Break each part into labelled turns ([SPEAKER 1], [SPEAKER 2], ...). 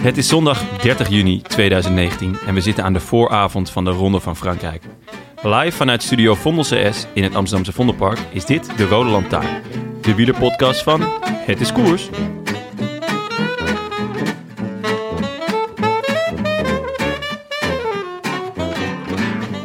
[SPEAKER 1] Het is zondag 30 juni 2019 en we zitten aan de vooravond van de Ronde van Frankrijk. Live vanuit studio Vondel CS in het Amsterdamse Vondelpark is dit de Rode Lantaarn. De wielerpodcast van Het is Koers.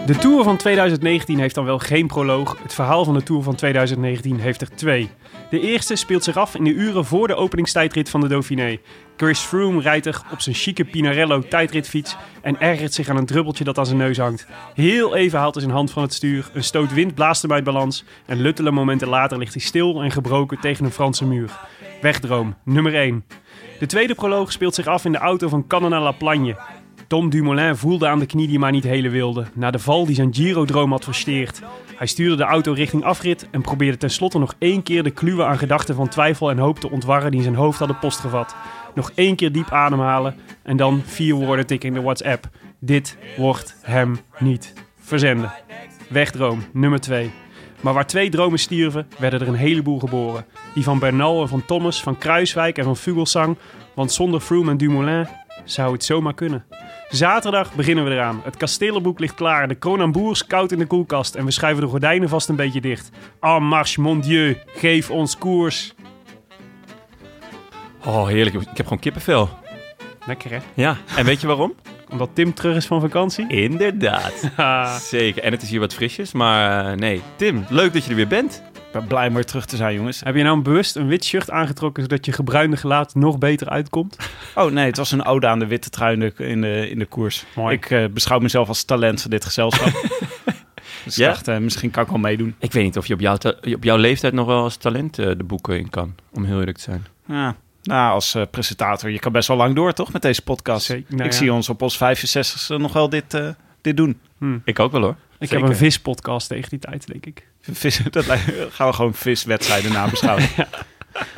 [SPEAKER 2] De Tour van 2019 heeft dan wel geen proloog. Het verhaal van de Tour van 2019 heeft er twee. De eerste speelt zich af in de uren voor de openingstijdrit van de Dauphiné. Chris Froome rijdt er op zijn chique Pinarello tijdritfiets en ergert zich aan een druppeltje dat aan zijn neus hangt. Heel even haalt hij zijn hand van het stuur, een stoot wind blaast hem uit balans en luttele momenten later ligt hij stil en gebroken tegen een Franse muur. Wegdroom, nummer 1. De tweede proloog speelt zich af in de auto van Canna La Plagne. Tom Dumoulin voelde aan de knie die maar niet hele wilde, na de val die zijn Giro-droom had versteerd. Hij stuurde de auto richting afrit en probeerde tenslotte nog één keer de kluwen aan gedachten van twijfel en hoop te ontwarren die in zijn hoofd hadden postgevat. Nog één keer diep ademhalen en dan vier woorden tikken in de WhatsApp. Dit wordt hem niet. Verzenden. Wegdroom nummer 2. Maar waar twee dromen stierven, werden er een heleboel geboren. Die van Bernal en van Thomas, van Kruiswijk en van Vugelsang. Want zonder Froome en Dumoulin zou het zomaar kunnen. Zaterdag beginnen we eraan. Het kastelenboek ligt klaar, de Kronenboers koud in de koelkast en we schuiven de gordijnen vast een beetje dicht. En marche, mon dieu, geef ons koers.
[SPEAKER 1] Oh, heerlijk. Ik heb gewoon kippenvel.
[SPEAKER 2] Lekker hè?
[SPEAKER 1] Ja, en weet je waarom?
[SPEAKER 2] Omdat Tim terug is van vakantie? Ah.
[SPEAKER 1] Inderdaad.
[SPEAKER 2] Ha.
[SPEAKER 1] Zeker. En het is hier wat frisjes, maar eh, nee. Tim, leuk dat je er weer bent.
[SPEAKER 3] Ik ben blij om weer terug te zijn, jongens.
[SPEAKER 2] Heb je nou bewust een wit shirt aangetrokken zodat je gebruinde gelaat nog beter uitkomt?
[SPEAKER 3] Oh nee, het was een ode aan de witte trui in de, in de, in de koers.
[SPEAKER 2] Mooi.
[SPEAKER 3] Ik eh, beschouw mezelf als talent van dit gezelschap. dus
[SPEAKER 1] Ja?
[SPEAKER 3] ik dacht, eh, misschien kan ik wel meedoen.
[SPEAKER 1] Ik weet niet of je op jouw, ta- op jouw leeftijd nog wel als talent eh, de boeken in kan, om heel eerlijk te zijn.
[SPEAKER 3] Ja. Nou, als eh, presentator, je kan best wel lang door, toch, met deze podcast?
[SPEAKER 2] Zeker, nou
[SPEAKER 3] ik
[SPEAKER 2] ja.
[SPEAKER 3] zie ons op ons 65ste nog wel dit, eh, dit doen.
[SPEAKER 1] Ik ook wel hoor.
[SPEAKER 2] Ik
[SPEAKER 3] Zeker.
[SPEAKER 2] heb een vispodcast tegen die tijd, denk ik.
[SPEAKER 3] Vis, dat lijkt- gaan we gewoon viswedstrijden nabeschouwen.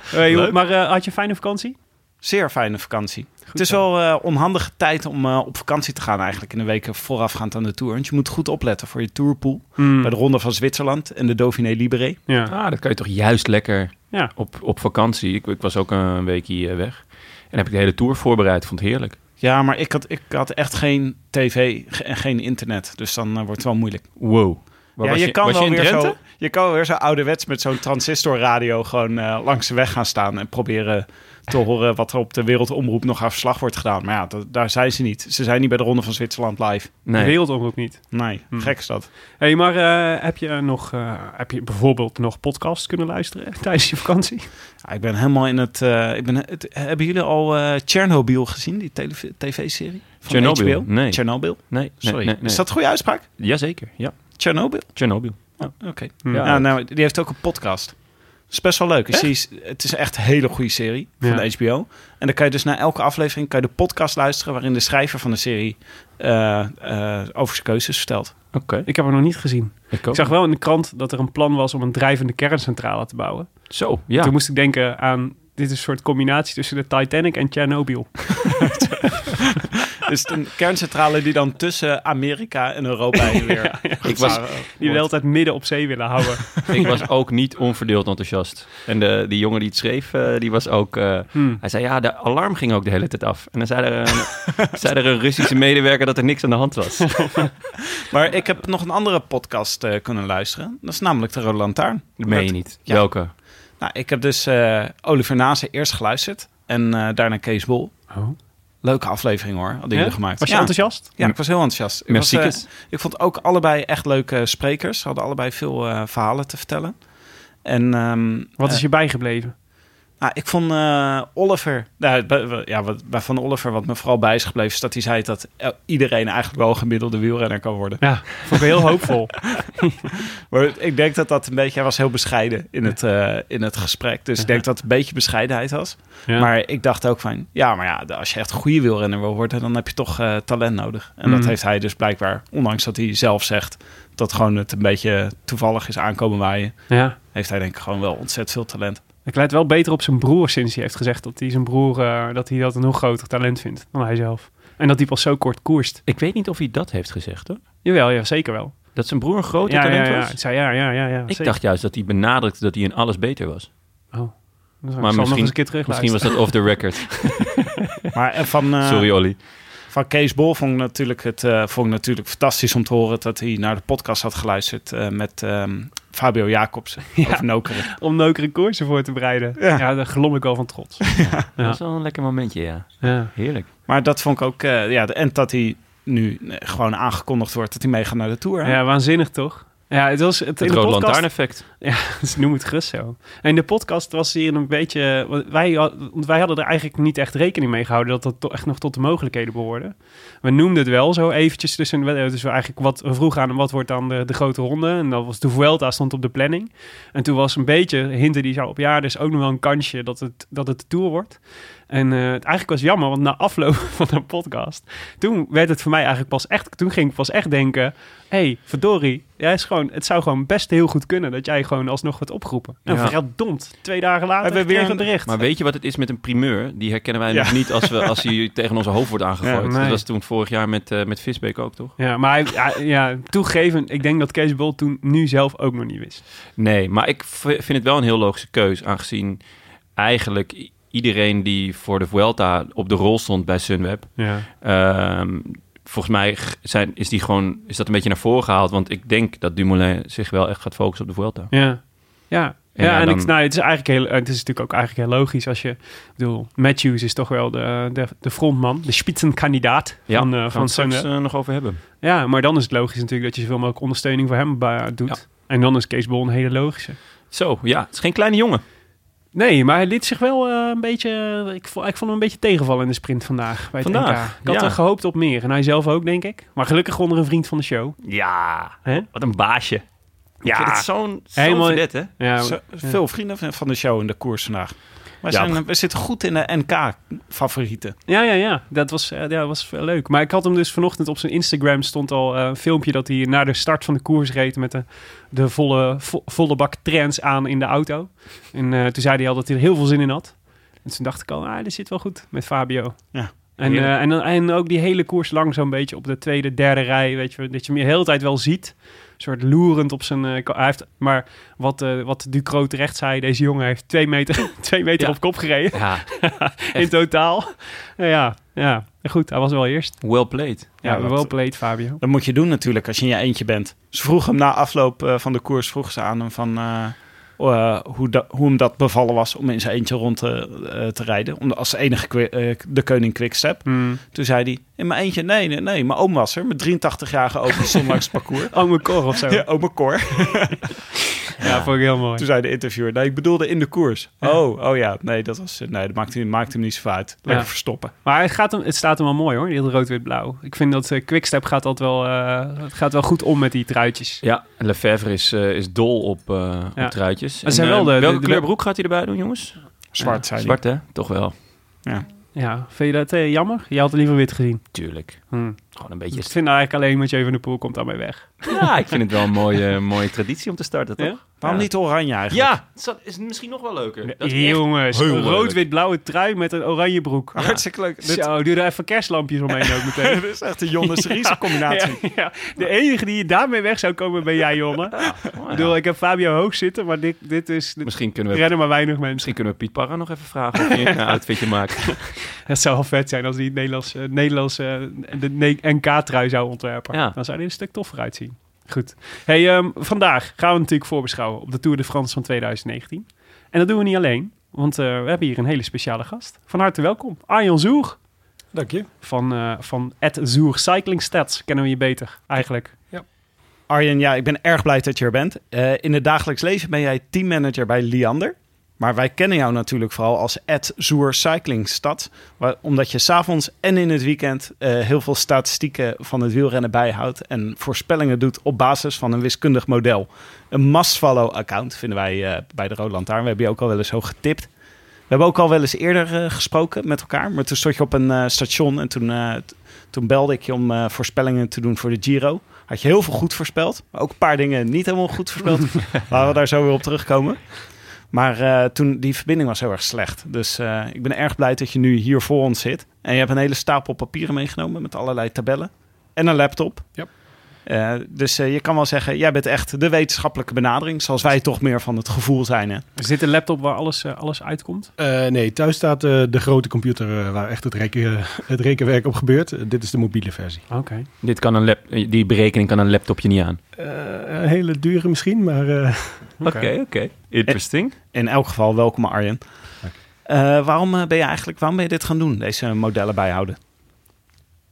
[SPEAKER 2] Hey, joh,
[SPEAKER 3] Leuk.
[SPEAKER 2] maar eh, had je een fijne vakantie?
[SPEAKER 3] Zeer fijne vakantie. het is
[SPEAKER 2] zo.
[SPEAKER 3] wel eh, onhandige tijd om eh, op vakantie te gaan eigenlijk in de weken voorafgaand aan de Tour. Want je moet goed opletten voor je Tourpool.
[SPEAKER 2] Hmm.
[SPEAKER 3] Bij de Ronde van Zwitserland en de Dauphiné Libéré.
[SPEAKER 2] Ja.
[SPEAKER 1] Ah, dat kan je toch juist lekker
[SPEAKER 2] Ja.
[SPEAKER 1] op, op vakantie. Ik, ik was ook een weekje eh, weg. En heb ik de hele tour voorbereid. Vond het heerlijk.
[SPEAKER 3] Ja, maar ik had, ik had echt geen tv ge- en geen internet. Dus dan eh, wordt het wel moeilijk.
[SPEAKER 1] Wow. Waar
[SPEAKER 3] ja,
[SPEAKER 1] was
[SPEAKER 3] kan
[SPEAKER 1] was
[SPEAKER 3] wel
[SPEAKER 1] in
[SPEAKER 3] weer
[SPEAKER 1] Drenthe?
[SPEAKER 3] zo, je kan wel weer zo ouderwets met zo'n transistorradio gewoon eh, langs de weg gaan staan. En proberen te horen wat er op de wereldomroep nog aan verslag wordt gedaan. Maar ja, dat- daar zijn ze niet. Ze zijn niet bij de Ronde van Zwitserland live.
[SPEAKER 2] De
[SPEAKER 1] Nee.
[SPEAKER 2] wereldomroep niet.
[SPEAKER 3] Nee,
[SPEAKER 2] Hmm.
[SPEAKER 3] gek is dat.
[SPEAKER 2] Hé, hey, maar eh, heb, je nog, eh, heb je bijvoorbeeld nog podcasts kunnen luisteren tijdens je vakantie?
[SPEAKER 3] Ja, ik ben helemaal in het, eh, ik ben, het... Hebben jullie al eh Chernobyl gezien, die tele- tv-serie? van
[SPEAKER 1] Chernobyl?
[SPEAKER 3] HBO?
[SPEAKER 1] Nee.
[SPEAKER 3] Chernobyl?
[SPEAKER 1] Nee, nee,
[SPEAKER 3] Sorry.
[SPEAKER 1] nee, nee.
[SPEAKER 3] Is dat een goede uitspraak?
[SPEAKER 1] Jazeker, ja.
[SPEAKER 3] Chernobyl?
[SPEAKER 1] Chernobyl.
[SPEAKER 3] Oké.
[SPEAKER 2] Hmm.
[SPEAKER 1] Ja.
[SPEAKER 3] Ja, nou, die heeft ook een podcast. Dat is best wel leuk. Is die- het is echt een hele goede serie van
[SPEAKER 2] Ja.
[SPEAKER 3] de HBO. En dan kan je dus na elke aflevering kan je de podcast luisteren... waarin de schrijver van de serie eh, eh, over zijn keuzes vertelt.
[SPEAKER 1] Oké.
[SPEAKER 2] Ik heb hem nog niet gezien.
[SPEAKER 1] Ik ook.
[SPEAKER 2] Ik zag wel in de krant dat er een plan was om een drijvende kerncentrale te bouwen.
[SPEAKER 1] Zo, ja.
[SPEAKER 2] Toen moest ik denken aan... Dit is een soort combinatie tussen de Titanic en Chernobyl.
[SPEAKER 3] Dus een kerncentrale die dan tussen Amerika en Europa heen weer...
[SPEAKER 1] Ik was-
[SPEAKER 2] Die we altijd midden op zee willen houden.
[SPEAKER 1] Ik was ook niet onverdeeld enthousiast. En de, die jongen die het schreef, eh, die was ook... eh,
[SPEAKER 2] Hmm.
[SPEAKER 1] hij zei, ja, de alarm ging ook de hele tijd af. En dan zei er een, zei er een Russische medewerker dat er niks aan de hand was.
[SPEAKER 3] Maar ik heb nog een andere podcast eh, kunnen luisteren. Dat is namelijk de Rode Lantaarn.
[SPEAKER 1] Dat meen je niet.
[SPEAKER 3] Ja.
[SPEAKER 1] Welke?
[SPEAKER 3] Nou, ik heb dus eh, Oliver Nase eerst geluisterd. En eh, daarna Kees Bol. Leuke aflevering hoor, hadden jullie
[SPEAKER 2] Ja?
[SPEAKER 3] gemaakt.
[SPEAKER 2] Oh. Was je
[SPEAKER 3] Ja.
[SPEAKER 2] enthousiast?
[SPEAKER 3] Ja, ik was heel enthousiast. Ik, was,
[SPEAKER 1] Merciekes.
[SPEAKER 3] eh, ik vond ook allebei echt leuke sprekers. Ze hadden allebei veel eh, verhalen te eh, vertellen. En ehm,
[SPEAKER 2] Wat
[SPEAKER 3] eh,
[SPEAKER 2] is je bijgebleven?
[SPEAKER 3] nou, ik vond eh, Oliver, nou, bij- bij- ja, wat, bij Van Oliver, wat me vooral bij is gebleven, is dat hij zei dat el- iedereen eigenlijk wel een gemiddelde wielrenner kan worden.
[SPEAKER 2] Ja, vond ik heel hoopvol.
[SPEAKER 3] Maar ik denk dat dat een beetje, hij was heel bescheiden in het, eh, in het gesprek. Dus ik denk dat het een beetje bescheidenheid was.
[SPEAKER 2] Ja.
[SPEAKER 3] Maar ik dacht ook van, ja, maar ja, als je echt een goede wielrenner wil worden, dan heb je toch eh, talent nodig. En dat
[SPEAKER 2] Mm.
[SPEAKER 3] heeft hij dus blijkbaar, ondanks dat hij zelf zegt dat gewoon het een beetje toevallig is aankomen waaien,
[SPEAKER 2] ja.
[SPEAKER 3] heeft hij denk ik gewoon wel ontzettend veel talent.
[SPEAKER 2] Ik lijkt wel beter op zijn broer sinds hij heeft gezegd dat hij zijn broer eh, dat, hij dat een nog groter talent vindt dan hij zelf. En dat hij pas zo kort koerst.
[SPEAKER 1] Ik weet niet of hij dat heeft gezegd, hoor.
[SPEAKER 2] Jawel, ja, zeker wel.
[SPEAKER 1] Dat zijn broer een grote
[SPEAKER 2] ja, ja,
[SPEAKER 1] talent
[SPEAKER 2] ja,
[SPEAKER 1] was?
[SPEAKER 2] Ik zei ja, ja, ja. ja
[SPEAKER 1] Ik dacht juist dat hij benadrukte dat hij in alles beter was.
[SPEAKER 2] maar
[SPEAKER 1] maar
[SPEAKER 2] misschien, nog
[SPEAKER 1] misschien-
[SPEAKER 2] eens een keer terug
[SPEAKER 1] Misschien was dat off the record.
[SPEAKER 3] Maar en van, eh,
[SPEAKER 1] Sorry, Olly.
[SPEAKER 3] van Kees Bol vond ik, natuurlijk het, eh, vond ik natuurlijk fantastisch om te horen dat hij naar de podcast had geluisterd eh, met ehm, Fabio Jacobsen over Nokeren.
[SPEAKER 2] Om neukere koersen voor te bereiden. Ja,
[SPEAKER 3] Ja.
[SPEAKER 2] daar glom ik wel van trots. Ja.
[SPEAKER 1] Dat is wel een lekker momentje, ja.
[SPEAKER 2] ja.
[SPEAKER 1] Heerlijk.
[SPEAKER 3] Maar dat vond ik ook, eh, ja, de- en dat hij nu eh, gewoon aangekondigd wordt dat hij meegaat naar de Tour. hè?
[SPEAKER 2] ja, waanzinnig toch? Ja, het was het, in
[SPEAKER 1] Het
[SPEAKER 2] de
[SPEAKER 1] rode
[SPEAKER 2] podcast-
[SPEAKER 1] lantaarneffect.
[SPEAKER 2] Ze noemen het gerust zo. En in de podcast was hier een beetje... want Wij, had- want wij hadden er eigenlijk niet echt rekening mee gehouden... dat dat toch echt nog tot de mogelijkheden behoorde. We noemden het wel zo eventjes. Dus, een, dus we, eigenlijk wat, we vroegen aan hem wat wordt dan de, de grote ronde. En dat was de Vuelta stond op de planning. En toen was een beetje hinten die zo op... ja, er is ook nog wel een kansje dat het, dat het de Tour wordt. En eh, het eigenlijk was jammer, want na afloop van de podcast... toen werd het voor mij eigenlijk pas echt... toen ging ik pas echt denken hé, hey, verdorie, jij is gewoon, het zou gewoon best heel goed kunnen dat jij gewoon alsnog wordt opgeroepen. En
[SPEAKER 1] Ja.
[SPEAKER 2] verdomd, twee dagen later
[SPEAKER 3] Hebben
[SPEAKER 2] hebben
[SPEAKER 3] we
[SPEAKER 2] we
[SPEAKER 3] weer
[SPEAKER 2] weer een
[SPEAKER 3] een-
[SPEAKER 2] bericht.
[SPEAKER 1] Maar weet je wat het is met een primeur? Die herkennen wij
[SPEAKER 3] Ja.
[SPEAKER 1] nog niet als, we, als hij tegen onze hoofd wordt aangegooid.
[SPEAKER 2] Ja, nee.
[SPEAKER 1] Dat was toen vorig jaar met, eh, met Visbeek ook, toch?
[SPEAKER 2] ja, maar hij, hij- ja, toegeven, ik denk dat Kees Bol toen nu zelf ook nog niet wist.
[SPEAKER 1] Nee, maar ik v- vind het wel een heel logische keus. Aangezien eigenlijk i- iedereen die voor de Vuelta op de rol stond bij Sunweb...
[SPEAKER 2] Ja.
[SPEAKER 1] Ehm, volgens mij g- zijn, is, die gewoon, is dat een beetje naar voren gehaald. Want ik denk dat Dumoulin zich wel echt gaat focussen op de Vuelta.
[SPEAKER 2] Ja. Ja. Ja,
[SPEAKER 1] En ja,
[SPEAKER 2] en
[SPEAKER 1] dan-
[SPEAKER 2] ik, nou, het is eigenlijk heel, het is natuurlijk ook eigenlijk heel logisch als je, ik bedoel, Matthews is toch wel de, de, de frontman, de spitsenkandidaat
[SPEAKER 1] Ja,
[SPEAKER 2] van, eh,
[SPEAKER 1] Gaan we
[SPEAKER 2] van
[SPEAKER 1] het straks
[SPEAKER 2] Sunweb.
[SPEAKER 1] eh, nog over hebben.
[SPEAKER 2] Ja, maar dan is het logisch natuurlijk dat je zoveel mogelijk ondersteuning voor hem eh, doet. En dan is Kees Bol een hele logische.
[SPEAKER 1] Zo, ja, het is geen kleine jongen.
[SPEAKER 2] Nee, maar hij liet zich wel eh, een beetje... Ik vond, ik vond hem een beetje tegenvallen in de sprint vandaag bij het
[SPEAKER 1] Vandaag,
[SPEAKER 2] NK. Ik had
[SPEAKER 1] ja.
[SPEAKER 2] er gehoopt op meer. En hij zelf ook, denk ik. Maar gelukkig onder een vriend van de show.
[SPEAKER 1] Ja,
[SPEAKER 2] Hè?
[SPEAKER 1] wat een baasje. Ja,
[SPEAKER 3] vind
[SPEAKER 1] het
[SPEAKER 3] het
[SPEAKER 1] zo'n
[SPEAKER 2] Helemaal-
[SPEAKER 1] vet, hè?
[SPEAKER 2] Ja,
[SPEAKER 3] Zo-
[SPEAKER 2] Nou, ja.
[SPEAKER 3] Veel vrienden van- van de show in de koers vandaag. We,
[SPEAKER 1] Ja,
[SPEAKER 3] zijn, we zitten goed in de NK-favorieten.
[SPEAKER 2] ja, ja, ja. Dat was, eh, ja, was wel leuk. Maar ik had hem dus vanochtend op zijn Instagram stond al eh, een filmpje... dat hij na de start van de koers reed met de, de volle, vo- volle bak trends aan in de auto. En eh, toen zei hij al dat hij er heel veel zin in had. En toen dacht ik al, ah, dit zit wel goed met Fabio.
[SPEAKER 3] Ja.
[SPEAKER 2] En,
[SPEAKER 1] Heerlijk.
[SPEAKER 2] eh, en, dan- en ook die hele koers lang zo'n beetje op de tweede, derde rij. Weet je, wel, dat je hem de hele tijd wel ziet. Een soort loerend op zijn... eh, ka- hij heeft, maar wat, eh wat Ducro terecht zei, deze jongen heeft twee meter, twee meter
[SPEAKER 1] Ja.
[SPEAKER 2] op kop gereden.
[SPEAKER 1] Ja,
[SPEAKER 2] In totaal. Nou ja, ja, goed, hij was wel eerst.
[SPEAKER 1] well played.
[SPEAKER 2] Ja,
[SPEAKER 3] Ja, dat-
[SPEAKER 2] wel played Fabio.
[SPEAKER 3] Dat moet je doen natuurlijk als je in je eentje bent. Ze vroeg hem na afloop eh, van de koers vroeg ze aan hem van, eh, eh, hoe, da- hoe hem dat bevallen was om in zijn eentje rond te, eh, te rijden. Om, als enige kwi- eh, de koning Quickstep. Toen zei hij, in mijn eentje? Nee, nee, nee. Mijn oom was er. Mijn 83-jarige oom die stond langs het parcours.
[SPEAKER 2] Oh, mijn kor of zo.
[SPEAKER 3] Ja,
[SPEAKER 2] Ja,
[SPEAKER 3] oma Cor.
[SPEAKER 2] vond ik heel mooi.
[SPEAKER 3] Toen zei de interviewer, nee, ik bedoelde in de koers.
[SPEAKER 2] Ja.
[SPEAKER 3] Oh, oh ja, nee, dat, was, nee, dat maakt, hem, maakt hem niet zo uit. Lekker
[SPEAKER 2] Ja.
[SPEAKER 3] verstoppen.
[SPEAKER 2] Maar het, gaat hem, het staat hem wel mooi hoor, die rood-wit-blauw. Ik vind dat eh, Quickstep gaat altijd wel, eh, het gaat wel goed om met die truitjes.
[SPEAKER 1] Ja, en Lefebvre is, eh, is dol op, eh op
[SPEAKER 2] Ja.
[SPEAKER 1] truitjes.
[SPEAKER 2] Maar ze
[SPEAKER 1] En,
[SPEAKER 2] zijn wel
[SPEAKER 1] eh,
[SPEAKER 2] de-
[SPEAKER 1] welke
[SPEAKER 2] de- de-
[SPEAKER 1] kleur broek gaat hij erbij doen, jongens?
[SPEAKER 3] Zwart, zei hij.
[SPEAKER 1] Zwart, hè? Toch wel.
[SPEAKER 2] Ja, vind je dat eh, jammer? Je had het liever wit gezien. Hmm.
[SPEAKER 1] Tuurlijk. Gewoon een
[SPEAKER 2] Ik
[SPEAKER 1] beetje...
[SPEAKER 2] vind eigenlijk alleen Mathieu van der Poel komt daarmee weg.
[SPEAKER 1] Ja, ik vind het wel een mooie, mooie traditie om te starten, toch?
[SPEAKER 2] Ja?
[SPEAKER 3] Waarom
[SPEAKER 1] Ja.
[SPEAKER 3] niet oranje eigenlijk?
[SPEAKER 1] Ja, dat is misschien nog wel leuker. Dat is echt
[SPEAKER 2] Jongens,
[SPEAKER 1] heel
[SPEAKER 2] een
[SPEAKER 1] leuk.
[SPEAKER 2] rood-wit-blauwe trui met een oranje broek.
[SPEAKER 3] Hartstikke leuk. Dit,
[SPEAKER 2] Zo, doe er even kerstlampjes omheen ook meteen.
[SPEAKER 3] dit is echt een Jonas Ries combinatie.
[SPEAKER 2] Ja, ja. De enige die daarmee weg zou komen ben jij, Jonne.
[SPEAKER 1] Oh,
[SPEAKER 2] Ik
[SPEAKER 1] ja.
[SPEAKER 2] bedoel, ik heb Fabio hoog zitten, maar dit, dit is... Dit
[SPEAKER 1] Misschien kunnen we,
[SPEAKER 2] rennen maar weinig mensen.
[SPEAKER 1] misschien kunnen we Piet Parra nog even vragen of hij een outfitje maakt.
[SPEAKER 2] Het zou wel vet zijn als hij het Nederlands, eh, Nederlands eh, de ne- NK-trui zou ontwerpen.
[SPEAKER 1] Ja.
[SPEAKER 2] Dan zou hij er een stuk toffer uitzien. Goed. Hey, ehm, vandaag gaan we natuurlijk voorbeschouwen op de Tour de France van 2019. En dat doen we niet alleen, want eh, we hebben hier een hele speciale gast. Van harte welkom, Arjan Zoer.
[SPEAKER 4] Dank je.
[SPEAKER 2] Van, eh van Ed Zoer Cycling Stats kennen we je beter, eigenlijk.
[SPEAKER 4] Ja.
[SPEAKER 3] Arjen, ja, ik ben erg blij dat je er bent. Eh, in het dagelijks leven ben jij teammanager bij Liander. Maar wij kennen jou natuurlijk vooral als Ed Zoer Cyclingstad. waar- Omdat je s'avonds en in het weekend eh, heel veel statistieken van het wielrennen bijhoudt. En voorspellingen doet op basis van een wiskundig model. Een must-follow account vinden wij eh, bij de Rode Lantaarn. We hebben je ook al wel eens hoog getipt. We hebben ook al wel eens eerder eh, gesproken met elkaar. Maar toen stond je op een eh, station en toen, eh, t- toen belde ik je om eh, voorspellingen te doen voor de Giro. Had je heel veel goed voorspeld. Maar ook een paar dingen niet helemaal goed voorspeld. Laten we daar zo weer op terugkomen. Maar eh, toen, die verbinding was heel erg slecht. Dus eh, ik ben erg blij dat je nu hier voor ons zit. En je hebt een hele stapel papieren meegenomen met allerlei tabellen. En een laptop.
[SPEAKER 4] Ja.
[SPEAKER 3] Eh, dus eh, je kan wel zeggen, jij bent echt de wetenschappelijke benadering. Zoals wij toch meer van het gevoel zijn. Hè?
[SPEAKER 2] Is dit een laptop waar alles, eh, alles uitkomt?
[SPEAKER 4] Eh, nee, thuis staat eh, de grote computer eh, waar echt het, reken, het rekenwerk op gebeurt. Eh, dit is de mobiele versie.
[SPEAKER 2] Oké.
[SPEAKER 1] Dit kan een lap, eh, die berekening kan een laptopje niet aan.
[SPEAKER 4] Eh, een hele dure misschien, maar eh,
[SPEAKER 1] Oké, oké. Interesting.
[SPEAKER 3] In elk geval, welkom Arjen. Eh, waarom eh, ben je eigenlijk, waarom ben je dit gaan doen? Deze modellen bijhouden.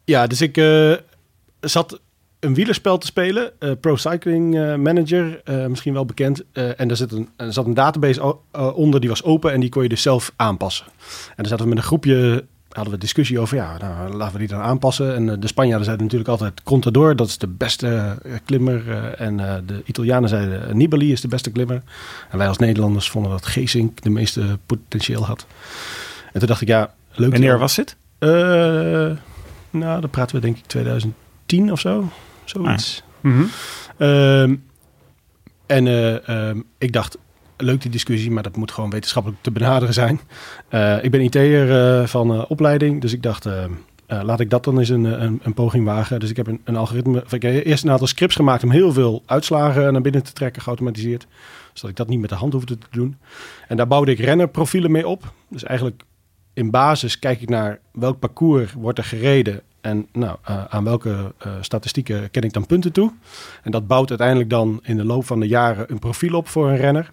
[SPEAKER 4] ja, dus ik eh, zat een wielerspel te spelen, eh, Pro Cycling eh, Manager, eh, misschien wel bekend. Eh, en daar zit een, er zat een database o- eh, onder, die was open en die kon je dus zelf aanpassen. En dan zaten we met een groepje, hadden we discussie over, ja, nou, laten we die dan aanpassen. En eh, de Spanjaarden zeiden natuurlijk altijd Contador, dat is de beste eh, klimmer. eh, en eh, de Italianen zeiden eh, Nibali is de beste klimmer. En wij als Nederlanders vonden dat Geesink de meeste potentieel had. En toen dacht ik, ja, leuk.
[SPEAKER 3] Wanneer was dit?
[SPEAKER 4] Eh, nou, dan praten we denk ik 2010 of zo.
[SPEAKER 3] Ah,
[SPEAKER 4] Zoiets.
[SPEAKER 2] Mhm.
[SPEAKER 4] Ehm, en eh, ehm, ik dacht, leuk die discussie, maar dat moet gewoon wetenschappelijk te benaderen zijn. Eh, ik ben IT'er eh, van eh, opleiding, dus ik dacht, ehm, eh, laat ik dat dan eens een, eh, een, een poging wagen. Dus ik heb een, een algoritme, of ik heb eerst een aantal scripts gemaakt om heel veel uitslagen naar binnen te trekken, geautomatiseerd. Zodat ik dat niet met de hand hoefde te doen. En daar bouwde ik rennerprofielen mee op. Dus eigenlijk in basis kijk ik naar welk parcours wordt er gereden. En nou, eh, aan welke eh, statistieken ken ik dan punten toe. En dat bouwt uiteindelijk dan in de loop van de jaren een profiel op voor een renner.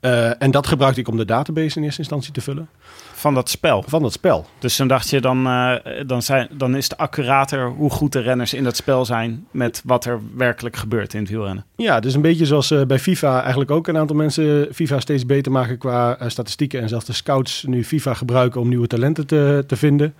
[SPEAKER 4] Eh, en dat gebruikte ik om de database in eerste instantie te vullen
[SPEAKER 3] Ah, Van dat spel.
[SPEAKER 4] van dat spel.
[SPEAKER 3] Dus dan dacht je, dan, eh, dan, zijn, dan is het accurater hoe goed de renners in dat spel zijn met wat er werkelijk gebeurt in het wielrennen.
[SPEAKER 4] Ja, dus een beetje zoals eh, bij FIFA eigenlijk ook een aantal mensen FIFA steeds beter maken qua eh, statistieken. En zelfs de scouts nu FIFA gebruiken om nieuwe talenten te, te vinden.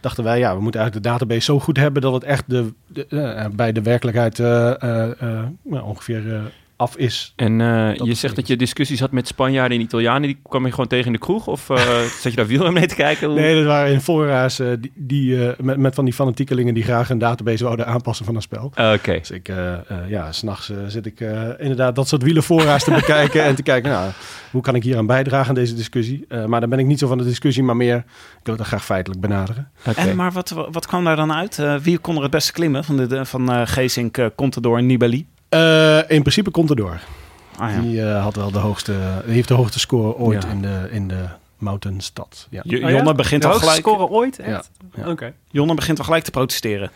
[SPEAKER 4] Dachten wij, ja, we moeten eigenlijk de database zo goed hebben dat het echt de, de- eh, bij de werkelijkheid eh, eh, eh, nou, ongeveer eh, af is.
[SPEAKER 1] En eh,
[SPEAKER 4] Dat
[SPEAKER 1] je
[SPEAKER 4] is
[SPEAKER 1] zegt dat
[SPEAKER 4] niks.
[SPEAKER 1] je discussies had met Spanjaarden en Italianen. Die kwam je gewoon tegen in de kroeg? Of eh zat je daar wielren mee te kijken? Hoe-
[SPEAKER 4] Nee, dat waren in fora's eh, die, die, eh, met, met van die fanatiekelingen die graag een database wouden aanpassen van een spel.
[SPEAKER 1] Eh, Oké.
[SPEAKER 4] Dus ik, eh, eh, ja, s'nachts eh zit ik eh, inderdaad dat soort wielenvoorraars te bekijken en te kijken, nou, hoe kan ik hier aan bijdragen aan deze discussie? Eh, maar dan ben ik niet zo van de discussie, maar meer, ik wil het graag feitelijk benaderen.
[SPEAKER 1] Oké.
[SPEAKER 3] En, maar wat, wat kwam daar dan uit? Eh, wie kon er het beste klimmen van, de- de, van eh Geesink, eh, Contador en Nibali?
[SPEAKER 4] Eh, in principe komt er door.
[SPEAKER 3] Ah, ja.
[SPEAKER 4] Die eh, had wel de hoogste, die heeft de hoogste score ooit
[SPEAKER 1] Ja.
[SPEAKER 4] in de, in de mountainstad. Ja.
[SPEAKER 3] Jo-
[SPEAKER 2] Oh ja?
[SPEAKER 3] Jonne, begint
[SPEAKER 2] De
[SPEAKER 3] al
[SPEAKER 2] hoogste
[SPEAKER 3] gelijk,
[SPEAKER 2] score ooit? Echt?
[SPEAKER 4] Ja.
[SPEAKER 2] Oké.
[SPEAKER 3] Jonne begint al gelijk te protesteren.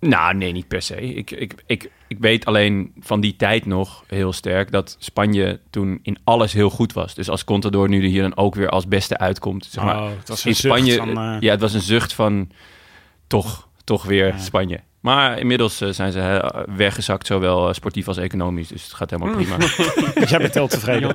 [SPEAKER 1] Nou, nee, niet per se. Ik, ik, ik, ik weet alleen van die tijd nog heel sterk dat Spanje toen in alles heel goed was. Dus als Contador nu hier dan ook weer als beste uitkomt. Zeg maar,
[SPEAKER 3] Oh, het was
[SPEAKER 1] in Spanje, eh,
[SPEAKER 3] ja.
[SPEAKER 1] ja, het was een zucht van toch, toch weer
[SPEAKER 3] eh, Ja.
[SPEAKER 1] Spanje. Maar inmiddels eh, zijn ze eh, weggezakt, zowel eh, sportief als economisch. Dus het gaat
[SPEAKER 3] Mm.
[SPEAKER 1] helemaal prima.
[SPEAKER 3] Jij bent heel tevreden.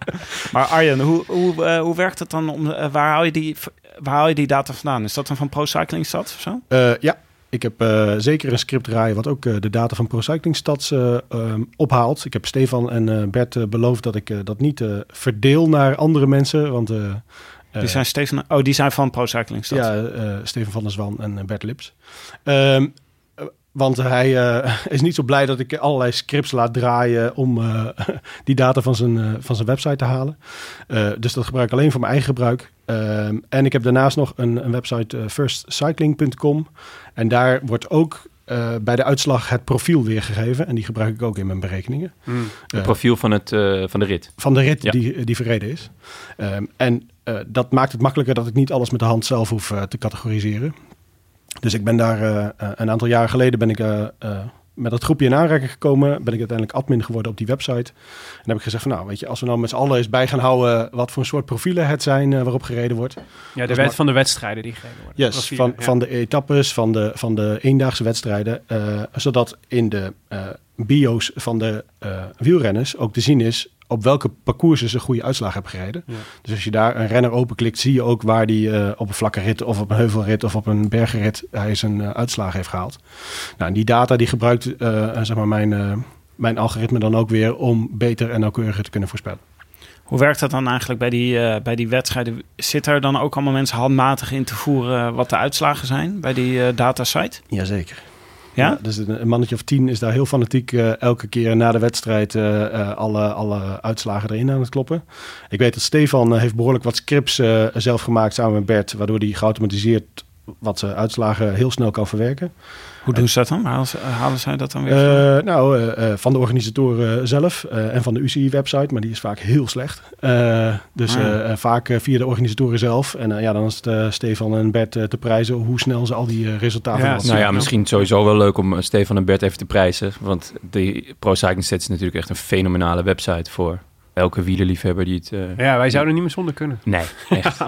[SPEAKER 3] maar Arjen, hoe, hoe, eh, hoe werkt het dan? Om, eh, waar, haal je die, waar haal je die data vandaan? Is dat dan van Pro Cycling Stats of zo?
[SPEAKER 4] Eh, ja, ik heb eh, zeker een script draaien wat ook eh, de data van ProCycling Stads eh, ehm, ophaalt. Ik heb Stefan en eh, Bert eh, beloofd dat ik eh, dat niet eh, verdeel naar andere mensen. Want eh,
[SPEAKER 3] Die
[SPEAKER 4] eh,
[SPEAKER 3] zijn, Steven, oh, die zijn van Pro Cycling Stats.
[SPEAKER 4] ja, eh, Steven van der Zwan en eh, Bert Lips. Ehm, eh, want hij eh, is niet zo blij dat ik allerlei scripts laat draaien om eh, die data van zijn, eh, van zijn website te halen. Eh, dus dat gebruik ik alleen voor mijn eigen gebruik. Ehm, en ik heb daarnaast nog een, een website eh, firstcycling.com. En daar wordt ook eh, bij de uitslag het profiel weergegeven. En die gebruik ik ook in mijn berekeningen.
[SPEAKER 2] Hmm.
[SPEAKER 1] Het
[SPEAKER 4] Eh,
[SPEAKER 1] profiel van, het, eh, van de rit.
[SPEAKER 4] van de rit
[SPEAKER 1] Ja.
[SPEAKER 4] die, die verreden is. Ehm, en eh, dat maakt het makkelijker dat ik niet alles met de hand zelf hoef eh, te categoriseren. Dus ik ben daar eh, eh, een aantal jaren geleden ben ik eh, eh, met dat groepje in aanraking gekomen. Ben ik uiteindelijk admin geworden op die website. En heb ik gezegd van nou, weet je, als we nou met z'n allen eens bij gaan houden wat voor soort profielen het zijn eh, waarop gereden wordt.
[SPEAKER 2] Ja, de
[SPEAKER 4] was
[SPEAKER 2] wet
[SPEAKER 4] maar-
[SPEAKER 2] van de wedstrijden die gegeven worden.
[SPEAKER 4] Yes,
[SPEAKER 2] Klassieken,
[SPEAKER 4] van,
[SPEAKER 2] ja.
[SPEAKER 4] van de etappes, van de, van de eendaagse wedstrijden. eh, zodat in de eh, bio's van de eh, wielrenners ook te zien is op welke parcoursen ze goede uitslag hebben gereden.
[SPEAKER 2] Ja.
[SPEAKER 4] Dus als je daar een renner openklikt, zie je ook waar die eh, op een vlakke rit of op een heuvelrit of op een bergrit hij zijn eh, uitslag heeft gehaald. Nou, en die data die gebruikt eh, eh, zeg maar mijn, eh, mijn algoritme dan ook weer om beter en nauwkeuriger te kunnen voorspellen.
[SPEAKER 3] Hoe werkt dat dan eigenlijk bij die, eh, bij die wedstrijden? Zit er dan ook allemaal mensen handmatig in te voeren eh, wat de uitslagen zijn bij die eh, datasite?
[SPEAKER 4] Jazeker.
[SPEAKER 3] Ja?
[SPEAKER 4] Ja, dus een een mannetje of tien is daar heel fanatiek eh, elke keer na de wedstrijd eh, eh, alle, alle uitslagen erin aan het kloppen. Ik weet dat Stefan eh, heeft behoorlijk wat scripts eh, zelf gemaakt samen met Bert, waardoor hij geautomatiseerd wat eh, uitslagen heel snel kan verwerken.
[SPEAKER 3] Hoe doen ze dat dan? Waar halen, ze- halen zij dat dan weer?
[SPEAKER 4] Eh, nou, eh, eh, van de organisatoren zelf eh, en van de UCI-website, maar die is vaak heel slecht. Eh, dus
[SPEAKER 3] Ah.
[SPEAKER 4] eh, eh, vaak eh, via de organisatoren zelf. En eh, ja, dan is het eh, Stefan en Bert eh, te prijzen hoe snel ze al die eh, resultaten
[SPEAKER 2] Ja,
[SPEAKER 4] hadden.
[SPEAKER 1] Nou ja,
[SPEAKER 2] Superknap.
[SPEAKER 1] misschien sowieso wel leuk om eh, Stefan en Bert even te prijzen. Want de Pro Cycling Stats is natuurlijk echt een fenomenale website voor elke wielerliefhebber die het... eh,
[SPEAKER 2] Ja, wij zouden niet meer zonder kunnen.
[SPEAKER 1] Nee, echt.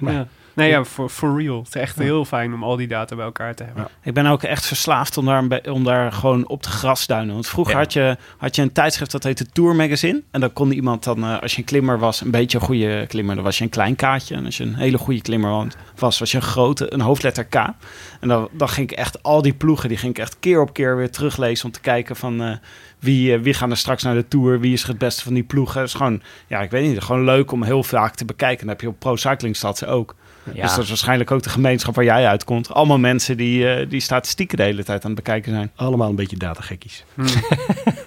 [SPEAKER 4] Maar-
[SPEAKER 2] Ja. Nee, ja, for, for real. Het is echt heel fijn om al die data bij elkaar te hebben.
[SPEAKER 3] Ik ben ook echt verslaafd om daar, een be- om daar gewoon op te grasduinen. Want vroeger
[SPEAKER 1] Ja.
[SPEAKER 3] had, je, had je een tijdschrift dat heette Tour Magazine. En dan kon iemand dan, eh, als je een klimmer was, een beetje een goede klimmer, dan was je een klein kaartje. En als je een hele goede klimmer wa- was, was je een grote, een hoofdletter K. En dan, dan ging ik echt al die ploegen, die ging ik echt keer op keer weer teruglezen om te kijken van eh, wie, eh, wie gaan er straks naar de Tour, wie is het beste van die ploegen. Het is gewoon, ja, ik weet niet, gewoon leuk om heel vaak te bekijken. En dat heb je op Pro Cycling Stats ook. Dus
[SPEAKER 1] Ja.
[SPEAKER 3] dat is waarschijnlijk ook de gemeenschap waar jij uitkomt. Allemaal mensen die, eh, die statistieken de hele tijd aan het bekijken zijn.
[SPEAKER 4] Allemaal een beetje datagekkies.
[SPEAKER 2] Hmm.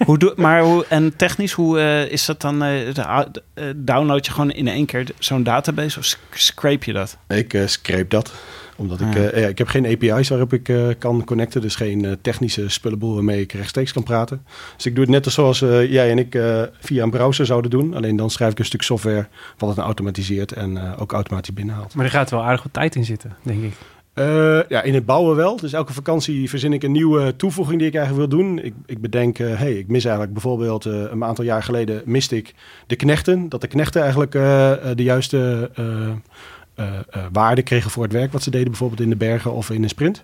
[SPEAKER 3] hoe doe, maar hoe, en technisch, hoe eh, is dat dan? eh, de a- de- eh, download je gewoon in één keer d- zo'n database of sc- scrape je dat?
[SPEAKER 4] Ik eh scrape dat. Omdat ik,
[SPEAKER 3] Ah.
[SPEAKER 4] eh, ja, ik heb geen API's waarop ik eh, kan connecten. Dus geen eh, technische spullenboel waarmee ik rechtstreeks kan praten. Dus ik doe het net als zoals eh, jij en ik eh, via een browser zouden doen. Alleen dan schrijf ik een stuk software wat het dan automatiseert en eh, ook automatisch binnenhaalt.
[SPEAKER 2] Maar er gaat wel aardig wat tijd in zitten, denk ik.
[SPEAKER 4] Eh, ja, in het bouwen wel. Dus elke vakantie verzin ik een nieuwe toevoeging die ik eigenlijk wil doen. Ik, ik bedenk, eh, hey, ik mis eigenlijk bijvoorbeeld eh, een aantal jaar geleden miste ik de knechten. Dat de knechten eigenlijk eh, eh, de juiste eh eh, eh, waarde kregen voor het werk wat ze deden. Bijvoorbeeld in de bergen of in een sprint.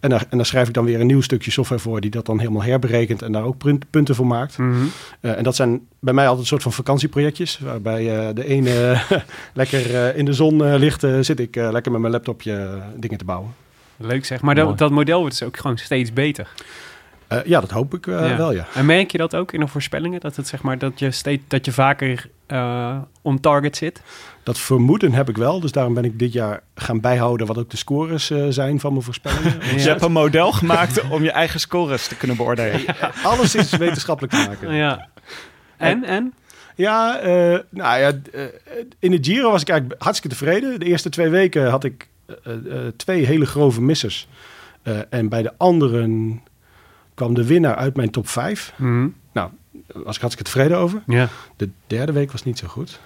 [SPEAKER 4] En daar, en daar schrijf ik dan weer een nieuw stukje software voor die dat dan helemaal herberekent en daar ook punt- punten voor maakt.
[SPEAKER 2] Hmm.
[SPEAKER 4] Eh, en dat zijn bij mij altijd een soort van vakantieprojectjes. Waarbij eh, de ene eh, lekker eh, in de zon eh, ligt, eh, zit ik eh, lekker met mijn laptopje eh, dingen te bouwen.
[SPEAKER 2] Leuk zeg. Maar dat,
[SPEAKER 1] Mooi.
[SPEAKER 2] dat model wordt dus ook gewoon steeds beter.
[SPEAKER 4] Eh, ja, dat hoop ik eh,
[SPEAKER 2] Ja.
[SPEAKER 4] wel, ja.
[SPEAKER 2] En merk je dat ook in de voorspellingen? Dat, het, zeg maar, dat, je, steeds, dat je vaker eh on target zit?
[SPEAKER 4] Dat vermoeden heb ik wel. Dus daarom ben ik dit jaar gaan bijhouden wat ook de scores eh, zijn van mijn voorspellingen.
[SPEAKER 3] Dus Je hebt een model gemaakt om je eigen scores te kunnen beoordelen.
[SPEAKER 4] Alles is wetenschappelijk te maken.
[SPEAKER 2] ja. En, en?
[SPEAKER 4] Ja, eh, nou ja, d- eh, in de Giro was ik eigenlijk hartstikke tevreden. De eerste twee weken had ik eh, eh, twee hele grove missers. Eh, en bij de anderen kwam de winnaar uit mijn top 5. Daar was ik hartstikke tevreden over.
[SPEAKER 2] Hmm. Ja.
[SPEAKER 4] De derde week was niet zo goed.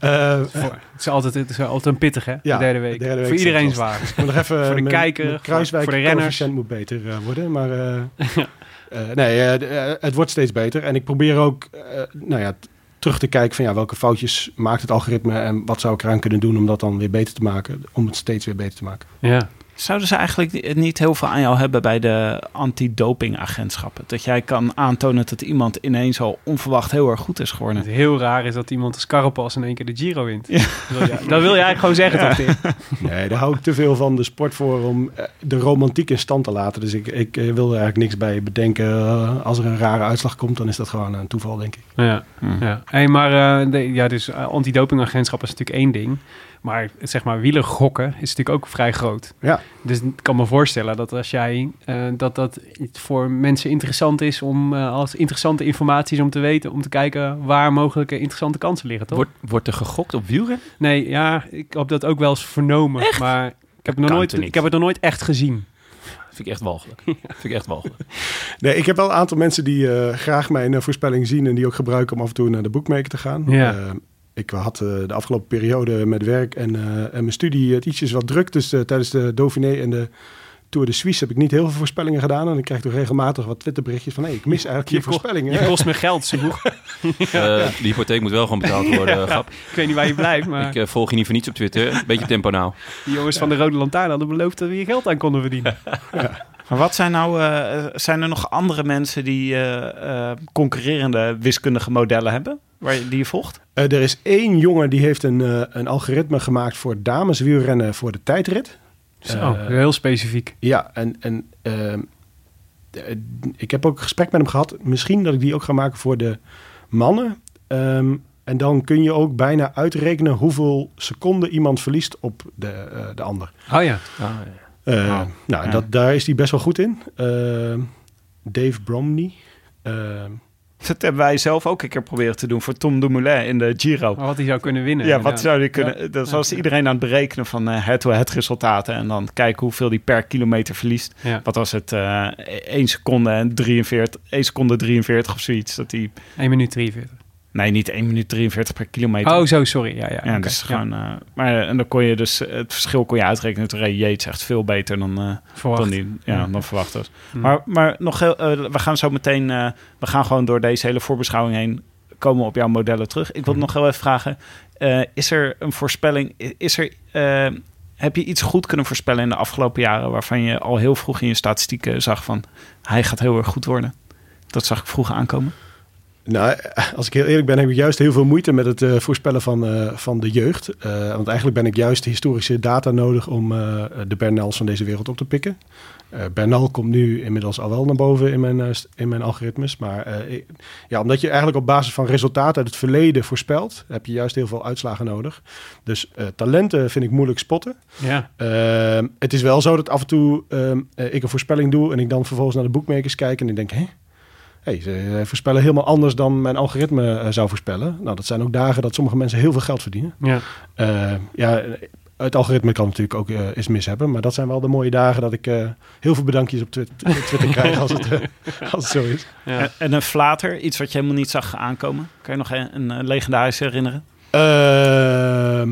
[SPEAKER 4] Eh,
[SPEAKER 2] Voor- het, is altijd, het is altijd een pittig, hè?
[SPEAKER 4] Ja,
[SPEAKER 2] de derde week.
[SPEAKER 4] de derde week
[SPEAKER 2] Voor
[SPEAKER 4] is
[SPEAKER 2] iedereen
[SPEAKER 4] het
[SPEAKER 2] zwaar.
[SPEAKER 4] Ik moet nog even eh,
[SPEAKER 2] Voor de
[SPEAKER 4] mijn-
[SPEAKER 2] kijker,
[SPEAKER 4] mijn
[SPEAKER 2] voor-
[SPEAKER 4] Kruiswijk
[SPEAKER 2] voor de renners.
[SPEAKER 4] coëfficiënt moet beter eh, worden, maar eh, eh, nee, eh, d- eh, het wordt steeds beter. En ik probeer ook, eh, nou ja, t- terug te kijken van ja, welke foutjes maakt het algoritme en wat zou ik eraan kunnen doen om dat dan weer beter te maken, om het steeds weer beter te maken.
[SPEAKER 2] Ja.
[SPEAKER 3] Zouden ze eigenlijk ni- niet heel veel aan jou hebben bij de antidopingagentschappen? Dat jij kan aantonen dat iemand ineens al onverwacht heel erg goed is geworden.
[SPEAKER 2] Het heel raar is dat iemand als Carapas in één keer de Giro wint. Dat wil je- dat wil je eigenlijk gewoon zeggen, toch, Tim?
[SPEAKER 4] Nee, daar hou ik te veel van de sport voor om eh, de romantiek in stand te laten. Dus ik, ik eh, wil er eigenlijk niks bij bedenken. Eh, als er een rare uitslag komt, dan is dat gewoon een toeval, denk ik.
[SPEAKER 2] Ja,
[SPEAKER 3] Hmm.
[SPEAKER 2] ja. Hey, maar eh de- ja, dus eh, antidopingagentschap is natuurlijk één ding. Maar zeg maar, wielergokken is natuurlijk ook vrij groot.
[SPEAKER 4] Ja.
[SPEAKER 2] Dus ik kan me voorstellen dat als jij eh, dat dat iets voor mensen interessant is om eh, als interessante informatie is om te weten, om te kijken waar mogelijke interessante kansen liggen, toch?
[SPEAKER 1] Wordt, wordt er gegokt op wielren?
[SPEAKER 2] Nee, ja, ik heb dat ook wel eens vernomen. Maar ik heb, nog
[SPEAKER 1] kan
[SPEAKER 2] nooit,
[SPEAKER 1] toch niet?
[SPEAKER 2] ik heb het nog nooit echt gezien.
[SPEAKER 1] Vind ik echt walgelijk. Vind ik echt walgelijk.
[SPEAKER 4] Nee, ik heb wel een aantal mensen die eh, graag mijn eh, voorspelling zien en die ook gebruiken om af en toe naar de boekmaker te gaan.
[SPEAKER 2] Ja.
[SPEAKER 4] Eh, ik had eh, de afgelopen periode met werk en, eh, en mijn studie het ietsjes wat druk. Dus eh, tijdens de Dauphiné en de Tour de Suisse heb ik niet heel veel voorspellingen gedaan. En ik krijg toch regelmatig wat Twitterberichtjes van... hé, ik mis eigenlijk je,
[SPEAKER 2] kost-
[SPEAKER 4] voorspellingen.
[SPEAKER 2] Je kost me geld, zo
[SPEAKER 1] Eh, die hypotheek moet wel gewoon betaald worden, eh, grap.
[SPEAKER 2] Ik weet niet waar je blijft, maar
[SPEAKER 1] Ik eh, volg je niet voor niets op Twitter. Een beetje tempo nou.
[SPEAKER 2] die jongens van de Rode Lantaarn hadden beloofd dat we hier geld aan konden verdienen.
[SPEAKER 3] Maar wat zijn nou, eh, eh, zijn er nog andere mensen die eh, eh, concurrerende wiskundige modellen hebben? Waar je, die je volgt?
[SPEAKER 4] Eh, er is één jongen die heeft een, eh, een algoritme gemaakt voor dameswielrennen voor de tijdrit. Eh,
[SPEAKER 2] Zo, Dus, oh, heel specifiek.
[SPEAKER 4] Ja, en, en ehm, eh, ik heb ook een gesprek met hem gehad. Misschien dat ik die ook ga maken voor de mannen. Ehm, en dan kun je ook bijna uitrekenen hoeveel seconden iemand verliest op de, eh, de ander.
[SPEAKER 2] Oh ja.
[SPEAKER 4] Eh,
[SPEAKER 3] Wauw.
[SPEAKER 4] Nou,
[SPEAKER 3] Ja.
[SPEAKER 4] dat, daar is hij best wel goed in. Ehm, Dave Bromney. Ehm,
[SPEAKER 3] Dat hebben wij zelf ook een keer proberen te doen voor Tom Dumoulin in de Giro.
[SPEAKER 2] Maar wat hij zou kunnen winnen.
[SPEAKER 3] Ja, wat
[SPEAKER 2] inderdaad.
[SPEAKER 3] zou die kunnen? Dat was iedereen aan het berekenen van eh, head-to-head resultaten. En dan kijken hoeveel die per kilometer verliest.
[SPEAKER 2] Ja.
[SPEAKER 3] Wat was het? eh 1 seconde en 43, 1 seconde 43 of zoiets. Dat die,
[SPEAKER 2] 1 minuut 43.
[SPEAKER 3] nee, niet 1 minuut 43 per kilometer.
[SPEAKER 2] Oh, zo, sorry. Ja, ja.
[SPEAKER 3] Ja,
[SPEAKER 2] oké.
[SPEAKER 3] dus
[SPEAKER 2] Ja,
[SPEAKER 3] gewoon, eh, maar eh, en dan kon je dus eh, het verschil kon je uitrekenen. Toen reed Yates echt veel beter dan, eh,
[SPEAKER 2] verwacht.
[SPEAKER 3] dan, die, ja,
[SPEAKER 2] Ja.
[SPEAKER 3] dan verwacht was.
[SPEAKER 2] Hm.
[SPEAKER 3] Maar, maar nog heel, eh, we gaan zo meteen, eh, we gaan gewoon door deze hele voorbeschouwing heen komen we op jouw modellen terug. Ik wil nog heel even vragen, eh, is er een voorspelling, i- is er, eh, heb je iets goed kunnen voorspellen in de afgelopen jaren waarvan je al heel vroeg in je statistieken zag van hij gaat heel erg goed worden? Dat zag ik vroeg aankomen.
[SPEAKER 4] Nou, als ik heel eerlijk ben, heb ik juist heel veel moeite met het eh, voorspellen van, eh, van de jeugd. Eh, want eigenlijk ben ik juist historische data nodig om eh, de Bernals van deze wereld op te pikken. Eh, Bernal komt nu inmiddels al wel naar boven in mijn, eh, st- in mijn algoritmes. Maar eh, ik- ja, omdat je eigenlijk op basis van resultaten uit het verleden voorspelt, heb je juist heel veel uitslagen nodig. Dus eh, talenten vind ik moeilijk spotten.
[SPEAKER 2] Ja.
[SPEAKER 4] Ehm, het is wel zo dat af en toe ehm, eh, ik een voorspelling doe en ik dan vervolgens naar de boekmakers kijk en ik denk, hé, hey, ze eh, voorspellen helemaal anders dan mijn algoritme eh, zou voorspellen. Nou, dat zijn ook dagen dat sommige mensen heel veel geld verdienen.
[SPEAKER 2] Ja.
[SPEAKER 4] Ehm, ja, eh, het algoritme kan natuurlijk ook eh eens mis hebben, maar dat zijn wel de mooie dagen dat ik eh, heel veel bedankjes op Twit- Twitter krijg als het, eh, als het zo is.
[SPEAKER 2] Ja.
[SPEAKER 3] En, en een flater, iets wat je helemaal niet zag aankomen. Kan je nog een, een, eh, legendarische herinneren?
[SPEAKER 4] Ehm,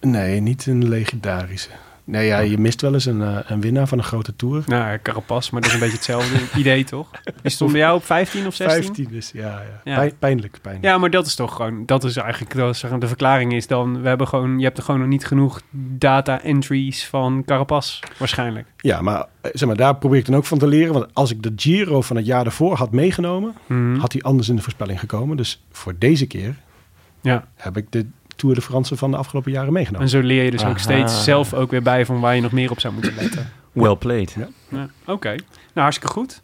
[SPEAKER 4] nee, niet een legendarische. Nee, ja, je mist wel eens een, eh, een winnaar van een grote tour.
[SPEAKER 2] Nou, ja, Carapaz, maar dat is een beetje hetzelfde idee, toch? Die stond bij jou op 15 of 16?
[SPEAKER 4] 15 is, ja. ja.
[SPEAKER 2] Ja.
[SPEAKER 4] Pijn- pijnlijk, pijnlijk.
[SPEAKER 2] Ja, maar dat is toch gewoon, dat is eigenlijk, dat is, de verklaring is dan, we hebben gewoon, je hebt er gewoon nog niet genoeg data entries van Carapaz, waarschijnlijk.
[SPEAKER 4] Ja, maar, eh, zeg maar daar probeer ik dan ook van te leren. Want als ik de Giro van het jaar daarvoor had meegenomen,
[SPEAKER 2] Mhm.
[SPEAKER 4] had hij anders in de voorspelling gekomen. Dus voor deze keer
[SPEAKER 2] Ja,
[SPEAKER 4] heb ik de Tour de France van de afgelopen jaren meegenomen.
[SPEAKER 2] en zo leer je dus ook
[SPEAKER 1] Aha.
[SPEAKER 2] steeds zelf ook weer bij van waar je nog meer op zou moeten letten.
[SPEAKER 1] Well played.
[SPEAKER 2] Ja, Oké, nou hartstikke goed.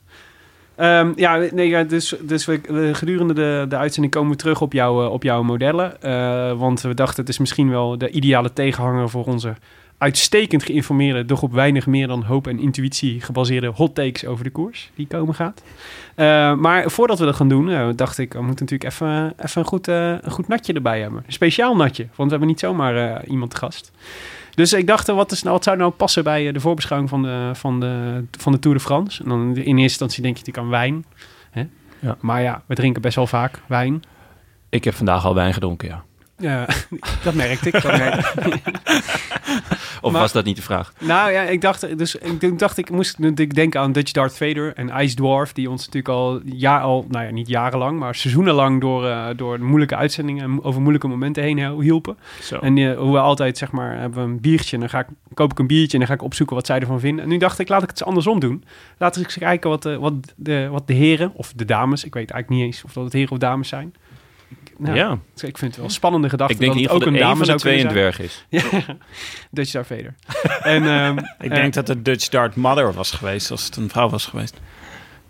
[SPEAKER 2] Ehm, ja, nee, ja, dus, dus we, we- gedurende de, de uitzending komen we terug op, jouw eh, op jouw modellen. Eh, want we dachten, het is misschien wel de ideale tegenhanger voor onze uitstekend geïnformeerde, doch op weinig meer dan hoop en intuïtie gebaseerde hot takes over de koers die komen gaat. Eh, maar voordat we dat gaan doen, eh, dacht ik, we moeten natuurlijk even, even een, goed, eh, een goed natje erbij hebben. Een speciaal natje, want we hebben niet zomaar eh, iemand te gast. Dus ik dacht, eh, wat, is nou, wat zou nou passen bij eh, de voorbeschouwing van de, van, de, van de Tour de France? En dan in eerste instantie denk je natuurlijk aan wijn. Hè?
[SPEAKER 1] Ja.
[SPEAKER 2] Maar ja, we drinken best wel vaak wijn.
[SPEAKER 1] Ik heb vandaag al wijn gedronken, ja.
[SPEAKER 2] Ja, dat merkte ik. Dat merkte ik.
[SPEAKER 1] Of
[SPEAKER 2] Maar-
[SPEAKER 1] was dat niet de vraag?
[SPEAKER 2] Nou ja, ik dacht, dus ik d- dacht, ik moest natuurlijk denken aan Dutch Darth Vader en Ice Dwarf, die ons natuurlijk al, jaar, al nou ja, niet jarenlang, maar seizoenenlang door, eh, door moeilijke uitzendingen en over moeilijke momenten heen hel- hielpen.
[SPEAKER 3] Zo.
[SPEAKER 2] En eh, hoe we altijd, zeg maar, hebben we een biertje en dan ga ik, koop ik een biertje en dan ga ik opzoeken wat zij ervan vinden. En nu dacht ik, laat ik het eens andersom doen. Laten we eens kijken wat, eh, wat, de, wat de heren of de dames, ik weet eigenlijk niet eens of dat het heren of dames zijn. Ik- nou,
[SPEAKER 1] ja.
[SPEAKER 2] Ik vind het wel een spannende gedachte.
[SPEAKER 1] Ik denk in
[SPEAKER 2] dat
[SPEAKER 1] ieder
[SPEAKER 2] het
[SPEAKER 1] geval
[SPEAKER 2] ook een
[SPEAKER 1] dat één
[SPEAKER 2] dame
[SPEAKER 1] van de twee
[SPEAKER 2] zou kunnen
[SPEAKER 1] een dwerg
[SPEAKER 2] zijn.
[SPEAKER 1] is.
[SPEAKER 2] Ja, Dutch Darth Vader. en, ehm,
[SPEAKER 3] Ik
[SPEAKER 2] eh,
[SPEAKER 3] denk dat het Dutch Dart Mother was geweest, als het een vrouw was geweest.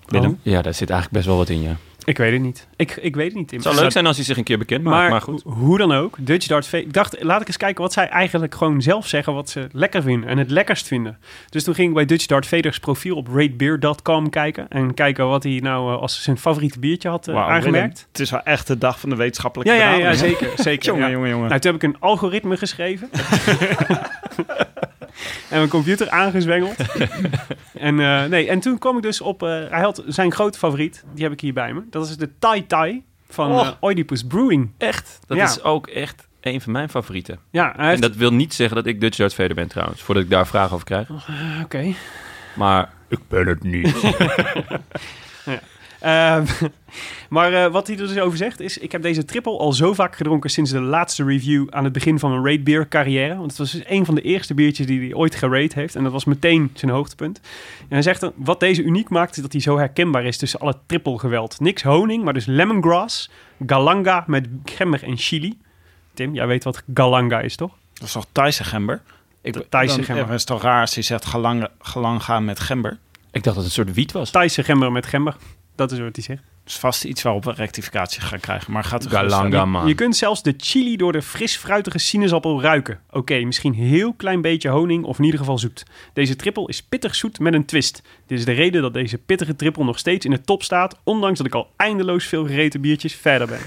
[SPEAKER 3] Willem?
[SPEAKER 1] Ja, daar zit eigenlijk best wel wat in, ja.
[SPEAKER 2] Ik weet het niet. Ik, ik weet het niet, Tim.
[SPEAKER 1] Het zou leuk zijn als hij zich een keer bekend maakt,
[SPEAKER 2] Maar,
[SPEAKER 1] maar, goed.
[SPEAKER 2] ho- hoe dan ook, Dutch Dart Vader... Ik dacht, laat ik eens kijken wat zij eigenlijk gewoon zelf zeggen... wat ze lekker vinden en het lekkerst vinden. Dus toen ging ik bij Dutch Dart Vader's profiel op ratebeer.com kijken... en kijken wat hij nou eh, als zijn favoriete biertje had eh,
[SPEAKER 3] Wauw,
[SPEAKER 2] aangemerkt.
[SPEAKER 3] Willem, het is wel echt de dag van de wetenschappelijke
[SPEAKER 2] Ja, ja, ja,
[SPEAKER 3] benadering, hè?
[SPEAKER 2] zeker. zeker
[SPEAKER 3] Jongen,
[SPEAKER 2] ja.
[SPEAKER 3] jongen, jongen.
[SPEAKER 2] Nou, toen heb ik een algoritme geschreven. en mijn computer aangezwengeld. en, eh, nee, en toen kwam ik dus op... eh, hij had zijn grote favoriet, die heb ik hier bij me. Dat is de Tai Tai van eh,
[SPEAKER 1] Och.
[SPEAKER 2] Oedipus Brewing.
[SPEAKER 1] Echt? Dat
[SPEAKER 2] Ja.
[SPEAKER 1] is ook echt een van mijn favorieten.
[SPEAKER 2] Ja, hij
[SPEAKER 1] En
[SPEAKER 2] heeft...
[SPEAKER 1] dat wil niet zeggen dat ik Dutch Darth Vader ben trouwens, voordat ik daar vragen over krijg.
[SPEAKER 2] eh, Oké.
[SPEAKER 1] Maar ik ben het niet.
[SPEAKER 2] Ehm, maar eh, wat hij er dus over zegt is... Ik heb deze triple al zo vaak gedronken sinds de laatste review... aan het begin van mijn raid beer carrière. Want het was dus een van de eerste biertjes die hij ooit geraid heeft. En dat was meteen zijn hoogtepunt. En hij zegt dan... Wat deze uniek maakt is dat hij zo herkenbaar is tussen alle triple geweld. Niks honing, maar dus lemongrass. Galanga met gember en chili. Tim, jij weet wat galanga is, toch?
[SPEAKER 3] Dat is toch Thaise gember? Ik,
[SPEAKER 2] De Thaise
[SPEAKER 3] dan-
[SPEAKER 2] gember.
[SPEAKER 3] Het is toch raar als je zegt gelang, gelang gaan met gember.
[SPEAKER 1] ik dacht dat het een soort wiet was.
[SPEAKER 2] Thaise gember met gember. Dat is wat hij zegt.
[SPEAKER 3] Dat is vast iets waarop we rectificatie gaan krijgen. Maar gaat er gerust
[SPEAKER 1] Galanga
[SPEAKER 3] aan.
[SPEAKER 1] man.
[SPEAKER 2] Je kunt zelfs de chili door de fris-fruitige sinaasappel ruiken. Oké, misschien heel klein beetje honing of in ieder geval zoet. Deze trippel is pittig zoet met een twist. Dit is de reden dat deze pittige trippel nog steeds in de top staat... ondanks dat ik al eindeloos veel gereten biertjes verder ben.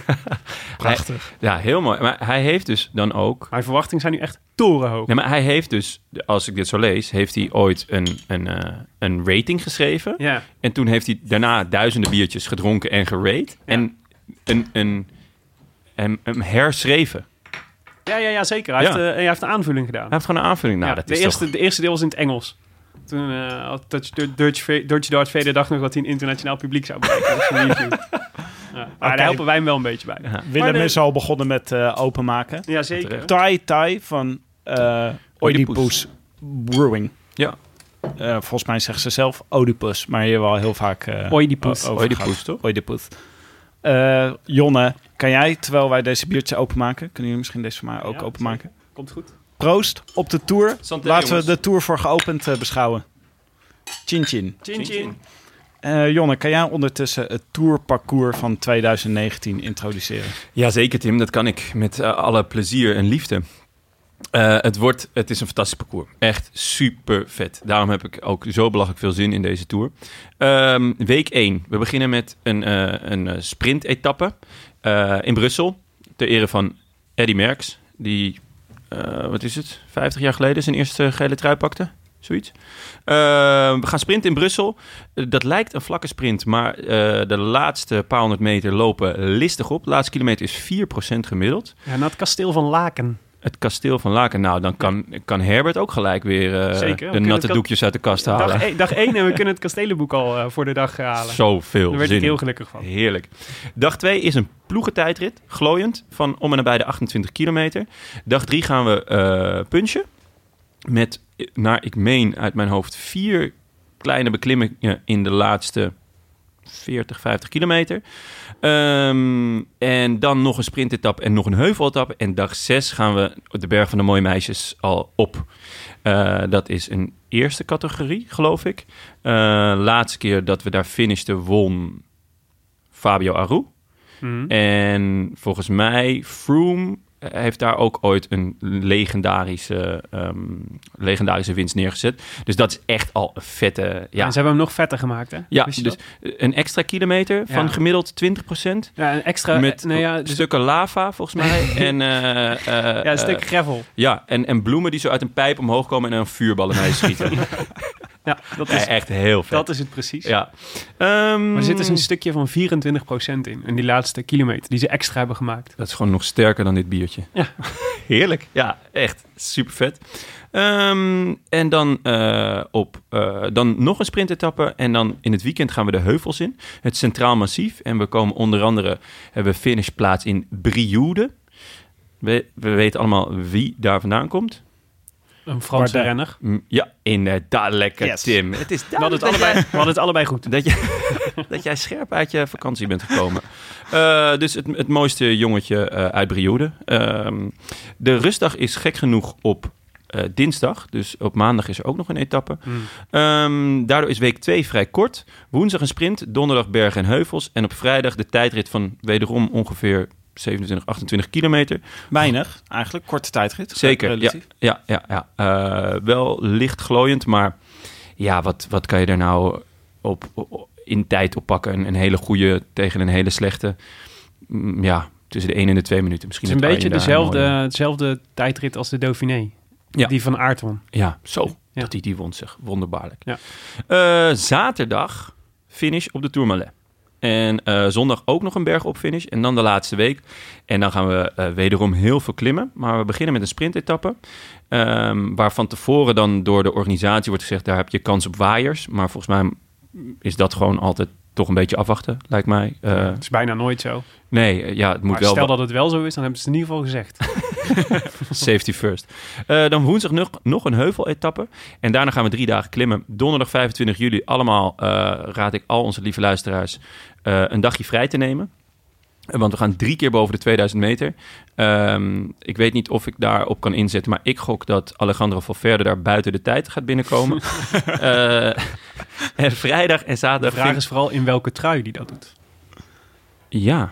[SPEAKER 3] Prachtig.
[SPEAKER 1] Ja, heel mooi. Maar hij heeft dus dan ook...
[SPEAKER 2] Mijn verwachtingen zijn nu echt torenhoog.
[SPEAKER 1] Nee, maar hij heeft dus, als ik dit zo lees, heeft hij ooit een, een, eh, een rating geschreven.
[SPEAKER 2] Ja,
[SPEAKER 1] En toen heeft hij daarna duizenden biertjes gedronken en gerate. En een, een, hem- hem herschreven.
[SPEAKER 2] ja, ja, ja zeker. Hij,
[SPEAKER 1] Ja.
[SPEAKER 2] Heeft, eh, hij heeft een aanvulling gedaan.
[SPEAKER 1] Hij heeft gewoon een aanvulling. Nou,
[SPEAKER 2] Ja,
[SPEAKER 1] dat
[SPEAKER 2] de,
[SPEAKER 1] is
[SPEAKER 2] eerste,
[SPEAKER 1] toch...
[SPEAKER 2] de eerste deel was in het Engels. Toen eh had Dutch, Dutch, Dutch Dart Vader dacht nog dat hij een internationaal publiek zou bereiken. met zijn review. ja, maar
[SPEAKER 3] Oké.
[SPEAKER 2] daar helpen wij hem wel een beetje bij.
[SPEAKER 3] Willem
[SPEAKER 2] Maar de-
[SPEAKER 3] is al begonnen met eh, openmaken.
[SPEAKER 2] Ja, zeker.
[SPEAKER 1] Terecht.
[SPEAKER 3] Thai Thai van eh Oedipus Brewing.
[SPEAKER 1] Ja.
[SPEAKER 3] Eh, volgens mij zeggen ze zelf Oedipus, maar hier wel heel vaak eh
[SPEAKER 2] Oedipus.
[SPEAKER 3] o- over
[SPEAKER 1] Oedipus,
[SPEAKER 3] gaat.
[SPEAKER 1] toch?
[SPEAKER 3] Oedipus. Eh, Jonne, kan jij, terwijl wij deze biertje openmaken... Kunnen jullie misschien deze voor mij ook
[SPEAKER 2] Ja,
[SPEAKER 3] openmaken?
[SPEAKER 2] oh. Komt goed.
[SPEAKER 3] Proost op de Tour.
[SPEAKER 1] Santé,
[SPEAKER 3] Laten
[SPEAKER 1] jongens.
[SPEAKER 3] we de Tour voor geopend eh, beschouwen. Chin chin.
[SPEAKER 2] Chin chin.
[SPEAKER 3] Eh, Jonne, kan jij ondertussen het Tourparcours van 2019 introduceren?
[SPEAKER 1] Jazeker, Tim, dat kan ik met eh, alle plezier en liefde. Eh, het, wordt, het is een fantastisch parcours. Echt super vet. Daarom heb ik ook zo belachelijk veel zin in deze tour. Ehm, week 1. We beginnen met een, eh een eh, sprint-etappe eh, in Brussel. Ter ere van Eddy Merckx. Die, eh, wat is het, 50 jaar geleden zijn eerste gele trui pakte. Zoiets. Eh, we gaan sprinten in Brussel. Eh, Dat lijkt een vlakke sprint, maar eh, de laatste paar honderd meter lopen listig op. De laatste kilometer is 4% gemiddeld.
[SPEAKER 2] Ja, naar het kasteel van Laken.
[SPEAKER 1] Het kasteel van Laken, nou, dan kan, kan Herbert ook gelijk weer eh,
[SPEAKER 2] Zeker, we
[SPEAKER 1] de
[SPEAKER 2] kunnen het
[SPEAKER 1] natte
[SPEAKER 2] ka-
[SPEAKER 1] doekjes uit de kast halen.
[SPEAKER 2] Dag, e- dag 1 en we kunnen het kastelenboek al eh, voor de dag halen.
[SPEAKER 1] Zoveel
[SPEAKER 2] Daar werd
[SPEAKER 1] zin
[SPEAKER 2] ik heel
[SPEAKER 1] in.
[SPEAKER 2] gelukkig van.
[SPEAKER 1] Heerlijk. Dag 2 is een ploegentijdrit, glooiend, van om en nabij de 28 kilometer. Dag 3 gaan we eh punchen met, eh, naar ik meen uit mijn hoofd, vier kleine beklimmingen in de laatste 40, 50 kilometer. Ehm, en dan nog een sprintetappe en nog een heuveletappe. En dag 6 gaan we de Berg van de Mooie Meisjes al op. Eh, dat is een eerste categorie, geloof ik. Eh, laatste keer dat we daar finishten won Fabio Aru.
[SPEAKER 2] Mhm.
[SPEAKER 1] En volgens mij, Froome eh, heeft daar ook ooit een legendarische, ehm, legendarische winst neergezet. Dus dat is echt al een vette... Ja,
[SPEAKER 2] En ze hebben hem nog vetter gemaakt, hè?
[SPEAKER 1] ja
[SPEAKER 2] Wist
[SPEAKER 1] dus
[SPEAKER 2] je dat?
[SPEAKER 1] een extra kilometer van
[SPEAKER 2] Ja.
[SPEAKER 1] gemiddeld 20
[SPEAKER 2] ja een extra...
[SPEAKER 1] met
[SPEAKER 2] nou ja, dus,
[SPEAKER 1] stukken lava, volgens mij. en, eh, eh,
[SPEAKER 2] ja, een
[SPEAKER 1] eh,
[SPEAKER 2] stuk gravel.
[SPEAKER 1] ja en, en bloemen die zo uit een pijp omhoog komen en dan vuurballen naar je schieten.
[SPEAKER 2] Ja, dat
[SPEAKER 1] Ja,
[SPEAKER 2] is,
[SPEAKER 1] echt heel vet.
[SPEAKER 2] dat is het precies.
[SPEAKER 1] ja. Ehm,
[SPEAKER 2] Maar er zit dus een stukje van 24% in. In die laatste kilometer die ze extra hebben gemaakt.
[SPEAKER 1] Dat is gewoon nog sterker dan dit biertje.
[SPEAKER 2] Ja.
[SPEAKER 1] Heerlijk. Ja, echt super vet. Ehm, en dan, eh, op, eh, dan nog een sprintetappe. En dan in het weekend gaan we de heuvels in. Het Centraal Massief. En we komen onder andere, hebben we finishplaats in Brioude. We, we weten allemaal wie daar vandaan komt.
[SPEAKER 2] Een Franse
[SPEAKER 3] Bardet.
[SPEAKER 2] renner.
[SPEAKER 1] Mm, Ja, inderdaad. Lekker,
[SPEAKER 3] Yes.
[SPEAKER 1] Tim. Het is
[SPEAKER 2] We hadden, het allebei, we hadden het allebei goed.
[SPEAKER 1] dat, je, dat jij scherp uit je vakantie bent gekomen. Eh, dus het, het mooiste jongetje eh, uit Brioude. Ehm, de rustdag is gek genoeg op eh, dinsdag. Dus op maandag is er ook nog een etappe.
[SPEAKER 2] Hmm.
[SPEAKER 1] Ehm, daardoor is week 2 vrij kort. Woensdag een sprint, donderdag bergen en heuvels. En op vrijdag de tijdrit van wederom ongeveer 27, 28 kilometer.
[SPEAKER 3] Weinig, eigenlijk. Korte tijdrit.
[SPEAKER 1] Zeker, ja,
[SPEAKER 3] Relatief.
[SPEAKER 1] ja, ja, ja. Eh, wel licht glooiend, maar ja, wat, wat kan je daar nou op, op- in tijd op pakken? Een, een hele goede tegen een hele slechte. Mm, ja, tussen de 1 en de 2 minuten. Misschien
[SPEAKER 2] Het is een
[SPEAKER 1] heeft
[SPEAKER 2] beetje
[SPEAKER 1] Arjen daar een
[SPEAKER 2] dezelfde, dezelfde tijdrit als de Dauphiné.
[SPEAKER 1] Ja.
[SPEAKER 2] Die van Aert won.
[SPEAKER 1] mooie- Ja, zo.
[SPEAKER 2] Ja.
[SPEAKER 1] Dat hij die won zich. Wonderbaarlijk.
[SPEAKER 2] Ja.
[SPEAKER 1] Eh, zaterdag finish op de Tourmalet. En eh, zondag ook nog een berg op finish. En dan de laatste week. En dan gaan we eh, wederom heel veel klimmen. Maar we beginnen met een sprintetappe. ehm, waar van tevoren dan door de organisatie wordt gezegd... daar heb je kans op waaiers. Maar volgens mij is dat gewoon altijd toch een beetje afwachten, lijkt mij. Eh,
[SPEAKER 2] Dat is bijna nooit zo.
[SPEAKER 1] nee, eh, ja, het moet
[SPEAKER 2] Maar
[SPEAKER 1] wel...
[SPEAKER 2] stel dat het wel zo is, dan hebben ze het in ieder geval gezegd.
[SPEAKER 1] Safety first. Eh, dan woensdag nog, nog een heuveletappe. En daarna gaan we drie dagen klimmen. Donderdag 25 juli. Allemaal eh, raad ik al onze lieve luisteraars eh, een dagje vrij te nemen. Eh, Want we gaan drie keer boven de 2000 meter. Ehm, ik weet niet of ik daarop kan inzetten. Maar ik gok dat Alejandro Valverde daar buiten de tijd gaat binnenkomen. Eh, en vrijdag en
[SPEAKER 2] De
[SPEAKER 1] zaterdag...
[SPEAKER 2] vraag is vooral in welke trui die dat doet.
[SPEAKER 1] Ja.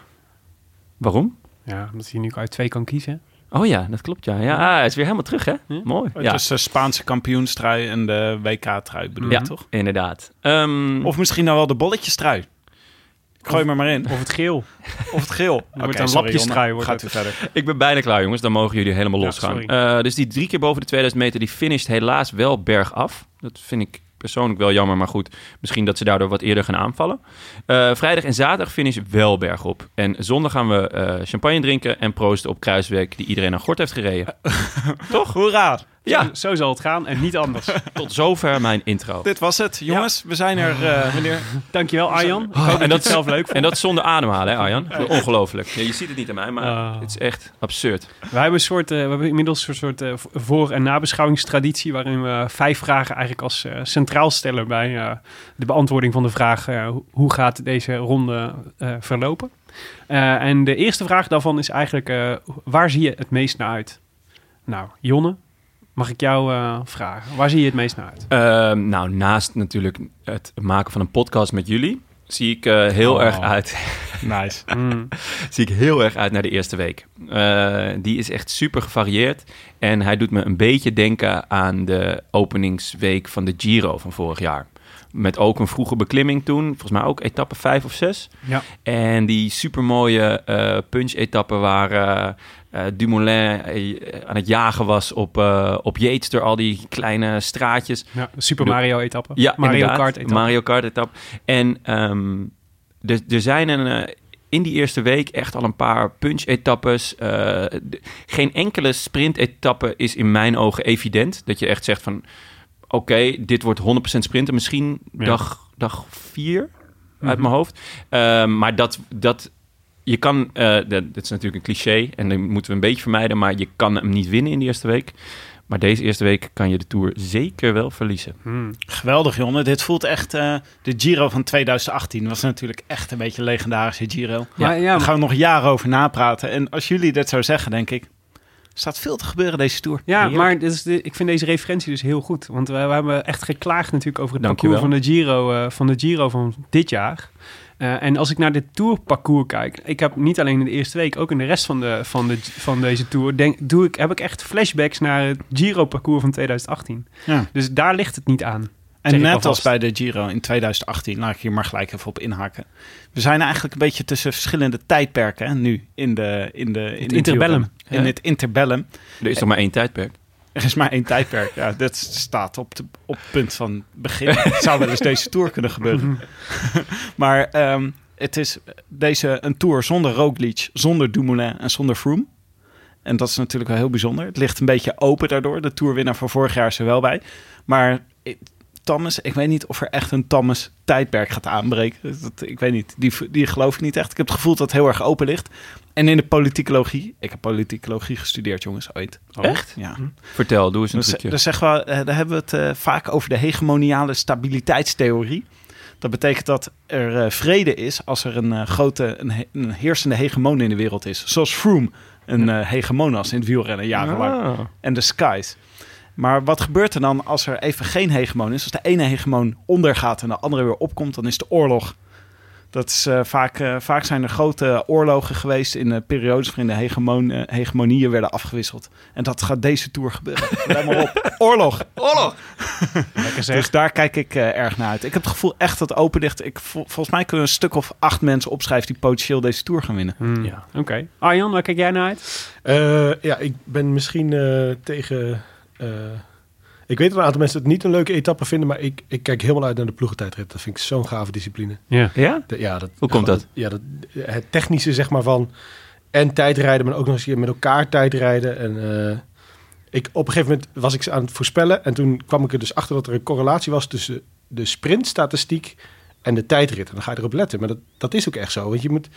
[SPEAKER 1] Waarom?
[SPEAKER 2] Ja, omdat hij nu uit twee kan kiezen.
[SPEAKER 1] Oh ja, dat klopt ja. Ja, ah, hij is weer helemaal terug hè.
[SPEAKER 2] Ja. Oh,
[SPEAKER 1] Mooi.
[SPEAKER 3] Het
[SPEAKER 1] Ja,
[SPEAKER 3] is de Spaanse kampioenstrui en de WK-trui bedoel je
[SPEAKER 1] Ja.
[SPEAKER 3] toch?
[SPEAKER 1] inderdaad. Ehm,
[SPEAKER 3] Of misschien nou wel de bolletjestrui. Ik gooi maar maar in.
[SPEAKER 2] Of het geel.
[SPEAKER 3] Of het geel. Oké,
[SPEAKER 2] wordt een
[SPEAKER 3] sorry,
[SPEAKER 2] lapjestrui,
[SPEAKER 3] Jonne.
[SPEAKER 2] wordt
[SPEAKER 3] Gaat u
[SPEAKER 2] het.
[SPEAKER 3] verder.
[SPEAKER 1] Ik ben bijna klaar, jongens. Dan mogen jullie helemaal
[SPEAKER 2] Ja,
[SPEAKER 1] losgaan.
[SPEAKER 2] sorry.
[SPEAKER 1] Eh, dus die drie keer boven de 2000 meter, die finisht helaas wel bergaf. Dat vind ik persoonlijk wel jammer, maar goed. Misschien dat ze daardoor wat eerder gaan aanvallen. Eh, vrijdag en zaterdag finish wel bergop. En zondag gaan we eh, champagne drinken en proosten op Kruisweg, die iedereen aan gort heeft gereden.
[SPEAKER 3] Toch? Hoera.
[SPEAKER 1] Ja,
[SPEAKER 2] Zo zal het gaan en niet anders.
[SPEAKER 1] tot zover mijn intro.
[SPEAKER 3] Dit was het. Jongens, we zijn er, eh, meneer.
[SPEAKER 2] Dankjewel Arjan. Ik hoop
[SPEAKER 1] en
[SPEAKER 2] dat je
[SPEAKER 1] dat-
[SPEAKER 2] het zelf leuk vond.
[SPEAKER 1] En dat zonder ademhalen, hè, Arjan? Ongelooflijk. Ja, je ziet het niet aan mij, maar
[SPEAKER 2] Oh.
[SPEAKER 1] het is echt absurd.
[SPEAKER 2] Wij hebben, een soort, eh, we hebben inmiddels een soort eh, voor- en nabeschouwingstraditie... waarin we vijf vragen eigenlijk als eh, centraal stellen... bij eh, de beantwoording van de vraag... eh, ho- hoe gaat deze ronde eh, verlopen? Eh, en de eerste vraag daarvan is eigenlijk... eh, waar zie je het meest naar uit? Nou, Jonne, mag ik jou eh, vragen? Waar zie je het meest naar uit?
[SPEAKER 1] Ehm, nou, naast natuurlijk het maken van een podcast met jullie, zie ik eh, heel
[SPEAKER 3] Oh.
[SPEAKER 1] erg uit
[SPEAKER 3] Nice.
[SPEAKER 2] Mm.
[SPEAKER 1] zie ik heel erg uit naar de eerste week. Eh, die is echt super gevarieerd. En hij doet me een beetje denken aan de openingsweek van de Giro van vorig jaar. Met ook een vroege beklimming toen. Volgens mij ook etappe 5 of 6.
[SPEAKER 2] Ja.
[SPEAKER 1] En die supermooie eh punch-etappen waar eh, eh, Dumoulin eh, aan het jagen was op, eh, op Yates door al die kleine straatjes.
[SPEAKER 2] Ja, de Super Mario-etappe.
[SPEAKER 1] Ja,
[SPEAKER 2] Mario
[SPEAKER 1] inderdaad.
[SPEAKER 2] Kart-etappe.
[SPEAKER 1] Mario Kart etap. En ehm, er, er zijn een, eh, in die eerste week echt al een paar punch-etappes. Eh, de- geen enkele sprint-etappe is in mijn ogen evident. Dat je echt zegt van, oké, dit wordt 100% sprinten. Misschien
[SPEAKER 2] Ja.
[SPEAKER 1] dag, dag vier uit
[SPEAKER 2] Mhm.
[SPEAKER 1] mijn hoofd. Ehm, maar dat... dat je kan, eh, dat, dat is natuurlijk een cliché en dat moeten we een beetje vermijden, maar je kan hem niet winnen in de eerste week. Maar deze eerste week kan je de Tour zeker wel verliezen.
[SPEAKER 2] Mm.
[SPEAKER 3] Geweldig, Jonne. Dit voelt echt... eh, de Giro van 2018 was natuurlijk echt een beetje een legendarische Giro.
[SPEAKER 1] Ja.
[SPEAKER 2] Maar, ja,
[SPEAKER 3] Daar gaan we nog jaren over napraten. En als jullie dit zo zeggen, denk ik... Er staat veel te gebeuren deze Tour.
[SPEAKER 2] Ja,
[SPEAKER 1] Heerlijk.
[SPEAKER 2] maar dit is de, ik vind deze referentie dus heel goed. Want we, we hebben echt geklaagd natuurlijk over het
[SPEAKER 1] Dankjewel.
[SPEAKER 2] parcours van de, Giro, eh, van de Giro van dit jaar. Eh, en als ik naar dit tourparcours kijk, ik heb niet alleen in de eerste week, ook in de rest van, de, van, de, van deze tour, denk, doe ik, heb ik echt flashbacks naar het Giro-parcours van 2018.
[SPEAKER 3] Ja.
[SPEAKER 2] Dus daar ligt het niet aan. Zeg
[SPEAKER 3] En
[SPEAKER 2] ik
[SPEAKER 3] net
[SPEAKER 2] alvast.
[SPEAKER 3] als bij de Giro in 2018, laat ik hier maar gelijk even op inhaken. We zijn eigenlijk een beetje tussen verschillende tijdperken hè, nu in de in de in
[SPEAKER 2] Het
[SPEAKER 3] de
[SPEAKER 2] interbellum.
[SPEAKER 3] wielrennen. In
[SPEAKER 1] Ja.
[SPEAKER 3] het interbellum.
[SPEAKER 1] Er is toch maar één tijdperk?
[SPEAKER 3] Er is maar één tijdperk. Ja, dat staat op, de, op het punt van begin. Het zou wel eens deze tour kunnen gebeuren. maar ehm, het is deze, een tour zonder Roglic, zonder Dumoulin en zonder Froome. En dat is natuurlijk wel heel bijzonder. Het ligt een beetje open daardoor. De tourwinnaar van vorig jaar is er wel bij. Maar ik- Thomas, ik weet niet of er echt een Thomas tijdperk gaat aanbreken. Dat, ik weet niet, die, die geloof ik niet echt. Ik heb het gevoel dat het heel erg open ligt. En in de politicologie, ik heb politicologie gestudeerd jongens, ooit.
[SPEAKER 1] Echt?
[SPEAKER 3] Ja.
[SPEAKER 1] Vertel, doe eens een
[SPEAKER 3] Dus,
[SPEAKER 1] trucje.
[SPEAKER 3] dus zeggen we, eh, daar hebben we het eh, vaak over de hegemoniale stabiliteitstheorie. Dat betekent dat er eh, vrede is als er een eh, grote, een, he- een heersende hegemon in de wereld is. Zoals Froome een eh hegemon was in het wielrennen
[SPEAKER 2] Ah.
[SPEAKER 3] jarenlang. En de skies. Maar wat gebeurt er dan als er even geen hegemon is? Als de ene hegemon ondergaat en de andere weer opkomt, dan is de oorlog. Dat is, eh, vaak, eh, vaak zijn er grote oorlogen geweest in eh, periodes waarin de hegemon, eh, hegemonieën werden afgewisseld. En dat gaat deze tour gebeuren. Let maar op. Oorlog.
[SPEAKER 2] Lekker
[SPEAKER 3] Dus daar kijk ik eh, erg naar uit. Ik heb het gevoel echt dat open ligt. Ik, vol- volgens mij kunnen we een stuk of acht mensen opschrijven die potentieel deze tour gaan winnen.
[SPEAKER 1] Ja.
[SPEAKER 2] Hmm. Oké. Arjan, waar kijk jij naar uit?
[SPEAKER 4] Eh, ja, ik ben misschien eh, tegen eh, Ik weet dat een aantal mensen het niet een leuke etappe vinden, maar ik, ik kijk heel wel uit naar de ploegentijdrit. Dat vind ik zo'n gave discipline.
[SPEAKER 2] Ja.
[SPEAKER 1] Ja?
[SPEAKER 4] De- ja, dat,
[SPEAKER 1] Hoe komt
[SPEAKER 4] gewoon
[SPEAKER 1] dat?
[SPEAKER 4] het- Ja, dat, het technische zeg maar van en tijdrijden, maar ook nog eens hier met elkaar tijdrijden. En eh, ik, op een gegeven moment was ik ze aan het voorspellen en toen kwam ik er dus achter dat er een correlatie was tussen de sprintstatistiek en de tijdrit. En dan ga je erop letten, maar dat, dat is ook echt zo. Want je moet,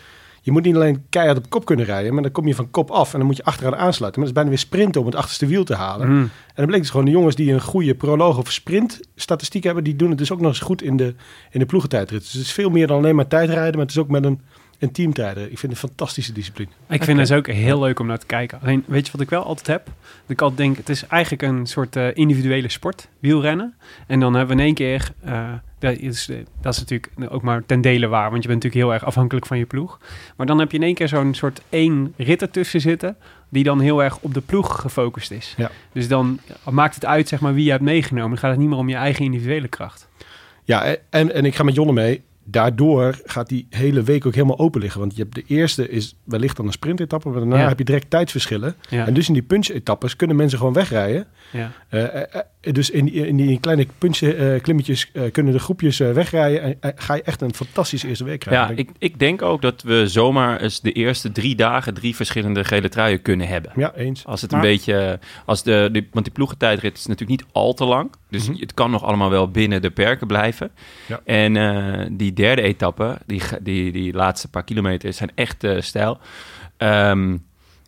[SPEAKER 4] je moet niet alleen keihard op kop kunnen rijden, maar dan kom je van kop af en dan moet je achteraan aansluiten. Maar dat is bijna weer sprinten om het achterste wiel te halen.
[SPEAKER 2] Mm.
[SPEAKER 4] En dan bleek dus gewoon de jongens die een goede proloog of sprintstatistiek hebben, die doen het dus ook nog eens goed in de, in de ploegentijdrit. Dus het is veel meer dan alleen maar tijdrijden, maar het is ook met een, een teamtijder. Ik vind het een fantastische discipline.
[SPEAKER 2] Ik vind het ook heel leuk om naar te kijken. Alleen, weet je wat ik wel altijd heb? Dat ik altijd denk, het is eigenlijk een soort eh, individuele sport, wielrennen. En dan hebben we in één keer, eh, dat, is, eh, dat is natuurlijk ook maar ten dele waar, want je bent natuurlijk heel erg afhankelijk van je ploeg. Maar dan heb je in één keer zo'n soort één rit ertussen zitten, die dan heel erg op de ploeg gefocust is.
[SPEAKER 4] Ja.
[SPEAKER 2] Dus dan maakt het uit zeg maar, wie je hebt meegenomen. Dan gaat het niet meer om je eigen individuele kracht.
[SPEAKER 4] Ja, e- en, en ik ga met Jonne mee. Daardoor gaat die hele week ook helemaal open liggen. Want je hebt de eerste is wellicht dan een sprintetappe, maar daarna
[SPEAKER 2] Ja.
[SPEAKER 4] heb je direct tijdsverschillen.
[SPEAKER 2] Ja,
[SPEAKER 4] En dus in die punch-etappes kunnen mensen gewoon wegrijden.
[SPEAKER 2] ja.
[SPEAKER 4] Eh, eh, eh, dus in, die- in die kleine punch, eh, klimmetjes eh, kunnen de groepjes eh, wegrijden. En eh, ga je echt een fantastische eerste week krijgen.
[SPEAKER 1] Ja, ik, ik denk ook dat we zomaar eens de eerste drie dagen drie verschillende gele truien kunnen hebben.
[SPEAKER 4] ja eens.
[SPEAKER 1] Als het
[SPEAKER 3] Maar-
[SPEAKER 1] een beetje. Als de, die- want die ploegentijdrit is natuurlijk niet al te lang. Dus
[SPEAKER 3] Mhm.
[SPEAKER 1] het kan nog allemaal wel binnen de perken blijven.
[SPEAKER 4] Ja.
[SPEAKER 1] En eh, die derde etappe, die, ge- die, die laatste paar kilometer, zijn echt eh, stijl. Ehm,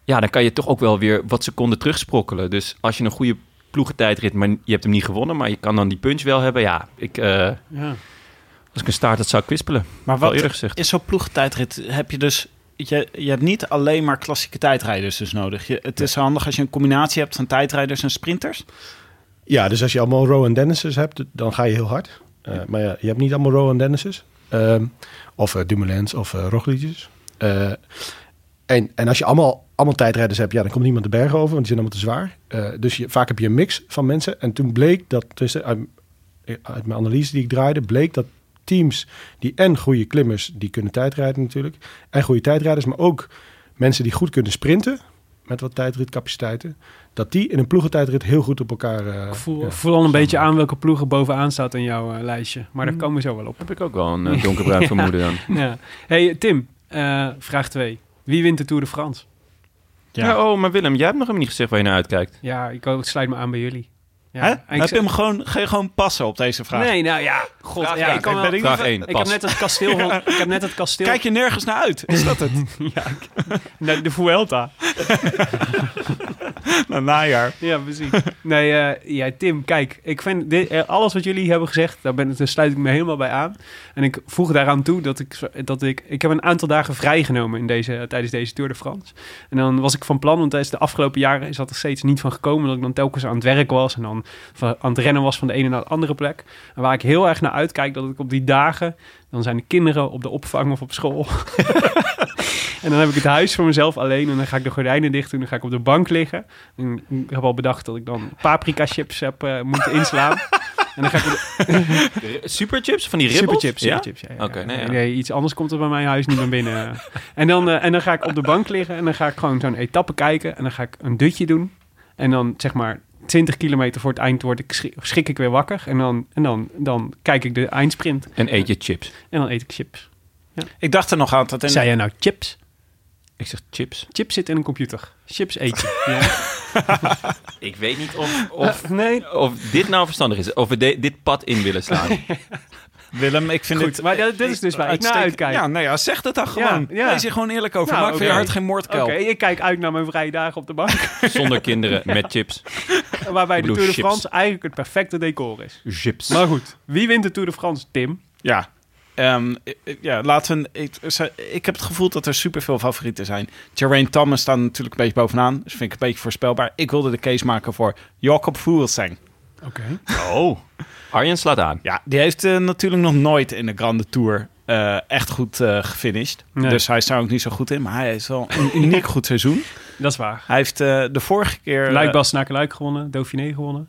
[SPEAKER 1] ja, dan kan je toch ook wel weer wat seconden terugsprokkelen. Dus als je een goede ploegentijdrit, maar je hebt hem niet gewonnen, maar je kan dan die punch wel hebben. Ja, ik, eh,
[SPEAKER 2] ja.
[SPEAKER 1] als ik een staart had, zou ik kwispelen.
[SPEAKER 3] Maar
[SPEAKER 1] Wel
[SPEAKER 3] wat
[SPEAKER 1] eerder gezegd.
[SPEAKER 3] is zo'n ploegtijdrit? Heb je dus... Je, je hebt niet alleen maar klassieke tijdrijders dus nodig. Je, het is handig als je een combinatie hebt van tijdrijders en sprinters.
[SPEAKER 4] Ja, dus als je allemaal Rowan en Dennis's hebt, dan ga je heel hard. Eh, Maar ja, je hebt niet allemaal Rowan en Dennis's. Ehm, of eh, Dumoulins of eh Roglič's. Eh, en, en als je allemaal, allemaal tijdrijders hebt, ja, dan komt niemand de bergen over, want die zijn allemaal te zwaar. Eh, dus je, vaak heb je een mix van mensen. En toen bleek dat, tussen, uit, eh, uit mijn analyse die ik draaide, bleek dat teams die en goede klimmers, die kunnen tijdrijden natuurlijk, en goede tijdrijders, maar ook mensen die goed kunnen sprinten, met wat tijdritcapaciteiten, dat die in een ploegentijdrit heel goed op elkaar... eh,
[SPEAKER 2] Ik voel,
[SPEAKER 4] ja.
[SPEAKER 2] voel al een beetje aan welke ploeg er bovenaan staat in jouw eh, lijstje. Maar
[SPEAKER 4] Hm.
[SPEAKER 2] daar komen we zo wel op.
[SPEAKER 1] Heb ik ook wel een eh, donkerbruin vermoeden dan.
[SPEAKER 2] Ja. Hey Tim, eh, vraag 2. Wie wint de Tour de France?
[SPEAKER 1] Ja. oh, maar Willem, jij hebt nog helemaal niet gezegd waar je naar uitkijkt.
[SPEAKER 2] Ja, ik ook- sluit me aan bij jullie. Ja,
[SPEAKER 3] Hè?
[SPEAKER 2] en ik
[SPEAKER 3] heb je
[SPEAKER 2] zeg-
[SPEAKER 3] hem gewoon, ga je gewoon passen op deze vraag?
[SPEAKER 2] Nee, nou ja, god.
[SPEAKER 1] Vraag
[SPEAKER 2] ja,
[SPEAKER 1] één.
[SPEAKER 2] ik, kan
[SPEAKER 1] Ik
[SPEAKER 2] wel,
[SPEAKER 1] ben Vraag één,
[SPEAKER 2] ik
[SPEAKER 1] pas.
[SPEAKER 2] heb net het kasteel van... Ik heb net het kasteel...
[SPEAKER 3] Kijk je nergens naar uit? Is dat het?
[SPEAKER 2] naar de Vuelta.
[SPEAKER 3] nou, najaar.
[SPEAKER 2] Ja, precies. Nee, eh, ja, Tim, kijk. Ik vind dit, eh, alles wat jullie hebben gezegd, daar, ben, daar sluit ik me helemaal bij aan. En ik voeg daaraan toe dat ik, zo- dat ik... Ik heb een aantal dagen vrijgenomen in deze, tijdens deze Tour de France. En dan was ik van plan, want tijdens de afgelopen jaren is dat er steeds niet van gekomen. Dat ik dan telkens aan het werk was en dan van, aan het rennen was van de ene naar de andere plek. En waar ik heel erg naar uitkijk, dat ik op die dagen... Dan zijn de kinderen op de opvang of op school. en dan heb ik het huis voor mezelf alleen. En dan ga ik de gordijnen dicht doen. Dan ga ik op de bank liggen. En ik heb al bedacht dat ik dan paprika chips heb eh, moeten inslaan. en dan ga ik... op de-
[SPEAKER 1] Superchips? Van die ribbels?
[SPEAKER 2] Superchips,
[SPEAKER 1] Ja?
[SPEAKER 2] superchips. Ja? Ja, ja.
[SPEAKER 1] Oké, nee,
[SPEAKER 2] nee,
[SPEAKER 1] ja.
[SPEAKER 2] nee, iets anders komt er bij mijn huis niet meer binnen. en, dan, eh, en dan ga ik op de bank liggen en dan ga ik gewoon zo'n etappe kijken. En dan ga ik een dutje doen. En dan zeg maar 20 kilometer voor het eind word ik, schrik, schrik ik weer wakker. En, dan, en dan, dan kijk ik de eindsprint
[SPEAKER 1] En eet je chips.
[SPEAKER 2] en dan eet ik chips.
[SPEAKER 3] Ik dacht er nog aan dat... in-
[SPEAKER 2] Zei jij nou chips?
[SPEAKER 1] Ik zeg chips.
[SPEAKER 2] Chips zit in een computer. Chips eet je. Ja.
[SPEAKER 1] Ik weet niet of, of,
[SPEAKER 2] nee.
[SPEAKER 1] of dit nou verstandig is. Of we de- dit pad in willen slaan.
[SPEAKER 3] Willem, ik vind
[SPEAKER 2] Goed,
[SPEAKER 3] dit...
[SPEAKER 2] maar dat- dit is dus waar ik naar
[SPEAKER 3] uitstekend.
[SPEAKER 2] uitkijk.
[SPEAKER 3] Ja, nou ja, zeg dat dan
[SPEAKER 2] Ja,
[SPEAKER 3] gewoon.
[SPEAKER 2] ja.
[SPEAKER 3] Wees er gewoon eerlijk over.
[SPEAKER 2] Nou,
[SPEAKER 3] Maak van je
[SPEAKER 1] oké.
[SPEAKER 3] hart geen
[SPEAKER 2] Oké,
[SPEAKER 3] moordkuil.
[SPEAKER 2] ik kijk uit naar mijn vrije dagen op de bank.
[SPEAKER 1] Zonder kinderen, met chips.
[SPEAKER 2] waarbij
[SPEAKER 1] Ik
[SPEAKER 2] de
[SPEAKER 1] bedoel
[SPEAKER 2] Tour de
[SPEAKER 1] chips.
[SPEAKER 2] France eigenlijk het perfecte decor is.
[SPEAKER 1] Chips.
[SPEAKER 2] Maar goed, wie wint de Tour de France? Tim.
[SPEAKER 3] Ja. Ehm, i- i- ja, laten we... Ik, ze- ik heb het gevoel dat er superveel favorieten zijn. Geraint Thomas staat natuurlijk een beetje bovenaan. Dus vind ik een beetje voorspelbaar. Ik wilde de case maken voor Jacob Fuglsang.
[SPEAKER 2] Oké.
[SPEAKER 1] Oh. Arjen slaat aan.
[SPEAKER 3] Ja, die heeft eh, natuurlijk nog nooit in de Grande Tour eh, echt goed eh, gefinished.
[SPEAKER 2] Nee.
[SPEAKER 3] Dus hij is daar ook niet zo goed in. Maar hij is wel een uniek goed seizoen.
[SPEAKER 2] Dat is waar.
[SPEAKER 3] Hij heeft eh, de vorige keer... eh,
[SPEAKER 2] Luik Bas Luik gewonnen, Dauphiné gewonnen.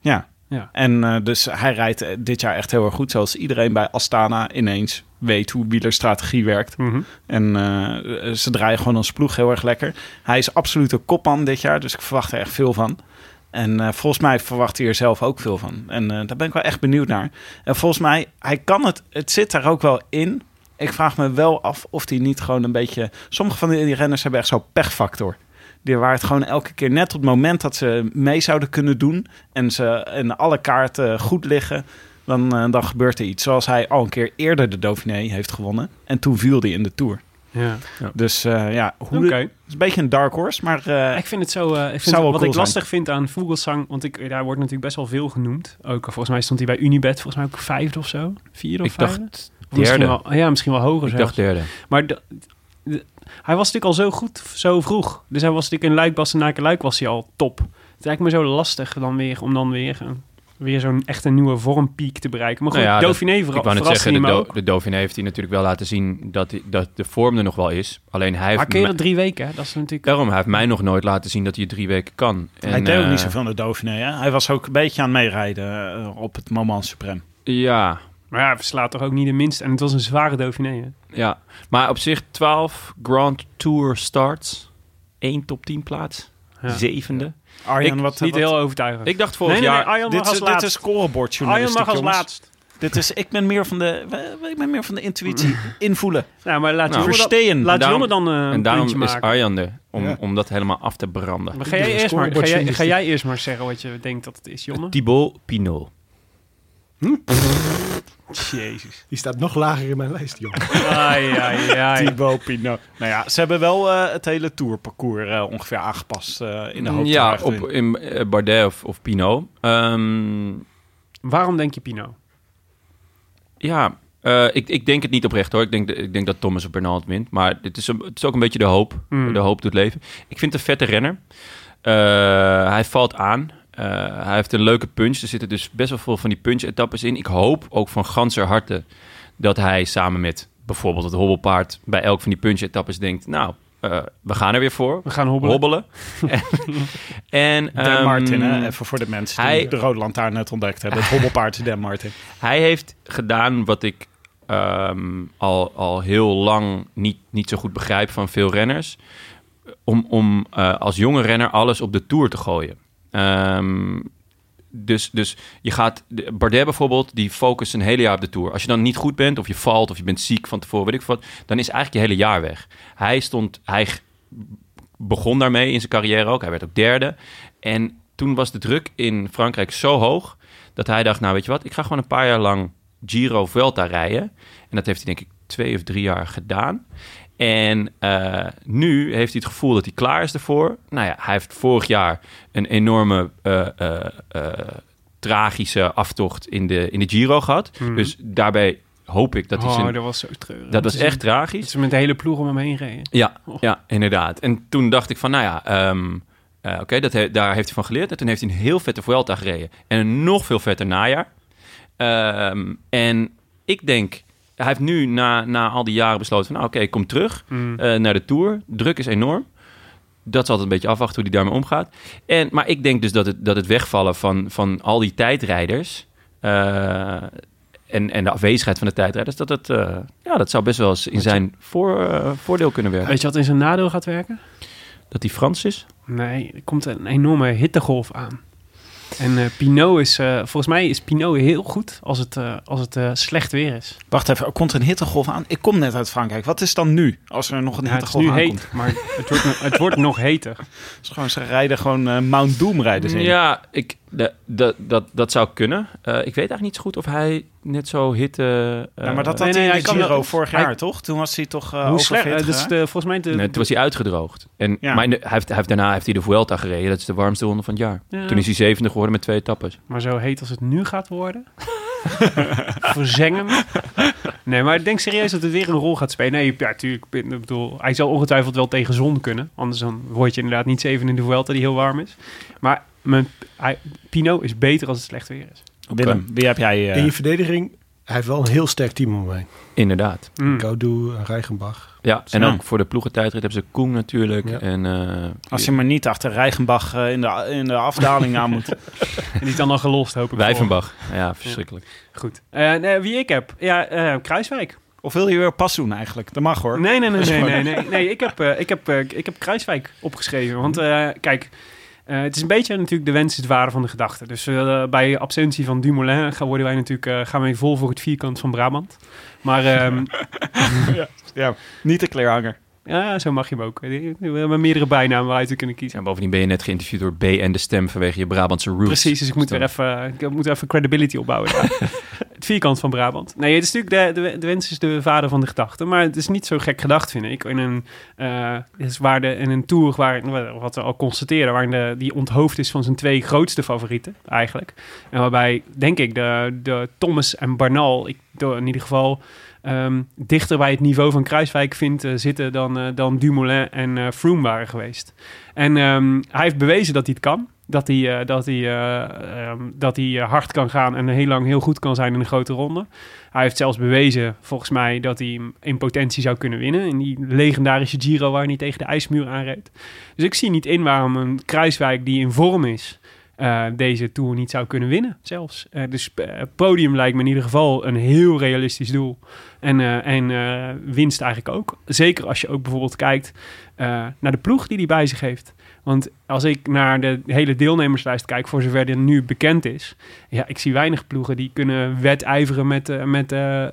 [SPEAKER 3] Ja.
[SPEAKER 2] Ja.
[SPEAKER 3] En eh, dus hij rijdt eh, dit jaar echt heel erg goed. Zoals iedereen bij Astana ineens weet hoe wielerstrategie werkt.
[SPEAKER 2] Mhm.
[SPEAKER 3] En eh, ze draaien gewoon als ploeg heel erg lekker. Hij is absoluut een kopman dit jaar, dus ik verwacht er echt veel van. Eh, En eh, volgens mij verwacht hij er zelf ook veel van. En eh, daar ben ik wel echt benieuwd naar. En volgens mij, hij kan het, het zit daar ook wel in. Ik vraag me wel af of hij niet gewoon een beetje... Sommige van die, die renners hebben echt zo'n pechfactor. Die waar het gewoon elke keer net op het moment dat ze mee zouden kunnen doen... en, ze, en alle kaarten goed liggen, dan, eh, dan gebeurt er iets. Zoals hij al een keer eerder de Dauphiné heeft gewonnen. En toen viel hij in de Tour.
[SPEAKER 2] Ja.
[SPEAKER 3] Dus eh, ja, hoe,
[SPEAKER 2] Oké.
[SPEAKER 3] het is een beetje een dark horse, maar... eh,
[SPEAKER 2] Ik vind het zo. eh, ik vind
[SPEAKER 3] Zou wel
[SPEAKER 2] wat
[SPEAKER 3] cool
[SPEAKER 2] ik
[SPEAKER 3] zijn.
[SPEAKER 2] lastig vind aan Vogelsang. Want ik, daar wordt natuurlijk best wel veel genoemd. Ook eh, volgens mij stond hij bij Unibet. Volgens mij ook vijfde of zo. Vierde of
[SPEAKER 1] Ik dacht
[SPEAKER 2] vijfde? Of misschien
[SPEAKER 1] derde.
[SPEAKER 2] wel- ja, misschien wel hoger
[SPEAKER 1] Ik
[SPEAKER 2] zelfs.
[SPEAKER 1] dacht derde.
[SPEAKER 2] Maar de- de- hij was natuurlijk al zo goed, zo vroeg. Dus hij was natuurlijk in Luik, Bastenaken, Luik was hij al top. Het lijkt me zo lastig dan weer, om dan weer, een- weer zo'n echt een nieuwe vormpiek te bereiken. Maar goed,
[SPEAKER 1] Nou ja, dat-
[SPEAKER 2] Dauphiné verra-
[SPEAKER 1] ik wou net
[SPEAKER 2] verraste
[SPEAKER 1] zeggen, de,
[SPEAKER 2] hem ook.
[SPEAKER 1] Do- de Dauphiné heeft hij natuurlijk wel laten zien dat, hij- dat de vorm er nog wel is. Alleen hij
[SPEAKER 2] Maar
[SPEAKER 1] heeft, mij-
[SPEAKER 2] keren drie weken, hè? dat is natuurlijk...
[SPEAKER 1] daarom, hij heeft mij nog nooit laten zien dat hij het drie weken kan.
[SPEAKER 3] hij
[SPEAKER 1] En,
[SPEAKER 3] deed ook
[SPEAKER 1] eh,
[SPEAKER 3] niet zoveel aan de Dauphiné. Hè? Hij was ook een beetje aan het meerijden eh, op het Moment Supreme.
[SPEAKER 1] Ja,
[SPEAKER 2] Maar ja, hij verslaat toch ook niet de minste. En het was een zware Dauphiné, hè?
[SPEAKER 1] ja, maar op zich 12 Grand Tour starts. 1 top 10 plaats.
[SPEAKER 2] Ja.
[SPEAKER 1] Zevende.
[SPEAKER 3] Arjan,
[SPEAKER 1] Ik-
[SPEAKER 3] wat...
[SPEAKER 2] Niet
[SPEAKER 3] wat-
[SPEAKER 2] heel overtuigend.
[SPEAKER 1] Ik dacht vorig
[SPEAKER 2] Nee, nee, nee,
[SPEAKER 1] jaar...
[SPEAKER 2] Arjan
[SPEAKER 3] dit,
[SPEAKER 2] mag als
[SPEAKER 3] is, dit
[SPEAKER 2] laatst.
[SPEAKER 3] is
[SPEAKER 2] Arjan
[SPEAKER 3] scorebordjournalistiek,
[SPEAKER 2] mag als
[SPEAKER 3] jongens.
[SPEAKER 2] laatst.
[SPEAKER 3] Dit is, ik ben meer van de, eh, ik ben meer van de intuïtie. Invoelen.
[SPEAKER 2] Nou, maar laat
[SPEAKER 1] Nou,
[SPEAKER 2] Jonne dan,
[SPEAKER 3] Versteen.
[SPEAKER 2] laat
[SPEAKER 1] daarom-
[SPEAKER 2] Jonne dan eh, een
[SPEAKER 1] en daarom is
[SPEAKER 2] puntje maken.
[SPEAKER 1] Arjan er, om,
[SPEAKER 4] Ja.
[SPEAKER 1] om dat helemaal af te branden.
[SPEAKER 2] Maar ga, jij
[SPEAKER 4] Doe de
[SPEAKER 2] eerst maar, ga, jij,
[SPEAKER 4] scorebordjournalistiek.
[SPEAKER 2] ga jij eerst maar zeggen wat je denkt dat het is, Jonne?
[SPEAKER 1] Thibaut Pinot.
[SPEAKER 2] Jezus.
[SPEAKER 4] Die staat nog lager in mijn lijst, joh.
[SPEAKER 2] Ai, ai, ai.
[SPEAKER 3] Thibaut Pinot. Nou ja, ze hebben wel eh, het hele tourparcours eh, ongeveer aangepast eh, in de hoop.
[SPEAKER 1] Ja, op, in eh, Bardet of, of Pinot. Ehm,
[SPEAKER 2] Waarom denk je Pino?
[SPEAKER 1] ja, eh, ik, ik denk het niet oprecht hoor. Ik denk, ik denk dat Thomas of Bernal het wint. Maar het is, een- het is ook een beetje de hoop.
[SPEAKER 3] Hmm.
[SPEAKER 2] Mm.
[SPEAKER 1] De hoop doet leven. Ik vind het een vette renner. Eh, hij valt aan. Eh, hij heeft een leuke punch. Er zitten dus best wel veel van die punch-etappes in. Ik hoop ook van ganser harte dat hij samen met bijvoorbeeld het hobbelpaard... bij elk van die punch-etappes denkt... nou, eh, we gaan er weer voor.
[SPEAKER 2] We gaan hobbelen.
[SPEAKER 1] Hobbelen. en, en
[SPEAKER 3] Dan
[SPEAKER 1] ehm,
[SPEAKER 3] Martin, hè, even voor de mensen die
[SPEAKER 1] hij-
[SPEAKER 3] de rode lantaarn net ontdekt hebben. Het hobbelpaard is Dan Martin.
[SPEAKER 1] Hij heeft gedaan wat ik ehm, al, al heel lang niet, niet zo goed begrijp van veel renners. Om, om eh, als jonge renner alles op de tour te gooien. Ehm, dus, dus je gaat, de- Bardet bijvoorbeeld, die focust een hele jaar op de tour. Als je dan niet goed bent, of je valt, of je bent ziek van tevoren, weet ik wat, dan is eigenlijk je hele jaar weg. Hij stond, hij g- begon daarmee in zijn carrière ook. Hij werd ook derde. En toen was de druk in Frankrijk zo hoog dat hij dacht, nou weet je wat, ik ga gewoon een paar jaar lang Giro Vuelta rijden. En dat heeft hij denk ik twee of drie jaar gedaan. En eh, nu heeft hij het gevoel dat hij klaar is ervoor. Nou ja, hij heeft vorig jaar een enorme eh, eh, eh, tragische aftocht in de, in de Giro gehad.
[SPEAKER 2] Mhm.
[SPEAKER 1] Dus daarbij hoop ik dat hij
[SPEAKER 2] oh,
[SPEAKER 1] zijn...
[SPEAKER 2] dat was zo treurig.
[SPEAKER 1] Dat was
[SPEAKER 2] Ze zijn-
[SPEAKER 1] echt tragisch.
[SPEAKER 2] Ze zijn met de hele ploeg om hem heen reden.
[SPEAKER 1] Ja,
[SPEAKER 2] Och.
[SPEAKER 1] ja, inderdaad. En toen dacht ik van, nou ja, ehm, eh, oké, dat he- daar heeft hij van geleerd. En toen heeft hij een heel vette Vuelta gereden. En een nog veel vetter najaar. Ehm, en ik denk, hij heeft nu na, na al die jaren besloten van, nou oké, ik kom terug
[SPEAKER 2] Mm.
[SPEAKER 1] eh, naar de Tour. Druk is enorm. Dat is altijd een beetje afwachten hoe hij daarmee omgaat. En, maar ik denk dus dat het, dat het wegvallen van, van al die tijdrijders... eh, en, en de afwezigheid van de tijdrijders... dat, het, eh, ja, dat zou best wel eens in zijn voor, eh, voordeel kunnen werken.
[SPEAKER 2] Weet je wat in zijn nadeel gaat werken?
[SPEAKER 1] Dat hij Frans is?
[SPEAKER 2] Nee, er komt een enorme hittegolf aan. En eh, Pinot is, eh, volgens mij is Pinot heel goed als het, eh, als het eh, slecht weer is.
[SPEAKER 3] Wacht even, er komt een hittegolf aan. Ik kom net uit Frankrijk. Wat is dan nu als er nog een
[SPEAKER 2] Ja, het is
[SPEAKER 3] hittegolf
[SPEAKER 2] nu
[SPEAKER 3] aankomt?
[SPEAKER 2] heet, Ah, maar het wordt, nog- het wordt nog heter.
[SPEAKER 3] Het is gewoon, ze rijden gewoon eh, Mount Doom rijden ze in.
[SPEAKER 1] Ja, ik, da- da- dat, dat zou kunnen. Eh, ik weet eigenlijk niet zo goed of hij net zo hitte... eh,
[SPEAKER 3] Ja, maar dat
[SPEAKER 2] Nee,
[SPEAKER 3] had
[SPEAKER 2] nee,
[SPEAKER 3] hij
[SPEAKER 2] hij
[SPEAKER 3] in de
[SPEAKER 2] kan
[SPEAKER 3] Giro
[SPEAKER 2] wel-
[SPEAKER 3] vorig
[SPEAKER 2] hij-
[SPEAKER 3] jaar, toch? Toen was hij toch eh
[SPEAKER 2] Hoe
[SPEAKER 3] over
[SPEAKER 2] slecht?
[SPEAKER 3] 40,
[SPEAKER 2] eh, dus
[SPEAKER 3] hè?
[SPEAKER 2] de, volgens mij... De,
[SPEAKER 1] Nee, toen was hij uitgedroogd. En,
[SPEAKER 3] Ja.
[SPEAKER 1] Maar in de- hij heeft, hij heeft, daarna heeft hij de Vuelta gereden. Dat is de warmste ronde van het jaar.
[SPEAKER 2] Ja.
[SPEAKER 1] Toen is hij zevende geworden met twee etappes.
[SPEAKER 2] Maar zo heet als het nu gaat worden. Verzengen. Nee, maar ik denk serieus dat het weer een rol gaat spelen. Nee, ja, tuurlijk. Ik bedoel, hij zal ongetwijfeld wel tegen zon kunnen. Anders dan word je inderdaad niet zeven in de Vuelta die heel warm is. Maar mijn, hij, Pino is beter als het slecht weer is.
[SPEAKER 3] Willem, wie heb jij? eh,
[SPEAKER 4] In je verdediging, hij heeft wel een heel sterk team om mij.
[SPEAKER 1] Inderdaad.
[SPEAKER 2] Mm.
[SPEAKER 4] Gaudu, Reichenbach.
[SPEAKER 1] Ja, en
[SPEAKER 3] Ja.
[SPEAKER 1] ook voor de ploegentijdrit hebben ze Koen natuurlijk.
[SPEAKER 4] Ja.
[SPEAKER 1] En, eh,
[SPEAKER 3] Als je maar niet achter Reichenbach eh, in, de, in de afdaling aan moet.
[SPEAKER 2] En die is dan al gelost, hoop ik.
[SPEAKER 1] Wijvenbach. Ja, verschrikkelijk.
[SPEAKER 2] voor. Goed. Eh, nee, wie ik heb? Ja, eh, Kruiswijk.
[SPEAKER 3] Of wil je weer pas doen eigenlijk? Dat mag hoor.
[SPEAKER 2] Nee, nee, nee, nee, nee, nee. nee ik, heb, eh, ik, heb, eh, ik heb Kruiswijk opgeschreven. Want eh, kijk, Eh, het is een beetje natuurlijk de wens is het ware van de gedachte. Dus eh, bij absentie van Dumoulin gaan, worden wij natuurlijk, eh, gaan wij vol voor het vierkant van Brabant. Maar ehm,
[SPEAKER 3] Niet de kleerhanger.
[SPEAKER 2] ja, zo mag je hem ook. We hebben meerdere bijnamen waaruit we kunnen kiezen.
[SPEAKER 1] Ja, bovendien ben je net geïnterviewd door B en de Stem vanwege je Brabantse roots.
[SPEAKER 2] Precies, dus ik moet weer even, ik moet even credibility opbouwen. daar. het vierkant van Brabant. Nee, het is natuurlijk de, de, de wens is de vader van de gedachte. Maar het is niet zo gek gedacht, vind ik. In een, eh, is waar de, in een tour, waar, wat we al constateren, waarin de, die onthoofd is van zijn twee grootste favorieten eigenlijk. En waarbij, denk ik, de, de Thomas en Barnal, ik, door- in ieder geval... ehm, dichter bij het niveau van Kruiswijk vindt eh, zitten dan, eh, dan Dumoulin en eh Froome waren geweest. En ehm, hij heeft bewezen dat hij het kan. Dat hij, eh, dat, hij, eh, ehm, dat hij eh, hard kan gaan en heel lang heel goed kan zijn in een grote ronde. Hij heeft zelfs bewezen, volgens mij, dat hij hem in potentie zou kunnen winnen. In die legendarische Giro waar hij tegen de ijsmuur aanreed. Dus ik zie niet in waarom een Kruiswijk die in vorm is, eh, deze Tour niet zou kunnen winnen zelfs. Eh, dus eh, podium lijkt me in ieder geval een heel realistisch doel. En, eh, en eh, winst eigenlijk ook. Zeker als je ook bijvoorbeeld kijkt eh, naar de ploeg die hij bij zich heeft. Want als ik naar de hele deelnemerslijst kijk, voor zover dit nu bekend is, ja, ik zie weinig ploegen die kunnen wedijveren met, eh, met eh, eh,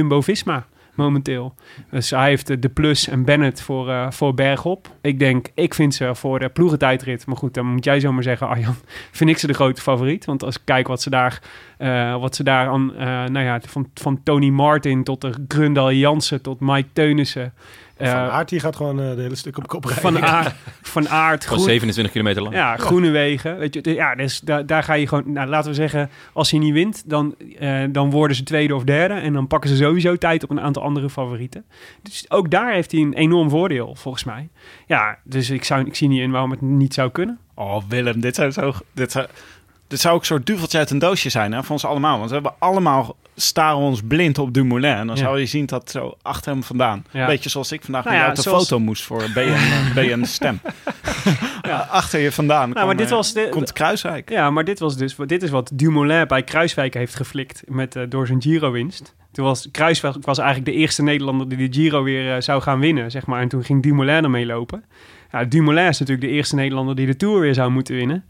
[SPEAKER 2] Jumbo-Visma momenteel. Dus hij heeft eh, de plus en Bennett voor, eh, voor Bergop. Ik denk, ik vind ze voor de ploegentijdrit, maar goed, dan moet jij zomaar zeggen, Arjan, vind ik ze de grote favoriet. Want als ik kijk wat ze daar, eh, wat ze daar aan, eh, nou ja, van, van Tony Martin tot de Grundal Jansen tot Mike Teunissen. eh,
[SPEAKER 4] van Aert die gaat gewoon eh, de hele stuk op kop rijden.
[SPEAKER 2] van, Aard, van Aert,
[SPEAKER 1] Gewoon
[SPEAKER 2] Groen-
[SPEAKER 1] 27 kilometer lang.
[SPEAKER 2] ja, groene wegen. Weet je, de- ja, dus da- daar ga je gewoon, nou, laten we zeggen, als hij niet wint, dan, eh, dan worden ze tweede of derde. En dan pakken ze sowieso tijd op een aantal andere favorieten. Dus ook daar heeft hij een enorm voordeel, volgens mij. Ja, dus ik, zou, ik zie niet in waarom het niet zou kunnen.
[SPEAKER 3] Oh, Willem, dit zou, zo, dit zou, dit zou ook een soort duveltje uit een doosje zijn hè, voor ons allemaal. Want we hebben allemaal staren ons blind op Dumoulin. En dan
[SPEAKER 2] Ja.
[SPEAKER 3] zou je zien dat zo achter hem vandaan.
[SPEAKER 2] Ja.
[SPEAKER 3] Beetje zoals ik vandaag
[SPEAKER 2] Nou
[SPEAKER 3] met
[SPEAKER 2] ja,
[SPEAKER 3] jou op de
[SPEAKER 2] zoals-
[SPEAKER 3] foto moest voor BN, BN Stem. Achter je vandaan
[SPEAKER 2] Nou, maar
[SPEAKER 3] kwam,
[SPEAKER 2] dit
[SPEAKER 3] eh,
[SPEAKER 2] was de-
[SPEAKER 3] komt Kruiswijk.
[SPEAKER 2] Ja, maar dit, was dus, dit is wat Dumoulin bij Kruiswijk heeft geflikt met, eh, door zijn Giro-winst. Toen was Kruiswijk was eigenlijk de eerste Nederlander die de Giro weer eh, zou gaan winnen, zeg maar. En toen ging Dumoulin ermee lopen. Ja, Dumoulin is natuurlijk de eerste Nederlander die de Tour weer zou moeten winnen.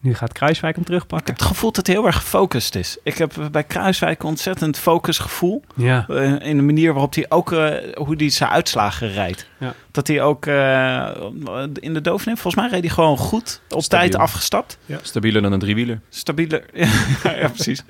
[SPEAKER 2] Nu gaat Kruiswijk hem
[SPEAKER 3] Ik
[SPEAKER 2] terugpakken.
[SPEAKER 3] heb het gevoel dat hij heel erg gefocust is. Ik heb eh, bij Kruiswijk een ontzettend focusgevoel.
[SPEAKER 2] Ja,
[SPEAKER 3] Eh, in de manier waarop hij ook eh, hoe hij zijn uitslagen rijdt.
[SPEAKER 2] Ja.
[SPEAKER 3] Dat hij ook eh, in de Dauphiné, volgens mij reed hij gewoon goed op
[SPEAKER 1] Stabiel.
[SPEAKER 3] tijd afgestapt.
[SPEAKER 1] Stabieler dan een driewieler.
[SPEAKER 3] Stabieler. ja, ja, precies.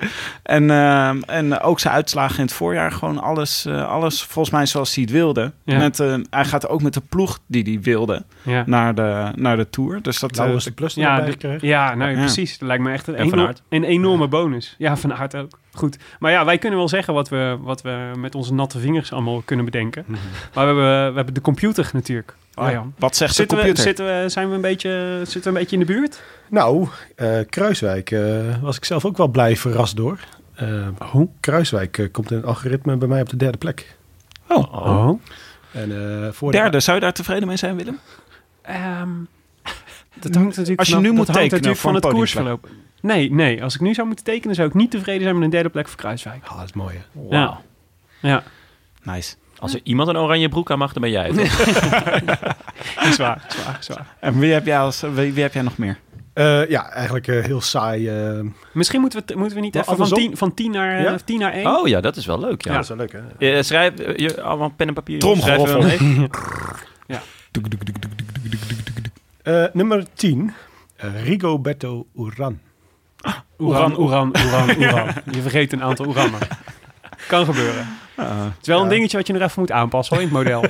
[SPEAKER 3] En, ehm, en ook zijn uitslagen in het voorjaar. Gewoon alles, eh, alles volgens mij zoals hij het wilde.
[SPEAKER 2] Ja.
[SPEAKER 3] Met, eh, hij gaat ook met de ploeg die hij wilde
[SPEAKER 2] ja.
[SPEAKER 3] naar de, naar de Tour. Dus dat... eh,
[SPEAKER 4] Lauwers de plus
[SPEAKER 2] Ja,
[SPEAKER 4] erbij
[SPEAKER 2] de-
[SPEAKER 4] kreeg.
[SPEAKER 2] Ja, nou,
[SPEAKER 3] Ja.
[SPEAKER 2] precies. Dat lijkt me echt een,
[SPEAKER 1] En Van
[SPEAKER 2] eno-
[SPEAKER 1] Aert.
[SPEAKER 2] een enorme bonus. Ja, van Aert ook. Goed. Maar ja, wij kunnen wel zeggen wat we, wat we met onze natte vingers allemaal kunnen bedenken. Maar we hebben, we hebben de computer natuurlijk.
[SPEAKER 3] ja.
[SPEAKER 2] Arjan.
[SPEAKER 3] Wat zegt
[SPEAKER 2] Zitten
[SPEAKER 3] de
[SPEAKER 2] we,
[SPEAKER 3] computer?
[SPEAKER 2] zitten we, zijn we een beetje, zitten we een beetje in de buurt?
[SPEAKER 4] Nou, eh, Kruiswijk eh, was ik zelf ook wel blij verrast door. Eh, Kruiswijk eh, komt in het algoritme bij mij op de derde plek.
[SPEAKER 3] Oh,
[SPEAKER 2] Oh.
[SPEAKER 4] En, eh, voor de-
[SPEAKER 3] derde. Zou je daar tevreden mee zijn, Willem?
[SPEAKER 2] dat hangt natuurlijk
[SPEAKER 3] Als je
[SPEAKER 2] vanaf-
[SPEAKER 3] nu
[SPEAKER 2] dat
[SPEAKER 3] moet
[SPEAKER 2] hangt
[SPEAKER 3] tekenen
[SPEAKER 2] natuurlijk
[SPEAKER 3] voor
[SPEAKER 2] van
[SPEAKER 3] een
[SPEAKER 2] het koersverloop. Nee, nee. Als ik nu zou moeten tekenen, zou ik niet tevreden zijn met een derde plek voor Kruiswijk.
[SPEAKER 4] Ah, dat is mooi hè.
[SPEAKER 2] Ja. Ja,
[SPEAKER 3] Nice.
[SPEAKER 1] Als er iemand een oranje broek aan mag, dan ben jij het.
[SPEAKER 2] is waar, is waar, is waar.
[SPEAKER 3] En wie heb jij, als, wie, wie heb jij nog meer?
[SPEAKER 4] Eh, ja, eigenlijk eh, heel saai. eh,
[SPEAKER 2] Misschien moeten we, t- moeten we niet
[SPEAKER 4] Maar
[SPEAKER 2] even van
[SPEAKER 4] andersom?
[SPEAKER 2] tien, van tien naar, eh,
[SPEAKER 4] Ja?
[SPEAKER 2] tien naar één.
[SPEAKER 1] Oh ja, dat is wel leuk. Ja.
[SPEAKER 4] ja, dat is wel leuk hè.
[SPEAKER 1] Eh, schrijf eh, je, allemaal pen en papier.
[SPEAKER 3] Tromgeroffel.
[SPEAKER 1] Schrijven we wel mee.
[SPEAKER 4] Eh, nummer 10, eh, Rigoberto Uran.
[SPEAKER 2] Oeran, oeran, oeran, oeran. Je vergeet een aantal oerannen. Kan gebeuren. Het is wel een dingetje wat je nog even moet aanpassen hoor, in het model.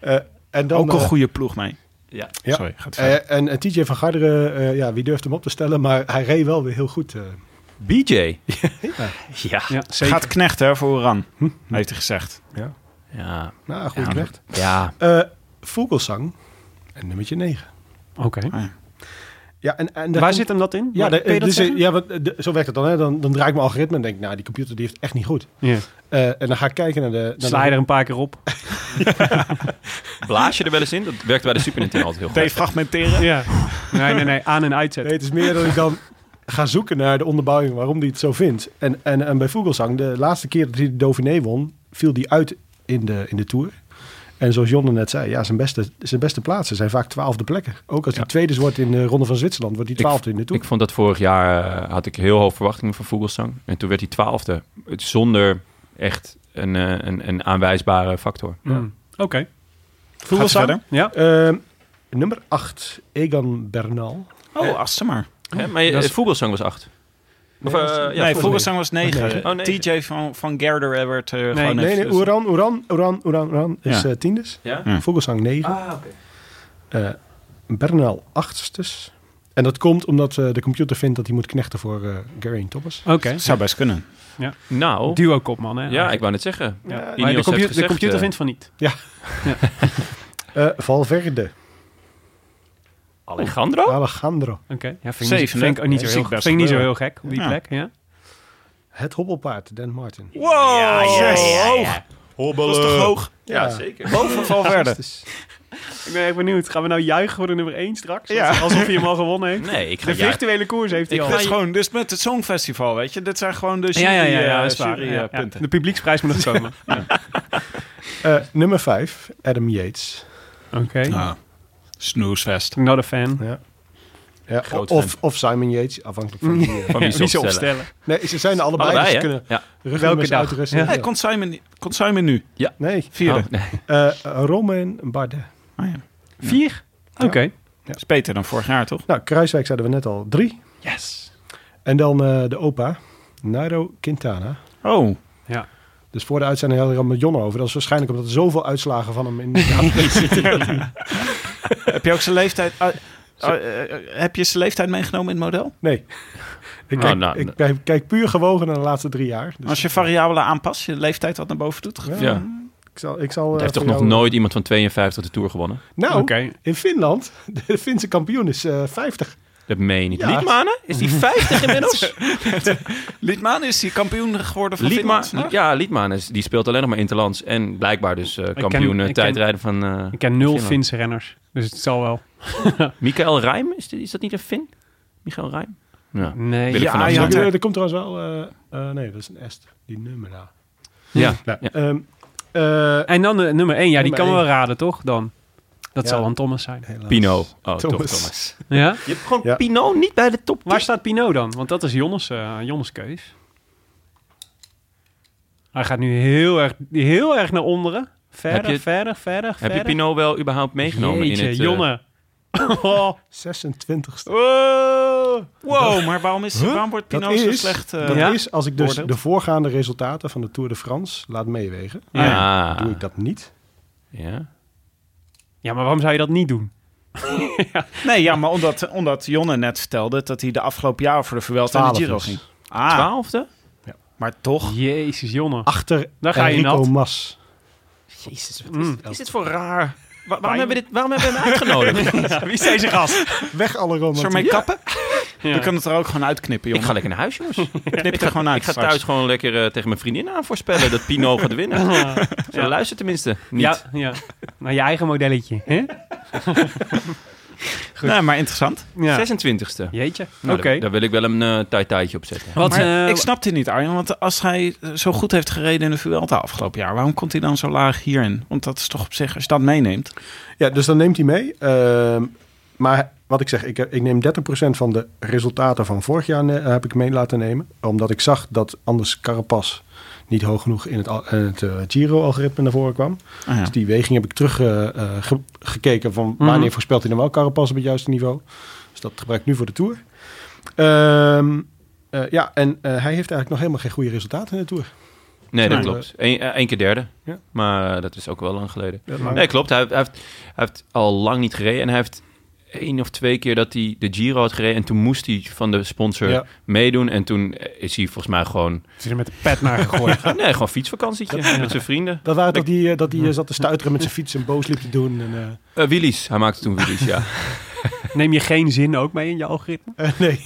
[SPEAKER 4] Eh, en dan,
[SPEAKER 3] ook een
[SPEAKER 4] eh,
[SPEAKER 3] goede ploeg mee.
[SPEAKER 1] Ja.
[SPEAKER 4] Ja.
[SPEAKER 3] Sorry, gaat verder.
[SPEAKER 4] eh, en eh, TJ van Garderen, eh, ja, wie durft hem op te stellen, maar hij reed wel weer heel goed. eh.
[SPEAKER 1] BJ. Ja.
[SPEAKER 2] Ja,
[SPEAKER 3] Het
[SPEAKER 2] zeker.
[SPEAKER 3] gaat knechten hè, voor Oran, heeft hij gezegd.
[SPEAKER 1] Ja.
[SPEAKER 4] nou, goed
[SPEAKER 3] Ja,
[SPEAKER 4] recht.
[SPEAKER 1] Ja.
[SPEAKER 4] Eh Vogelsang, en nummertje 9.
[SPEAKER 2] Oké.
[SPEAKER 4] Ja, en, en daar
[SPEAKER 2] Waar
[SPEAKER 4] komt-
[SPEAKER 2] zit hem dat in?
[SPEAKER 4] Ja,
[SPEAKER 2] Kun
[SPEAKER 4] de-
[SPEAKER 2] je dat
[SPEAKER 4] dus, eh,
[SPEAKER 2] zeggen?
[SPEAKER 4] ja want, eh, de- zo werkt het dan. Hè? Dan, dan draai ik mijn algoritme en denk nou, die computer die heeft het echt niet goed.
[SPEAKER 2] Ja.
[SPEAKER 4] Eh, en dan ga ik kijken naar de... Naar
[SPEAKER 2] Sla je er een paar keer op.
[SPEAKER 1] Blaas je er wel eens in? Dat werkte bij de Super Nintendo altijd heel goed.
[SPEAKER 3] Defragmenteren.
[SPEAKER 2] Ja. Nee, nee, nee. Aan en uitzet.
[SPEAKER 4] de, nee, het is meer dat ik dan ga zoeken naar de onderbouwing waarom die het zo vindt. En, en, en bij Vogelsang, de laatste keer dat hij de Dauphiné won, viel die uit in de, in de Tour. En zoals Jonne net zei, ja, zijn, beste, zijn beste plaatsen zijn vaak twaalfde plekken. Ook als hij
[SPEAKER 1] Ja.
[SPEAKER 4] tweede wordt in de Ronde van Zwitserland, wordt hij
[SPEAKER 1] Ik-
[SPEAKER 4] twaalfde in de Tour.
[SPEAKER 1] Ik vond dat vorig jaar eh, had ik heel hoge verwachtingen van Vogelsang. En toen werd hij twaalfde. Zonder echt een, eh, een, een aanwijsbare factor.
[SPEAKER 2] Mm. Oké. Voel
[SPEAKER 3] Gaat
[SPEAKER 2] wel zo?
[SPEAKER 3] verder?
[SPEAKER 2] Ja.
[SPEAKER 4] Ehm, nummer 8, Egan Bernal.
[SPEAKER 3] Oh, achter maar.
[SPEAKER 1] Hè, maar je-
[SPEAKER 4] dat is-
[SPEAKER 1] Vogelsang was acht. Of,
[SPEAKER 4] Nee,
[SPEAKER 1] eh,
[SPEAKER 4] dat is-
[SPEAKER 1] ja,
[SPEAKER 3] nee,
[SPEAKER 4] volgens mij.
[SPEAKER 3] Vogelsang was 9.
[SPEAKER 4] Negen.
[SPEAKER 1] Oh, negen.
[SPEAKER 3] TJ van, van Gerder werd eh
[SPEAKER 2] Nee,
[SPEAKER 3] gewoon
[SPEAKER 4] Nee, nee,
[SPEAKER 3] even-
[SPEAKER 4] Oeran, Oeran, Oeran, Oeran, Oeran is
[SPEAKER 3] Ja.
[SPEAKER 4] eh tiendes.
[SPEAKER 1] Ja?
[SPEAKER 3] Ja.
[SPEAKER 4] Vogelsang 9.
[SPEAKER 1] Ah, oké.
[SPEAKER 4] Eh, Bernal achtstes. En dat komt omdat eh, de computer vindt dat hij moet knechten voor eh Geraint Thomas.
[SPEAKER 2] Oké.
[SPEAKER 3] Zou best kunnen.
[SPEAKER 1] Nou,
[SPEAKER 2] Duo kopman, hè?
[SPEAKER 1] ja, ik wou net zeggen.
[SPEAKER 4] Ja.
[SPEAKER 2] Maar
[SPEAKER 1] Ineos
[SPEAKER 2] de,
[SPEAKER 1] heeft
[SPEAKER 2] computer, de
[SPEAKER 1] gezegd,
[SPEAKER 2] computer
[SPEAKER 1] eh,
[SPEAKER 2] vindt van niet.
[SPEAKER 4] Eh, Valverde,
[SPEAKER 1] Alejandro?
[SPEAKER 4] Alejandro,
[SPEAKER 2] Oké. Ja, vind ik niet,
[SPEAKER 3] Zeven,
[SPEAKER 2] vind ik ook niet,
[SPEAKER 3] hè?
[SPEAKER 2] zo, heel,
[SPEAKER 3] Ziek best
[SPEAKER 2] vind ik niet zo
[SPEAKER 3] gebeuren.
[SPEAKER 2] heel gek op die
[SPEAKER 3] Ja.
[SPEAKER 2] plek. Ja?
[SPEAKER 4] het hobbelpaard, Dan Martin.
[SPEAKER 1] Wow! Hoog! Hobbelen.
[SPEAKER 3] Dat is toch hoog?
[SPEAKER 1] Ja,
[SPEAKER 4] Ja.
[SPEAKER 1] zeker.
[SPEAKER 3] Boven Valverde.
[SPEAKER 2] dus-
[SPEAKER 4] Achtstes.
[SPEAKER 2] Ik ben echt benieuwd. Gaan we nou juichen voor de nummer 1 straks?
[SPEAKER 3] Ja.
[SPEAKER 2] Als- Alsof hij hem al gewonnen heeft.
[SPEAKER 1] Nee, ik ga
[SPEAKER 2] De
[SPEAKER 1] ja,
[SPEAKER 2] virtuele koers heeft hij
[SPEAKER 1] Ik
[SPEAKER 2] al.
[SPEAKER 3] Dit is gewoon, dus met het Songfestival, weet je. Dit zijn gewoon de jury,
[SPEAKER 2] Ja, ja, ja, ja, dat is
[SPEAKER 3] eh,
[SPEAKER 2] waar.
[SPEAKER 3] jury,
[SPEAKER 2] Ja,
[SPEAKER 3] eh,
[SPEAKER 2] ja.
[SPEAKER 3] punten.
[SPEAKER 2] De publieksprijs moet nog komen.
[SPEAKER 4] Eh, nummer 5, Adam Yates.
[SPEAKER 2] Oké.
[SPEAKER 3] Nou, snoesfest.
[SPEAKER 2] Not a fan.
[SPEAKER 4] Ja. Ja,
[SPEAKER 1] Groot
[SPEAKER 4] of, of Simon Yates, afhankelijk van wie. eh,
[SPEAKER 1] van wie
[SPEAKER 2] Wie ze
[SPEAKER 1] ze opstellen.
[SPEAKER 2] opstellen.
[SPEAKER 4] nee, ze zijn er allebei,
[SPEAKER 1] Allebei,
[SPEAKER 4] dus
[SPEAKER 1] hè?
[SPEAKER 4] ze kunnen
[SPEAKER 1] Ja.
[SPEAKER 4] rugnummers
[SPEAKER 2] dag?
[SPEAKER 4] uitrusten.
[SPEAKER 2] Ja.
[SPEAKER 4] Ja.
[SPEAKER 3] Hey, komt Simon, komt Simon nu?
[SPEAKER 4] Nee,
[SPEAKER 3] Vierde.
[SPEAKER 1] Oh, nee.
[SPEAKER 4] Eh Romain Bardet.
[SPEAKER 2] Oh.
[SPEAKER 3] Ah, ja.
[SPEAKER 2] Vier? Oké.
[SPEAKER 3] Dat is beter dan vorig jaar, toch?
[SPEAKER 4] Nou, Kruiswijk zeiden we net al, drie.
[SPEAKER 3] Yes.
[SPEAKER 4] En dan eh, de opa, Nairo Quintana.
[SPEAKER 3] Oh,
[SPEAKER 4] Dus voor de uitzending hadden we er al met Jon over. Dat is waarschijnlijk omdat er zoveel uitslagen van hem in de
[SPEAKER 3] heb je ook zijn leeftijd... ah, ah, eh, eh, heb je zijn leeftijd meegenomen in het model?
[SPEAKER 4] Nee. Ik
[SPEAKER 1] Nou,
[SPEAKER 4] kijk,
[SPEAKER 1] nou,
[SPEAKER 4] ik kijk- kijk puur gewogen naar de laatste drie jaar. Dus
[SPEAKER 3] Als je variabelen aanpast, je leeftijd wat naar boven doet.
[SPEAKER 4] Ja.
[SPEAKER 1] Ja.
[SPEAKER 4] ik zal, ik zal, eh,
[SPEAKER 1] Er heeft toch
[SPEAKER 4] voor
[SPEAKER 1] nog
[SPEAKER 4] jou-
[SPEAKER 1] nooit iemand van 52 de Tour gewonnen?
[SPEAKER 4] Nou,
[SPEAKER 2] Oké.
[SPEAKER 4] in Finland, de Finse kampioen is eh 50.
[SPEAKER 1] Dat meen je niet.
[SPEAKER 4] Ja.
[SPEAKER 1] Liedmanen? Is die 50 inmiddels?
[SPEAKER 3] Liedman is die kampioen geworden van
[SPEAKER 1] Liedma,
[SPEAKER 3] Finland vandaag?
[SPEAKER 1] ja, Liedmanen is- die speelt alleen nog maar interlands. En blijkbaar dus eh kampioen
[SPEAKER 2] ken-
[SPEAKER 1] eh,
[SPEAKER 2] ik ken-
[SPEAKER 1] tijdrijden van... eh,
[SPEAKER 2] Ik ken nul
[SPEAKER 1] Finland.
[SPEAKER 2] Finse renners. Dus het zal wel.
[SPEAKER 1] Michael Rijm? Is, dit- is dat niet een Fin? Michael Rijm? Ja.
[SPEAKER 2] Nee.
[SPEAKER 1] Wil ik
[SPEAKER 2] Ja.
[SPEAKER 1] van
[SPEAKER 4] Ah,
[SPEAKER 1] Amsterdam.
[SPEAKER 4] ja, er, er komt trouwens wel... eh, eh, nee, dat is een est. Die nummer daar.
[SPEAKER 1] Ja.
[SPEAKER 4] Nou,
[SPEAKER 1] Ja.
[SPEAKER 4] ehm, eh,
[SPEAKER 2] En dan de nummer 1. Ja, die
[SPEAKER 4] Nummer
[SPEAKER 2] kan we
[SPEAKER 4] één.
[SPEAKER 2] wel raden, toch? Dan. Dat
[SPEAKER 4] Ja.
[SPEAKER 2] zal dan Thomas zijn.
[SPEAKER 4] helaas.
[SPEAKER 1] Pino. Oh, toch
[SPEAKER 4] Thomas.
[SPEAKER 1] Thomas.
[SPEAKER 2] Ja?
[SPEAKER 1] Je hebt gewoon
[SPEAKER 4] Ja.
[SPEAKER 1] Pino niet bij de top
[SPEAKER 2] Waar staat Pino dan? Want dat is Jonnes, eh Jonnes keus. Hij gaat nu heel erg, heel erg naar onderen. Verder,
[SPEAKER 1] Heb je-
[SPEAKER 2] verder, verder,
[SPEAKER 1] Heb
[SPEAKER 2] verder.
[SPEAKER 1] je Pino wel überhaupt meegenomen
[SPEAKER 2] Jeetje,
[SPEAKER 1] in het... eh,
[SPEAKER 2] Jonne. Oh.
[SPEAKER 4] 26ste.
[SPEAKER 2] Oh.
[SPEAKER 3] Wow, maar waarom, is, waarom wordt Pino
[SPEAKER 4] Dat
[SPEAKER 3] zo
[SPEAKER 4] is-
[SPEAKER 3] slecht? eh,
[SPEAKER 4] Dat
[SPEAKER 2] Ja.
[SPEAKER 4] is, als ik dus
[SPEAKER 3] Oordeelt.
[SPEAKER 4] de voorgaande resultaten van de Tour de France laat meewegen,
[SPEAKER 1] Ja.
[SPEAKER 2] Ah.
[SPEAKER 4] doe ik dat niet.
[SPEAKER 1] Ah. Ja.
[SPEAKER 2] Ja, maar waarom zou je dat niet doen?
[SPEAKER 3] Nee, ja, maar omdat, omdat Jonne net vertelde dat hij de afgelopen jaar voor de Vuelta en de
[SPEAKER 4] Twaalf
[SPEAKER 3] Giro
[SPEAKER 4] is.
[SPEAKER 3] ging. Ah,
[SPEAKER 1] Twaalfde?
[SPEAKER 3] maar toch.
[SPEAKER 2] Jezus, Jonne.
[SPEAKER 4] Achter
[SPEAKER 2] Daar ga je
[SPEAKER 4] Enrico
[SPEAKER 2] nat.
[SPEAKER 4] Mas.
[SPEAKER 1] Jezus, wat
[SPEAKER 2] Mm.
[SPEAKER 1] is, is dit voor raar... Wa- waarom, hebben we dit, waarom hebben we hem uitgenodigd?
[SPEAKER 2] Ah,
[SPEAKER 1] Wie is deze gast?
[SPEAKER 4] Weg alle
[SPEAKER 3] Zullen we
[SPEAKER 4] romantiek.
[SPEAKER 3] mee kappen?
[SPEAKER 2] Ja.
[SPEAKER 3] We kunnen het er ook gewoon uitknippen,
[SPEAKER 1] Ik
[SPEAKER 3] jongen.
[SPEAKER 1] ga lekker naar huis, jongens.
[SPEAKER 3] knip het er
[SPEAKER 2] Ah,
[SPEAKER 3] gewoon uit.
[SPEAKER 1] Ik ga
[SPEAKER 3] straks.
[SPEAKER 1] thuis gewoon lekker eh, tegen mijn vriendin aan voorspellen dat Pino gaat winnen. Ze
[SPEAKER 2] Ja.
[SPEAKER 1] luistert tenminste niet.
[SPEAKER 2] Ja, ja. Naar je eigen modelletje. Hè?
[SPEAKER 3] Nee, maar interessant.
[SPEAKER 2] Ja.
[SPEAKER 1] 26e.
[SPEAKER 2] Jeetje.
[SPEAKER 1] Nou,
[SPEAKER 2] Oké.
[SPEAKER 1] daar- Daar wil ik wel een eh taai-taaitje op zetten.
[SPEAKER 2] Wat,
[SPEAKER 3] maar
[SPEAKER 2] eh,
[SPEAKER 3] ik snap dit niet, Arjen. Want als hij zo goed heeft gereden in de Vuelta afgelopen jaar... waarom komt hij dan zo laag hierin? Want dat is toch op zich, als je dat meeneemt...
[SPEAKER 4] Ja, dus dan neemt hij mee. Ehm, maar wat ik zeg, ik, heb- ik neem 30% van de resultaten van vorig jaar eh, heb ik mee laten nemen. Omdat ik zag dat anders Carapas niet hoog genoeg in het, al- in het eh, Giro-algoritme naar voren kwam.
[SPEAKER 3] Ah, ja.
[SPEAKER 4] Dus die weging heb ik teruggekeken eh ge- gekeken van wanneer
[SPEAKER 2] Mhm.
[SPEAKER 4] voorspelt hij dan wel Carapas op het juiste niveau. Dus dat gebruik ik nu voor de Tour. Ehm, eh, ja, en eh, hij heeft eigenlijk nog helemaal geen goede resultaten in de Tour.
[SPEAKER 1] Nee, dat
[SPEAKER 3] Nee.
[SPEAKER 1] klopt. Eén eh, één keer derde.
[SPEAKER 4] Ja.
[SPEAKER 1] Maar eh, dat is ook wel lang geleden.
[SPEAKER 4] Maar-
[SPEAKER 1] Nee, klopt. Hij, heeft- hij heeft, hij heeft al lang niet gereden. En hij heeft één of twee keer dat hij de Giro had gereden. En toen moest hij van de sponsor
[SPEAKER 4] Ja.
[SPEAKER 1] meedoen. En toen eh, is hij volgens mij gewoon...
[SPEAKER 2] Ze is er met de pet naar gegooid.
[SPEAKER 1] Nee, gewoon fietsvakantietje met zijn vrienden.
[SPEAKER 4] Dat waren toch die, eh, dat die eh, zat te stuiteren met zijn fiets en boos liep te doen. En, eh,
[SPEAKER 1] Eh Willy's. Hij maakte toen Willy's, ja.
[SPEAKER 2] Neem je geen zin ook mee in je algoritme?
[SPEAKER 4] eh, nee.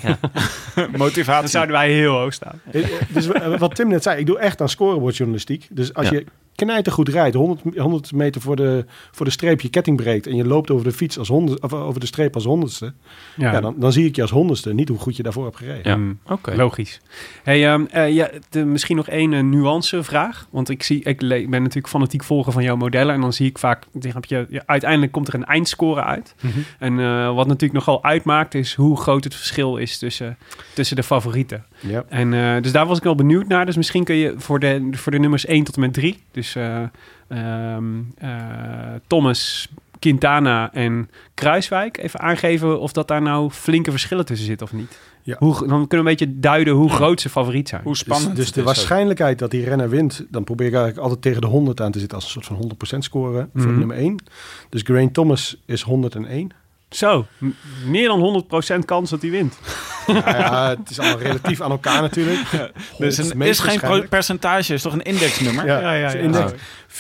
[SPEAKER 2] Dan
[SPEAKER 3] Motivatie.
[SPEAKER 2] zouden wij heel hoog staan.
[SPEAKER 4] Eh, eh, Dus eh, wat Tim net zei, ik doe echt aan scorebordjournalistiek. Dus als
[SPEAKER 1] Ja.
[SPEAKER 4] je knijtergoed rijdt, 100, 100 meter voor de, voor de streep je ketting breekt en je loopt over de fiets als honderd, of eh, over de streep als honderdste, ja. dan, dan zie ik je als honderdste, niet hoe goed je daarvoor hebt gereden.
[SPEAKER 1] Ja.
[SPEAKER 2] Mm.
[SPEAKER 1] Oké.
[SPEAKER 2] Logisch. Hey, ehm, eh, ja, de, misschien nog één eh, nuancevraag. Want ik, zie, ik le- ben natuurlijk fanatiek volger van jouw modellen. En dan zie ik vaak, dan heb je, ja, uiteindelijk komt er een eindscore uit.
[SPEAKER 4] Mhm.
[SPEAKER 2] En eh, wat natuurlijk nogal uitmaakt, is hoe groot het verschil is tussen, tussen de favorieten.
[SPEAKER 4] Ja.
[SPEAKER 2] En, eh, dus daar was ik wel benieuwd naar. Dus misschien kun je voor de, voor de nummers 1 tot en met 3, dus eh, ehm, eh, Thomas, Quintana en Kruiswijk, even aangeven of dat daar nou flinke verschillen tussen zit of niet.
[SPEAKER 4] Ja.
[SPEAKER 2] Hoe, dan kunnen we een beetje duiden hoe groot ze favoriet zijn.
[SPEAKER 3] Hoe
[SPEAKER 4] Dus,
[SPEAKER 3] spannend
[SPEAKER 4] dus de
[SPEAKER 3] het is ook.
[SPEAKER 4] waarschijnlijkheid dat die renner wint, dan probeer ik eigenlijk altijd tegen de 100 aan te zitten als een soort van 100% score voor
[SPEAKER 2] Mhm.
[SPEAKER 4] nummer 1. Dus Geraint Thomas is 101.
[SPEAKER 2] Zo, m- meer dan 100% kans dat hij wint.
[SPEAKER 4] ja, ja, het is allemaal relatief aan elkaar natuurlijk.
[SPEAKER 3] Dus
[SPEAKER 4] het
[SPEAKER 3] een, is geen pro- percentage, is toch een indexnummer?
[SPEAKER 4] Ja,
[SPEAKER 2] Ja, ja,
[SPEAKER 4] dus
[SPEAKER 2] ja.
[SPEAKER 1] Ah,
[SPEAKER 4] index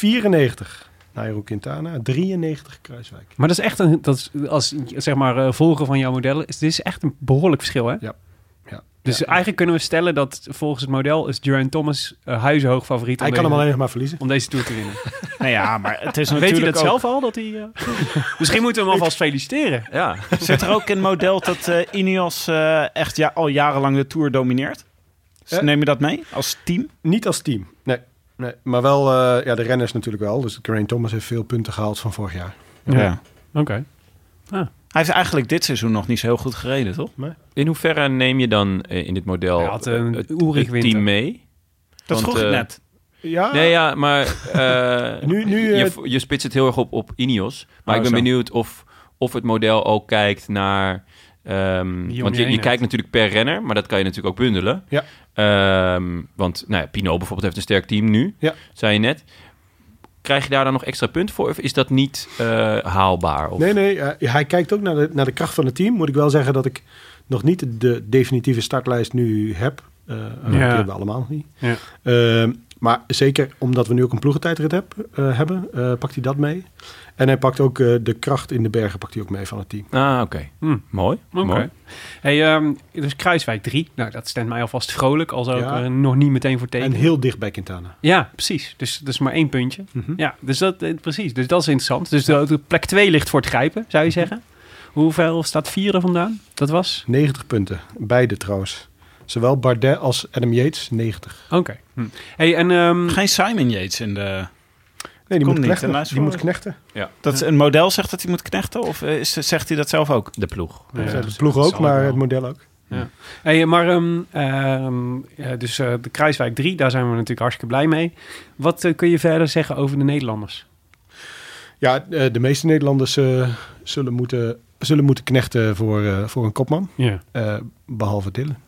[SPEAKER 4] 94 Nairo Quintana, 93 Kruiswijk.
[SPEAKER 2] Maar dat is echt een, dat is, als zeg maar eh, volger van jouw modellen, is, dit is echt een behoorlijk verschil, hè?
[SPEAKER 4] Ja. Ja.
[SPEAKER 2] Dus eigenlijk kunnen we stellen dat volgens het model is Duran Thomas eh, huizenhoog favoriet. om
[SPEAKER 4] Hij kan hem
[SPEAKER 2] deze-
[SPEAKER 4] alleen eh, nog maar verliezen.
[SPEAKER 2] om deze Tour te winnen.
[SPEAKER 3] Nou ja, maar het is
[SPEAKER 2] Weet
[SPEAKER 3] natuurlijk
[SPEAKER 2] hij dat
[SPEAKER 3] ook-
[SPEAKER 2] zelf al? Dat hij, eh, Misschien moeten we hem alvast feliciteren.
[SPEAKER 1] Ja.
[SPEAKER 3] Zit er ook in model dat eh Ineos eh, echt ja, al jarenlang de Tour domineert? Dus
[SPEAKER 4] Eh?
[SPEAKER 3] neem je dat mee als team?
[SPEAKER 4] Niet als team. Nee. nee. Maar wel, eh, ja, de renners natuurlijk wel. Dus Geraint Thomas heeft veel punten gehaald van vorig jaar.
[SPEAKER 2] Ja. Oké.
[SPEAKER 3] Hij heeft eigenlijk dit seizoen nog niet zo heel goed gereden, toch?
[SPEAKER 1] In hoeverre neem je dan eh, in dit model
[SPEAKER 2] Hij had een
[SPEAKER 1] eh, het,
[SPEAKER 2] Ulrich
[SPEAKER 1] het
[SPEAKER 2] Winter. Ah.
[SPEAKER 1] team mee?
[SPEAKER 3] Dat
[SPEAKER 1] Want,
[SPEAKER 3] vroeg ik
[SPEAKER 1] eh,
[SPEAKER 3] net.
[SPEAKER 4] Ja,
[SPEAKER 1] Nee, ja, maar eh,
[SPEAKER 4] Nu- nu, eh,
[SPEAKER 1] je, je spitst het heel erg op, op Ineos. Maar
[SPEAKER 3] Oh,
[SPEAKER 1] ik ben
[SPEAKER 3] zo.
[SPEAKER 1] benieuwd of, of het model ook kijkt naar... ehm,
[SPEAKER 2] Wie om
[SPEAKER 1] want
[SPEAKER 2] je
[SPEAKER 1] je,
[SPEAKER 2] heen
[SPEAKER 1] je
[SPEAKER 2] hebt.
[SPEAKER 1] kijkt natuurlijk per renner, maar dat kan je natuurlijk ook bundelen.
[SPEAKER 4] Ja.
[SPEAKER 1] Ehm, want nou ja, Pino bijvoorbeeld heeft een sterk team nu,
[SPEAKER 4] Ja.
[SPEAKER 1] zei je net. Krijg je daar dan nog extra punten voor? Of is dat niet eh, haalbaar? Of,
[SPEAKER 4] Nee, nee. eh, hij kijkt ook naar de, naar de kracht van het team. Moet ik wel zeggen dat ik nog niet de definitieve startlijst nu heb. Eh, eh, Die hebben we allemaal nog niet.
[SPEAKER 2] Ja.
[SPEAKER 4] Ehm, maar zeker omdat we nu ook een ploegentijdrit heb, eh, hebben, eh, pakt hij dat mee. En hij pakt ook eh, de kracht in de bergen pakt hij ook mee van het team.
[SPEAKER 1] Ah, oké.
[SPEAKER 2] Hm.
[SPEAKER 1] Mooi.
[SPEAKER 2] Oké.
[SPEAKER 1] mooi.
[SPEAKER 2] Hey, ehm, dus Kruiswijk 3. Nou, dat stemt mij alvast vrolijk, al zou ik
[SPEAKER 4] Ja.
[SPEAKER 2] er nog niet meteen voor
[SPEAKER 4] En
[SPEAKER 2] tekenen.
[SPEAKER 4] heel dicht bij Quintana.
[SPEAKER 2] Ja, precies. Dus dat is maar één puntje.
[SPEAKER 4] Mhm.
[SPEAKER 2] Ja, dus dat, eh, precies. Dus dat is interessant. Dus de, de plek 2 ligt voor het grijpen, zou je zeggen. Hoeveel staat 4 er vandaan? Dat was?
[SPEAKER 4] 90 punten. Beide trouwens. Zowel Bardet als Adam Yates 90.
[SPEAKER 2] Oké. Hm. Hey, en... ehm,
[SPEAKER 3] Geen Simon Yates in de...
[SPEAKER 4] Nee, die
[SPEAKER 3] Komt
[SPEAKER 4] moet
[SPEAKER 3] niet,
[SPEAKER 4] knechten.
[SPEAKER 3] helaas
[SPEAKER 4] Die moet
[SPEAKER 3] voor-
[SPEAKER 4] knechten.
[SPEAKER 3] Dat een model zegt dat hij moet knechten? Of eh, is, zegt hij dat zelf ook?
[SPEAKER 1] De ploeg.
[SPEAKER 2] Ja,
[SPEAKER 4] Ja, de
[SPEAKER 2] dat
[SPEAKER 4] ploeg
[SPEAKER 2] zal
[SPEAKER 4] ook,
[SPEAKER 2] ik
[SPEAKER 4] maar
[SPEAKER 2] wel.
[SPEAKER 4] het model ook.
[SPEAKER 2] Hey, maar ehm, ehm, ja, dus eh, de Kruiswijk 3, daar zijn we natuurlijk hartstikke blij mee. Wat eh, kun je verder zeggen over de Nederlanders?
[SPEAKER 4] Ja, eh, de meeste Nederlanders eh, zullen, moeten, zullen moeten knechten voor, eh, voor een kopman.
[SPEAKER 2] Ja.
[SPEAKER 4] Eh, behalve Dillen.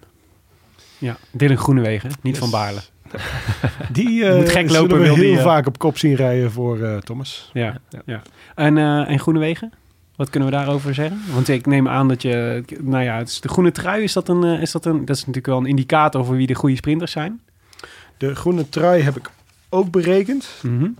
[SPEAKER 2] ja. Dylan Groenewegen, niet
[SPEAKER 4] Yes.
[SPEAKER 2] van Baarle.
[SPEAKER 4] Die
[SPEAKER 2] Moet
[SPEAKER 4] eh
[SPEAKER 2] gek
[SPEAKER 4] zullen
[SPEAKER 2] lopen,
[SPEAKER 4] we
[SPEAKER 2] wil
[SPEAKER 4] heel
[SPEAKER 2] die, eh.
[SPEAKER 4] vaak op kop zien rijden voor eh, Thomas.
[SPEAKER 2] Ja. Ja. En, eh, en Groenewegen? Wat kunnen we daarover zeggen? Want ik neem aan dat je... Nou ja, het is de groene trui, is dat, een, eh, is dat een... Dat is natuurlijk wel een indicator voor wie de goede sprinters zijn.
[SPEAKER 4] De groene trui heb ik ook berekend. Mm,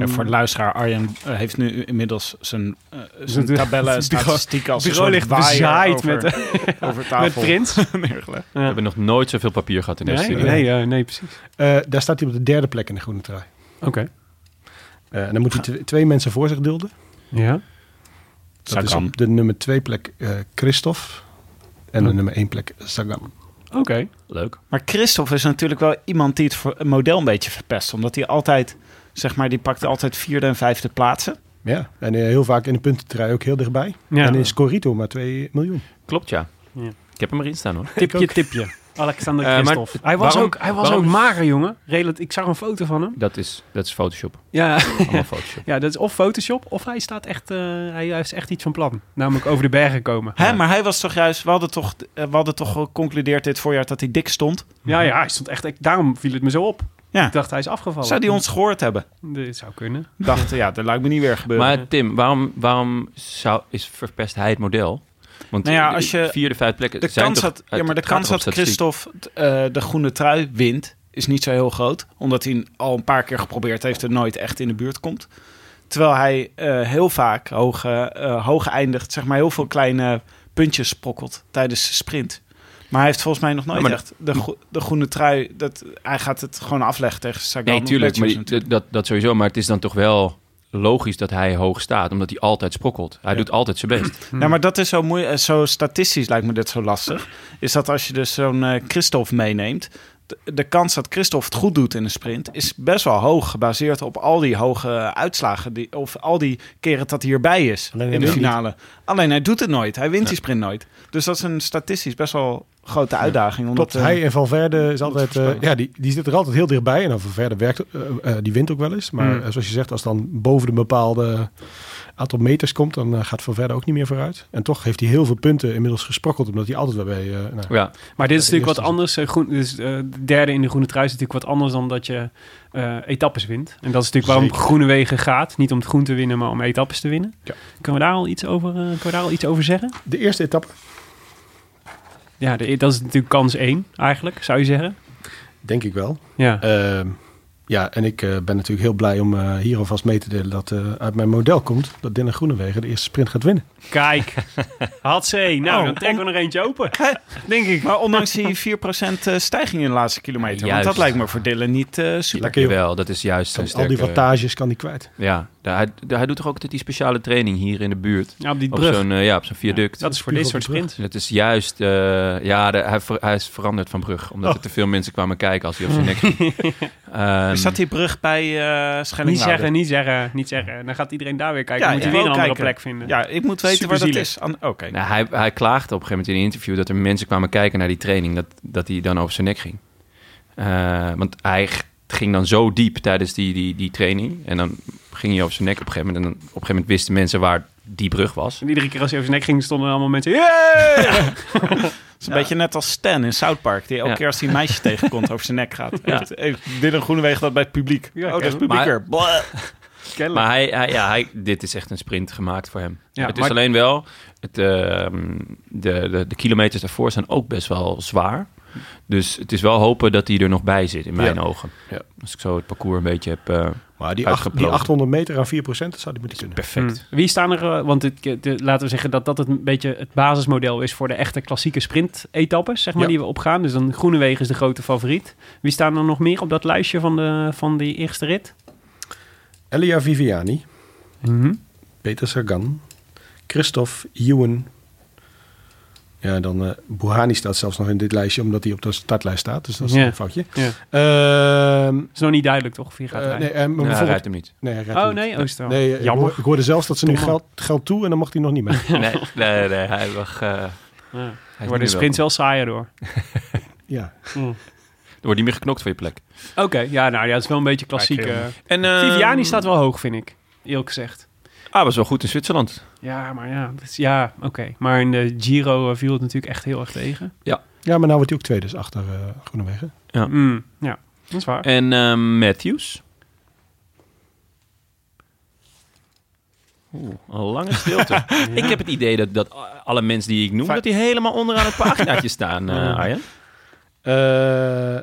[SPEAKER 3] Eh, voor de luisteraar, Arjen eh, heeft nu inmiddels zijn, eh, zijn
[SPEAKER 2] het-
[SPEAKER 3] tabellen,
[SPEAKER 2] het bureau-
[SPEAKER 3] statistieken als
[SPEAKER 2] Het bureau
[SPEAKER 3] een
[SPEAKER 2] ligt
[SPEAKER 3] soort waaier
[SPEAKER 2] bezaaid
[SPEAKER 3] over,
[SPEAKER 2] met,
[SPEAKER 3] over
[SPEAKER 2] met
[SPEAKER 3] tafel.
[SPEAKER 2] prins.
[SPEAKER 3] neergelegd.
[SPEAKER 1] We
[SPEAKER 2] Ja.
[SPEAKER 1] hebben nog nooit zoveel papier gehad in deze
[SPEAKER 2] Nee,
[SPEAKER 1] studio.
[SPEAKER 2] nee, eh, nee, precies.
[SPEAKER 4] eh, daar staat hij op de derde plek in de groene trui.
[SPEAKER 2] Oké.
[SPEAKER 4] Eh, en dan moet hij tw- twee mensen voor zich dulden.
[SPEAKER 2] Ja.
[SPEAKER 4] Dat is
[SPEAKER 3] Sagan.
[SPEAKER 4] op de nummer twee plek eh Christophe. En de
[SPEAKER 2] Oh.
[SPEAKER 4] nummer één plek Sagan.
[SPEAKER 2] Oké.
[SPEAKER 1] Leuk.
[SPEAKER 3] Maar Christophe is natuurlijk wel iemand die het voor- het model een beetje verpest. Omdat hij altijd, zeg maar, die pakt altijd vierde en vijfde plaatsen.
[SPEAKER 4] Ja, en eh, heel vaak in de puntentrui ook heel dichtbij.
[SPEAKER 2] Ja.
[SPEAKER 4] En in Scorito maar 2 miljoen.
[SPEAKER 1] Klopt, ja.
[SPEAKER 2] Ja.
[SPEAKER 1] Ik heb hem erin staan, hoor.
[SPEAKER 2] Tipje, tipje. Alexander
[SPEAKER 1] Eh, maar
[SPEAKER 2] Christophe. hij was,
[SPEAKER 1] waarom-
[SPEAKER 2] ook, hij was
[SPEAKER 1] waarom-
[SPEAKER 2] ook mager, jongen. Relat ik zag een foto van hem.
[SPEAKER 1] Dat is, dat is Photoshop.
[SPEAKER 2] Ja,
[SPEAKER 1] Allemaal Photoshop.
[SPEAKER 2] ja dat is of Photoshop, of hij staat echt... eh, hij heeft echt iets van plan. Namelijk over de bergen komen.
[SPEAKER 3] Hè, maar hij was toch juist, we hadden toch, eh, we hadden toch geconcludeerd dit voorjaar dat hij dik stond.
[SPEAKER 2] Ja, ja, hij stond echt... Ik, daarom viel het me zo op.
[SPEAKER 3] Ja.
[SPEAKER 2] Ik dacht, hij is afgevallen.
[SPEAKER 3] Zou die ons gehoord hebben?
[SPEAKER 2] Dit zou kunnen.
[SPEAKER 3] Dachten, ja, dat lijkt me niet weer gebeuren.
[SPEAKER 1] Maar Tim, waarom, waarom zou, is verpest hij het model? Want
[SPEAKER 3] Nou ja, als je-
[SPEAKER 1] vierde, vijfde plekken
[SPEAKER 3] de
[SPEAKER 1] zijn
[SPEAKER 3] kans
[SPEAKER 1] toch-
[SPEAKER 3] dat, ja,
[SPEAKER 1] het
[SPEAKER 3] maar de
[SPEAKER 1] gaat
[SPEAKER 3] kans
[SPEAKER 1] toch
[SPEAKER 3] dat
[SPEAKER 1] op statistiek?
[SPEAKER 3] Christophe eh, de groene trui wint, is niet zo heel groot. Omdat hij al een paar keer geprobeerd heeft en nooit echt in de buurt komt. Terwijl hij eh, heel vaak hoog, eh, eh, hoog eindigt, zeg maar heel veel kleine puntjes sprokkelt tijdens de sprint. Maar hij heeft volgens mij nog nooit
[SPEAKER 1] Ja, maar
[SPEAKER 3] echt de, gro- de groene trui. Dat, hij gaat het gewoon afleggen tegen Sagan.
[SPEAKER 1] Nee,
[SPEAKER 3] of
[SPEAKER 1] tuurlijk. Maar
[SPEAKER 3] Matthews
[SPEAKER 1] die-
[SPEAKER 3] natuurlijk.
[SPEAKER 1] dat, dat sowieso. Maar het is dan toch wel logisch dat hij hoog staat. Omdat hij altijd sprokkelt. Hij
[SPEAKER 3] Ja.
[SPEAKER 1] doet altijd zijn best.
[SPEAKER 3] Ja, maar dat is zo moeilijk. Zo statistisch lijkt me dit zo lastig. Is dat als je dus zo'n eh Christophe meeneemt. De, de kans dat Christophe het goed doet in een sprint is best wel hoog. Gebaseerd op al die hoge uitslagen. Die, of al die keren dat hij erbij is
[SPEAKER 4] Alleen hij
[SPEAKER 3] in de
[SPEAKER 4] wint
[SPEAKER 3] finale. Alleen hij doet het nooit. Hij wint die sprint nooit. Dus dat is een statistisch best wel grote uitdaging. Omdat,
[SPEAKER 4] Klopt,
[SPEAKER 3] eh,
[SPEAKER 4] hij en Valverde is altijd, eh,
[SPEAKER 3] voorspellen.
[SPEAKER 4] ja, die, die zit er altijd heel dichtbij. En dan Valverde werkt, eh, eh, die wint ook wel eens. Maar
[SPEAKER 3] Hmm.
[SPEAKER 4] eh, zoals je zegt, als dan boven de bepaalde aantal meters komt, dan eh, gaat Valverde ook niet meer vooruit. En toch heeft hij heel veel punten inmiddels gesprokkeld, omdat hij altijd wel bij... eh, nou,
[SPEAKER 1] Ja.
[SPEAKER 2] Maar dit is
[SPEAKER 4] Ja,
[SPEAKER 2] natuurlijk wat
[SPEAKER 4] eerst
[SPEAKER 2] anders. eh, groen, dus, eh, de derde in de groene trui is natuurlijk wat anders dan dat je eh, etappes wint. En dat is natuurlijk waarom
[SPEAKER 4] Zeker.
[SPEAKER 2] Groene Wegen gaat. Niet om het groen te winnen, maar om etappes te winnen.
[SPEAKER 4] Ja.
[SPEAKER 2] Kunnen, we daar al iets over, eh, kunnen we daar al iets over zeggen?
[SPEAKER 4] De eerste etappe.
[SPEAKER 2] Ja, de- dat is natuurlijk kans één eigenlijk, zou je zeggen.
[SPEAKER 4] Denk ik wel.
[SPEAKER 2] Ja,
[SPEAKER 4] Ehm, ja, en ik eh, ben natuurlijk heel blij om eh, hier alvast mee te delen dat eh, uit mijn model komt dat Dennis Groenewegen de eerste sprint gaat winnen.
[SPEAKER 2] kijk. Had ze. Nou,
[SPEAKER 3] Oh,
[SPEAKER 2] dan trekken we er eentje open.
[SPEAKER 3] Denk ik. Maar ondanks die 4% eh, stijging in de laatste kilometer. Want
[SPEAKER 1] Juist.
[SPEAKER 3] dat lijkt me voor Dylan niet eh, super.
[SPEAKER 4] Lekker joh.
[SPEAKER 1] Jawel, dat is juist
[SPEAKER 4] Kan
[SPEAKER 1] zijn
[SPEAKER 4] al die
[SPEAKER 1] sterke-
[SPEAKER 4] wattages kan hij kwijt.
[SPEAKER 1] Ja, daar- hij, daar- hij doet toch ook altijd die speciale training hier in de buurt.
[SPEAKER 2] Ja, op die
[SPEAKER 1] Op
[SPEAKER 2] brug.
[SPEAKER 1] zo'n eh, ja, op zo'n viaduct.
[SPEAKER 2] dat is voor dit soort sprints.
[SPEAKER 1] Dat is juist, eh, ja, de- hij, ver- hij is veranderd van brug.
[SPEAKER 3] Oh.
[SPEAKER 1] Omdat er te veel mensen kwamen kijken als hij op zijn nek ging. Ehm,
[SPEAKER 3] Is dat die brug bij eh
[SPEAKER 2] Niet
[SPEAKER 3] Schellingwoude?
[SPEAKER 2] zeggen, niet zeggen, niet zeggen. Dan gaat iedereen daar weer kijken.
[SPEAKER 3] Ja,
[SPEAKER 2] dan moet
[SPEAKER 3] ja.
[SPEAKER 2] je weer een
[SPEAKER 3] Wel
[SPEAKER 2] andere
[SPEAKER 3] kijken.
[SPEAKER 2] plek vinden.
[SPEAKER 3] Ja, ik moet weten waar dat
[SPEAKER 2] Superzielig.
[SPEAKER 3] is. An- Oké.
[SPEAKER 1] nou, hij, hij klaagde op een gegeven moment in een interview dat er mensen kwamen kijken naar die training. Dat, dat hij dan over zijn nek ging. Eh, want hij g- ging dan zo diep tijdens die, die, die training. En dan ging hij over zijn nek op een gegeven moment. En dan, op een gegeven moment wisten mensen waar die brug was.
[SPEAKER 2] En iedere keer als hij over zijn nek ging, stonden er allemaal mensen... "Yeah!"
[SPEAKER 3] Het is een beetje net als Stan in South Park. Die elke
[SPEAKER 1] Ja.
[SPEAKER 3] keer als hij een meisje tegenkomt over zijn nek gaat. Heeft, heeft Dylan Groeneweg dat bij het publiek.
[SPEAKER 2] Ja,
[SPEAKER 3] oh, dat is
[SPEAKER 2] ken-
[SPEAKER 3] publieker. Blah.
[SPEAKER 2] Kennelijk.
[SPEAKER 1] Maar hij, hij- ja, hij, dit is echt een sprint gemaakt voor hem.
[SPEAKER 2] Ja,
[SPEAKER 1] het
[SPEAKER 2] maar-
[SPEAKER 1] is alleen wel, het, ehm, de, de, de kilometers daarvoor zijn ook best wel zwaar. Dus het is wel hopen dat hij er nog bij zit, in mijn ogen.
[SPEAKER 4] Ja.
[SPEAKER 1] Als ik zo het parcours een beetje heb... eh,
[SPEAKER 4] Maar die, acht, die
[SPEAKER 1] Uitgeplozen.
[SPEAKER 4] 800 meter aan 4% dat zou hij moeten kunnen.
[SPEAKER 1] perfect.
[SPEAKER 2] Hmm.
[SPEAKER 1] Nou,
[SPEAKER 2] Wie staan er, eh, want dit- de- laten we zeggen dat dat het een beetje het basismodel is voor de echte klassieke sprint-etappes, zeg maar,
[SPEAKER 4] Ja.
[SPEAKER 2] die we opgaan. Dus dan Groenewegen is de grote favoriet. Wie staan er nog meer op dat lijstje van, de, van die eerste rit?
[SPEAKER 4] Elia Viviani,
[SPEAKER 2] Mhm.
[SPEAKER 4] Peter Sagan, Christophe Ewan. Ja, en dan eh Buhani staat zelfs nog in dit lijstje, omdat hij op de startlijst staat. Dus dat is
[SPEAKER 2] Ja.
[SPEAKER 4] een foutje.
[SPEAKER 2] Ja.
[SPEAKER 4] Ehm,
[SPEAKER 2] Is nog niet duidelijk, toch? Of wie gaat
[SPEAKER 4] eh,
[SPEAKER 2] rijden?
[SPEAKER 4] nee, eh, maar
[SPEAKER 1] Ja, hij
[SPEAKER 4] bijvoorbeeld-
[SPEAKER 1] rijdt hem niet.
[SPEAKER 4] nee, hij rijdt
[SPEAKER 2] Oh
[SPEAKER 4] niet.
[SPEAKER 2] nee, Ooster.
[SPEAKER 4] Nee, eh,
[SPEAKER 2] Jammer.
[SPEAKER 4] Ik hoorde zelfs dat ze nu
[SPEAKER 2] Domme.
[SPEAKER 4] geld, geld toe en dan mag hij nog niet mee.
[SPEAKER 1] Nee, nee, nee, hij dus mag... eh,
[SPEAKER 2] Ja.
[SPEAKER 1] hij
[SPEAKER 2] Worden de sprints
[SPEAKER 1] Er
[SPEAKER 2] wel saaier door.
[SPEAKER 4] ja.
[SPEAKER 1] wordt niet meer geknokt voor je plek.
[SPEAKER 2] Oké, ja, nou ja, het is wel een beetje klassiek.
[SPEAKER 3] Kijk,
[SPEAKER 2] eh.
[SPEAKER 1] En, eh,
[SPEAKER 2] Viviani staat wel hoog, vind ik, eerlijk gezegd.
[SPEAKER 1] Ah, was wel goed in Zwitserland.
[SPEAKER 2] Ja, maar ja, dat is- ja, oké. Maar in de Giro eh, viel het natuurlijk echt heel erg tegen.
[SPEAKER 4] ja, maar nou wordt hij ook tweede, dus achter eh Groenewegen.
[SPEAKER 1] Ja.
[SPEAKER 2] Mm, ja, dat is waar.
[SPEAKER 1] En eh, Matthews? Oeh, een lange stilte. Ik heb het idee dat, dat alle mensen die ik noem,
[SPEAKER 3] Va-
[SPEAKER 1] dat die helemaal onderaan het paginaatje staan, eh Arjen.
[SPEAKER 4] Eh,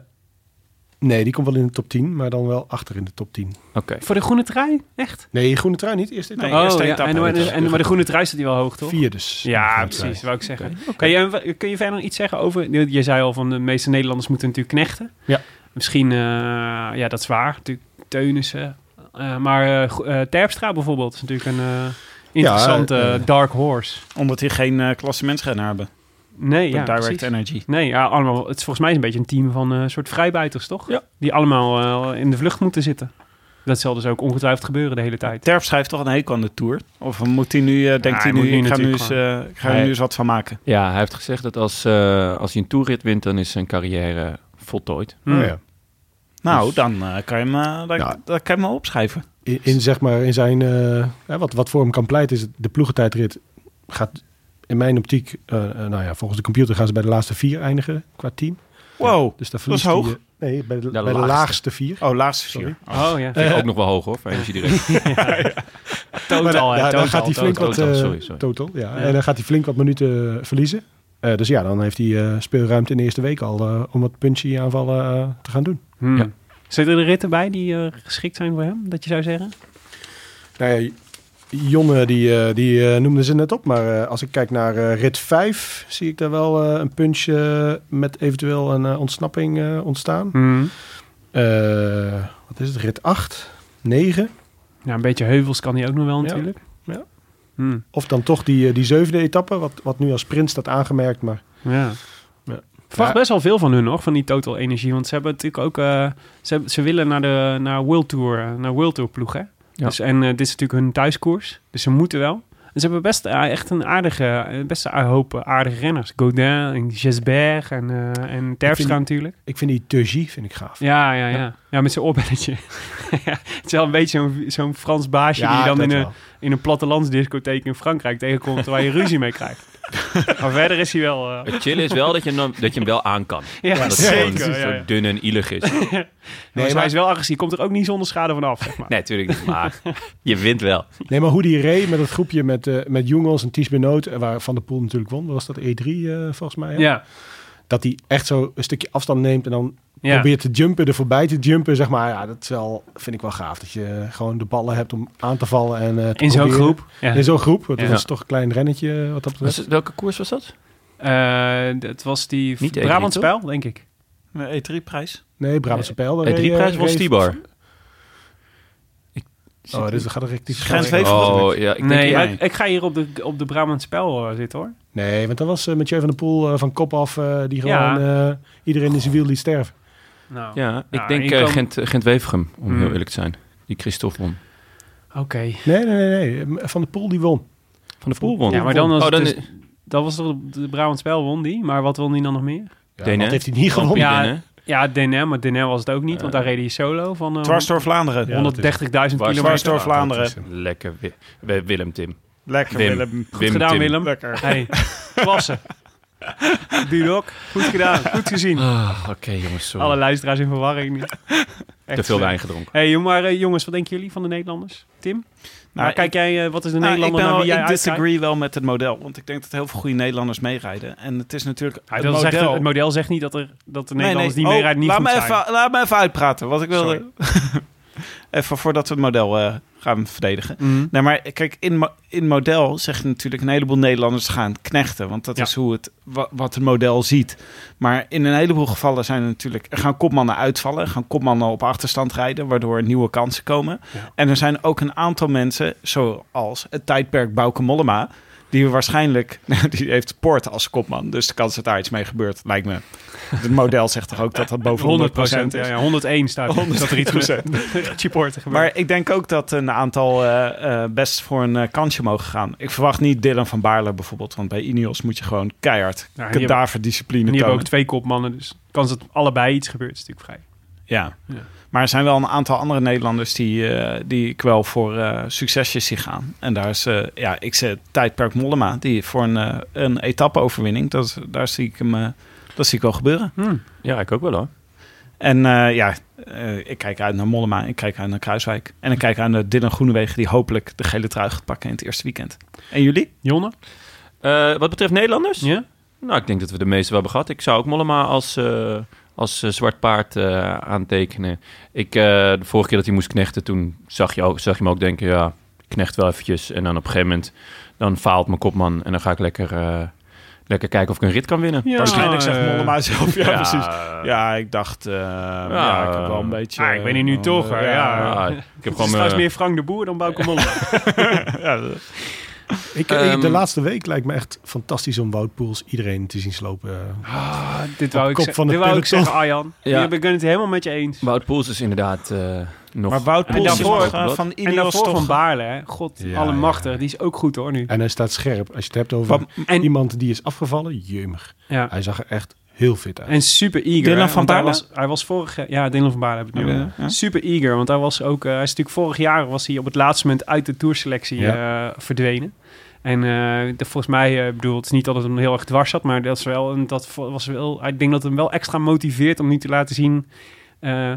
[SPEAKER 4] nee, die komt wel in de top 10, maar dan wel achter in de top 10.
[SPEAKER 1] Oké.
[SPEAKER 2] Voor de groene trui? Echt?
[SPEAKER 4] Nee, groene trui niet. Eerst dit
[SPEAKER 3] Nee,
[SPEAKER 4] dan.
[SPEAKER 2] oh,
[SPEAKER 3] eerste
[SPEAKER 2] ja,
[SPEAKER 3] etappe.
[SPEAKER 2] En, en, en- maar de groene trui staat die wel hoog, toch?
[SPEAKER 4] vier dus.
[SPEAKER 2] Ja,
[SPEAKER 4] Groene trui.
[SPEAKER 2] precies, wou ik zeggen. Hey, en wa- kun je verder iets zeggen over... Je zei al van de meeste Nederlanders moeten natuurlijk knechten.
[SPEAKER 4] Ja.
[SPEAKER 2] Misschien, eh, ja, dat is waar. Natuurlijk Teunissen. Eh, maar eh, Go- eh, Terpstra bijvoorbeeld is natuurlijk een eh, interessante
[SPEAKER 4] Ja, eh,
[SPEAKER 2] dark horse.
[SPEAKER 3] Omdat hij geen eh klassementsrenner hebben.
[SPEAKER 2] Nee, ja,
[SPEAKER 3] Van Direct
[SPEAKER 2] precies.
[SPEAKER 3] Energy.
[SPEAKER 2] Nee, ja, allemaal, het is volgens mij een beetje een team van eh soort vrijbuiters, toch?
[SPEAKER 1] Ja.
[SPEAKER 2] Die allemaal eh, in de vlucht moeten zitten. Dat zal dus ook ongetwijfeld gebeuren de hele tijd.
[SPEAKER 3] Terp schrijft toch een hekel aan de Tour? Of moet hij nu, eh, denkt
[SPEAKER 2] hij
[SPEAKER 3] hij
[SPEAKER 2] moet
[SPEAKER 3] nu,
[SPEAKER 2] nu
[SPEAKER 3] ik ga, nu
[SPEAKER 2] natuurlijk
[SPEAKER 3] eens, eh, ik ga er
[SPEAKER 1] Hij-
[SPEAKER 3] nu eens wat van maken?
[SPEAKER 1] Ja, hij heeft gezegd dat als, eh, als hij een toerrit wint, dan is zijn carrière voltooid.
[SPEAKER 2] Hmm.
[SPEAKER 4] Oh, ja.
[SPEAKER 3] Nou,
[SPEAKER 1] Dus-
[SPEAKER 3] dan eh, kan je hem, eh, dan-
[SPEAKER 4] Ja.
[SPEAKER 3] dan kan je hem wel opschrijven.
[SPEAKER 4] In, in, zeg maar, in zijn, eh, ja, wat, wat voor hem kan pleiten is het- de ploegentijdrit gaat in mijn optiek, eh, eh, nou ja, volgens de computer gaan ze bij de laatste vier eindigen qua team.
[SPEAKER 3] Wow.
[SPEAKER 4] Dus daar
[SPEAKER 3] Dat is
[SPEAKER 4] verliest hij,
[SPEAKER 3] hoog.
[SPEAKER 4] eh, nee, bij de, bij de
[SPEAKER 1] laagste.
[SPEAKER 4] laagste vier.
[SPEAKER 3] Oh, laatste
[SPEAKER 4] Sorry.
[SPEAKER 3] vier.
[SPEAKER 2] Oh ja.
[SPEAKER 1] Vind ik ook nog wel hoog hoor, voor energiedirect.
[SPEAKER 4] Maar
[SPEAKER 2] Totaal,
[SPEAKER 4] daar-
[SPEAKER 2] hè,
[SPEAKER 4] daar- daar
[SPEAKER 2] totaal,
[SPEAKER 4] gaat hij flink
[SPEAKER 2] totaal.
[SPEAKER 4] wat
[SPEAKER 1] totaal,
[SPEAKER 4] eh,
[SPEAKER 1] sorry, sorry.
[SPEAKER 4] total, ja.
[SPEAKER 2] Ja.
[SPEAKER 4] En dan gaat hij flink wat minuten eh, verliezen. Eh, dus ja, dan heeft hij eh, speelruimte in de eerste week al eh, om wat punchy aanvallen eh, te gaan doen.
[SPEAKER 2] Hmm.
[SPEAKER 1] Ja.
[SPEAKER 2] Zitten er ritten bij die eh, geschikt zijn voor hem, dat je zou zeggen?
[SPEAKER 4] Nou ja, Jonne, die, eh, die eh, noemde ze net op. Maar eh, als ik kijk naar eh, rit 5, zie ik daar wel eh, een punch eh, met eventueel een eh, ontsnapping eh, ontstaan. Eh, wat is het? Rit 8, 9.
[SPEAKER 2] Nou, een beetje heuvels kan hij ook nog wel
[SPEAKER 4] Ja.
[SPEAKER 2] natuurlijk.
[SPEAKER 4] Ja.
[SPEAKER 2] Hmm.
[SPEAKER 4] Of dan toch die, eh, die zevende etappe, wat, wat nu als sprint staat aangemerkt. Maar
[SPEAKER 2] Ja.
[SPEAKER 4] Ja.
[SPEAKER 2] Verwacht
[SPEAKER 4] Ja.
[SPEAKER 2] best wel veel van hun nog, van die Total Energie. Want ze hebben natuurlijk ook... eh, ze, hebben- ze willen naar de naar World, Tour, eh, naar World Tour ploeg, hè? Dus, en eh, dit is natuurlijk hun thuiskoers. Dus ze moeten wel. En ze hebben best eh, echt een aardige... eh, Best een hoop eh, aardige renners. Godin en Gesberg en, eh en Terpstra
[SPEAKER 4] die-
[SPEAKER 2] natuurlijk.
[SPEAKER 4] ik vind die Turgie vind ik gaaf.
[SPEAKER 2] Ja, ja, ja. Ja, met zijn oorbelletje. ja, het is wel een beetje zo'n zo'n Frans baasje die je dan
[SPEAKER 4] dat
[SPEAKER 2] in eh, een,
[SPEAKER 4] wel.
[SPEAKER 2] in een plattelandsdiscotheek in Frankrijk tegenkomt... waar je ruzie mee krijgt. maar verder is hij wel... eh,
[SPEAKER 1] Het chillen is wel dat je hem, dan- dat je hem wel aan kan.
[SPEAKER 2] ja,
[SPEAKER 1] dat het gewoon
[SPEAKER 2] zeker. ja,
[SPEAKER 1] zo
[SPEAKER 2] ja.
[SPEAKER 1] dun en ielig is.
[SPEAKER 2] Nee, maar
[SPEAKER 4] maar-
[SPEAKER 2] hij is wel agressief. Komt er ook niet zonder schade van af, zeg maar.
[SPEAKER 1] Nee, natuurlijk niet. Maar je wint wel.
[SPEAKER 4] Nee, maar hoe die reed met het groepje met, eh met Jongels en Ties Benoot, eh, waar Van der Poel natuurlijk won, was dat E3 eh, volgens mij. hè?
[SPEAKER 2] Ja,
[SPEAKER 4] Dat hij echt zo een stukje afstand neemt en dan
[SPEAKER 2] ja.
[SPEAKER 4] probeert te jumpen, er voorbij te jumpen, zeg maar. Ja, dat is wel, vind ik wel gaaf, dat je eh, gewoon de ballen hebt om aan te vallen. En, eh, te
[SPEAKER 2] in zo'n
[SPEAKER 4] proberen.
[SPEAKER 2] groep. Ja.
[SPEAKER 4] In zo'n groep, want
[SPEAKER 2] Ja.
[SPEAKER 4] dat is toch een klein rennetje eh, wat dat betreft.
[SPEAKER 1] welke koers was dat?
[SPEAKER 2] Eh, dat was die
[SPEAKER 1] Niet de
[SPEAKER 2] Brabantspijl, denk ik.
[SPEAKER 3] E3-prijs.
[SPEAKER 4] Nee, Brabantse Pijl. daar
[SPEAKER 1] De
[SPEAKER 4] reed, eh,
[SPEAKER 1] drieprijs was
[SPEAKER 4] reed-
[SPEAKER 1] Stibar.
[SPEAKER 4] Oh, dit is- dat gaat een rectief.
[SPEAKER 3] Grensweef.
[SPEAKER 1] Oh, ja. Ik
[SPEAKER 2] nee,
[SPEAKER 1] denk,
[SPEAKER 3] ja.
[SPEAKER 2] maar ik, ik ga hier op de, op de Brabantspijl eh, zitten, hoor.
[SPEAKER 4] Nee, want dat was eh, Mathieu van der Poel eh, van kop af, eh, die gewoon
[SPEAKER 2] Ja.
[SPEAKER 4] eh, iedereen in zijn wiel liet sterven.
[SPEAKER 2] Nou,
[SPEAKER 1] ja, ik
[SPEAKER 2] Nou,
[SPEAKER 1] denk
[SPEAKER 2] je
[SPEAKER 1] eh,
[SPEAKER 2] kan-
[SPEAKER 1] Gent, Gent Wevergem, om
[SPEAKER 2] Hmm.
[SPEAKER 1] heel eerlijk te zijn. Die Christophe won.
[SPEAKER 2] oké.
[SPEAKER 4] Nee, nee, nee, nee. Van der Poel die won.
[SPEAKER 1] Van de Poel won.
[SPEAKER 2] Ja, maar dan was
[SPEAKER 1] oh, dan
[SPEAKER 2] het dus- Dat was toch de Brabantspijl won die, maar wat won die dan nog meer?
[SPEAKER 4] Ja,
[SPEAKER 1] Denen.
[SPEAKER 4] dat heeft hij niet gewonnen.
[SPEAKER 2] Ja,
[SPEAKER 1] ja,
[SPEAKER 2] Ja, DNR, maar DNR was het ook niet, want daar reed hij solo van eh,
[SPEAKER 3] Dwars door Vlaanderen.
[SPEAKER 4] Ja, dat is-
[SPEAKER 2] 130.000
[SPEAKER 1] Dwars-
[SPEAKER 3] Dwars
[SPEAKER 2] kilometer.
[SPEAKER 3] door Vlaanderen.
[SPEAKER 1] Lekker. Wi- Wi- Willem Tim.
[SPEAKER 3] Lekker
[SPEAKER 1] Wim.
[SPEAKER 3] Willem.
[SPEAKER 2] Goed gedaan,
[SPEAKER 1] Tim.
[SPEAKER 2] Willem.
[SPEAKER 3] Lekker.
[SPEAKER 2] Hey, klasse. Dudok, goed gedaan, goed gezien.
[SPEAKER 1] Ah, Oké, jongens, sorry.
[SPEAKER 2] Alle luisteraars in verwarring. nu. Echt eh,
[SPEAKER 1] Te veel
[SPEAKER 2] slecht.
[SPEAKER 1] wijn gedronken.
[SPEAKER 2] Hey, jong- maar eh, jongens, wat denken jullie van de Nederlanders? Tim? Nou,
[SPEAKER 3] Nou,
[SPEAKER 2] kijk jij, eh, wat is de
[SPEAKER 3] Nou, ik,
[SPEAKER 2] Nederlander
[SPEAKER 3] ben
[SPEAKER 2] naar
[SPEAKER 3] wel,
[SPEAKER 2] wie jij
[SPEAKER 3] ik disagree
[SPEAKER 2] uitkijkt?
[SPEAKER 3] wel met het model. Want ik denk dat heel veel goede Nederlanders meerijden. En het is natuurlijk
[SPEAKER 2] Ja,
[SPEAKER 3] het
[SPEAKER 2] dat
[SPEAKER 3] model...
[SPEAKER 2] zegt- het model zegt niet dat, er, dat de
[SPEAKER 3] Nee,
[SPEAKER 2] Nederlanders
[SPEAKER 3] nee.
[SPEAKER 2] die
[SPEAKER 3] Oh,
[SPEAKER 2] meerijden niet
[SPEAKER 3] laat
[SPEAKER 2] goed
[SPEAKER 3] me
[SPEAKER 2] zijn.
[SPEAKER 3] even, Laat me even uitpraten. Wat ik wilde... even voordat we het model eh, gaan verdedigen.
[SPEAKER 2] Mhm.
[SPEAKER 3] Nee, maar kijk, in, mo- in model zegt natuurlijk een heleboel Nederlanders gaan knechten. Want dat
[SPEAKER 2] Ja.
[SPEAKER 3] is hoe het, wa- wat het model ziet. Maar in een heleboel gevallen zijn er natuurlijk, er gaan kopmannen uitvallen. er gaan kopmannen op achterstand rijden, waardoor nieuwe kansen komen.
[SPEAKER 2] Ja.
[SPEAKER 3] En er zijn ook een aantal mensen, zoals het tijdperk Bouke Mollema... Die waarschijnlijk, die heeft Poort als kopman. Dus de kans dat daar iets mee gebeurt, lijkt me. Het model zegt toch ook dat dat boven 100%,
[SPEAKER 2] 100%,
[SPEAKER 3] is.
[SPEAKER 2] ja, ja, 101 staat er. Dat er iets met supporter gebeurt. Nou,
[SPEAKER 3] Maar ik denk ook dat een aantal eh, eh, best voor een eh, kansje mogen gaan. Ik verwacht niet Dylan van Baarle bijvoorbeeld, want bij Ineos moet je gewoon keihard
[SPEAKER 2] Ja, en die
[SPEAKER 3] kadaverdiscipline
[SPEAKER 2] En die
[SPEAKER 3] tonen.
[SPEAKER 2] hebben ook twee kopmannen, dus de kans dat allebei iets gebeurt is natuurlijk vrij.
[SPEAKER 3] ja.
[SPEAKER 2] Ja.
[SPEAKER 3] Maar er zijn wel een aantal andere Nederlanders die, eh, die ik wel voor eh, succesjes zie gaan. En daar is, eh, ja, ik zet tijdperk Mollema, die voor een, eh, een etappe-overwinning, dat, is- daar zie ik hem, eh, dat zie ik wel gebeuren.
[SPEAKER 2] Hm.
[SPEAKER 1] Ja, ik ook wel hoor.
[SPEAKER 3] En eh, ja, eh, ik kijk uit naar Mollema, ik kijk uit naar Kruiswijk. En ik kijk uit naar Dylan Groenewegen, die hopelijk de gele trui gaat pakken in het eerste weekend. En jullie?
[SPEAKER 2] Jonne?
[SPEAKER 1] Eh, wat betreft Nederlanders?
[SPEAKER 2] Ja?
[SPEAKER 1] Nou, ik denk dat we de meeste wel hebben gehad. Ik zou ook Mollema als, eh, als eh, zwart paard eh, aantekenen. Ik, eh, de vorige keer dat hij moest knechten, toen zag je, ook, zag je me ook denken... ja, ik knecht wel eventjes. En dan op een gegeven moment, dan faalt mijn kopman... en dan ga ik lekker, eh, lekker kijken of ik een rit kan winnen.
[SPEAKER 2] Ja.
[SPEAKER 3] Waarschijnlijk zegt
[SPEAKER 2] eh,
[SPEAKER 3] Mollema zelf, ja, precies.
[SPEAKER 1] Ja,
[SPEAKER 3] Ja, ik dacht, eh, ja, ik heb wel een beetje...
[SPEAKER 2] ah, ik ben hier nu
[SPEAKER 3] eh,
[SPEAKER 2] toch, hè, ja.
[SPEAKER 1] ja, ik heb
[SPEAKER 2] Het is
[SPEAKER 1] gewoon... eh,
[SPEAKER 2] trouwens
[SPEAKER 1] mijn-
[SPEAKER 2] meer Frank de Boer dan Bouke Mollema.
[SPEAKER 3] ja.
[SPEAKER 4] Ik, ik-
[SPEAKER 1] Ehm,
[SPEAKER 4] de laatste week lijkt me echt fantastisch om Woutpoels iedereen te zien slopen. eh.
[SPEAKER 2] Ah, dit wou,
[SPEAKER 4] Op
[SPEAKER 2] ik,
[SPEAKER 4] kop
[SPEAKER 2] ze-
[SPEAKER 4] van de
[SPEAKER 2] dit wou ik
[SPEAKER 4] peloton.
[SPEAKER 2] zeggen, Arjan.
[SPEAKER 1] Ja.
[SPEAKER 2] We kunnen het helemaal met je eens.
[SPEAKER 1] Wout Poels is inderdaad eh, nog...
[SPEAKER 3] Maar Wout
[SPEAKER 1] En
[SPEAKER 3] Poels is
[SPEAKER 2] daarvoor-
[SPEAKER 3] nog, eh, van
[SPEAKER 2] en
[SPEAKER 3] Ineos
[SPEAKER 2] daarvoor
[SPEAKER 3] toch...
[SPEAKER 2] van Baarle, hè. God,
[SPEAKER 4] Ja,
[SPEAKER 2] allemachtig.
[SPEAKER 4] ja.
[SPEAKER 2] Die is ook goed hoor nu.
[SPEAKER 4] En hij staat scherp. Als je het hebt over
[SPEAKER 3] Van-
[SPEAKER 2] En,
[SPEAKER 4] iemand die is afgevallen, jemig.
[SPEAKER 2] ja.
[SPEAKER 4] Hij zag er echt heel fit uit.
[SPEAKER 2] en super eager.
[SPEAKER 3] Dylan
[SPEAKER 2] hè,
[SPEAKER 3] van
[SPEAKER 2] want hij
[SPEAKER 3] Baarle?
[SPEAKER 2] was, hij was vorig Ja, Dylan van Baarle heb ik het nu.
[SPEAKER 3] Ja,
[SPEAKER 2] over.
[SPEAKER 3] ja.
[SPEAKER 2] Super eager, want hij was ook... eh, hij is natuurlijk vorig jaar was hij op het laatste moment uit de tourselectie eh, verdwenen. En eh, de, volgens mij, eh, ik bedoel, het is niet dat het hem heel erg dwars zat, maar dat, is wel, een- dat vo- was wel... Ik denk dat het hem wel extra motiveert om nu te laten zien... eh,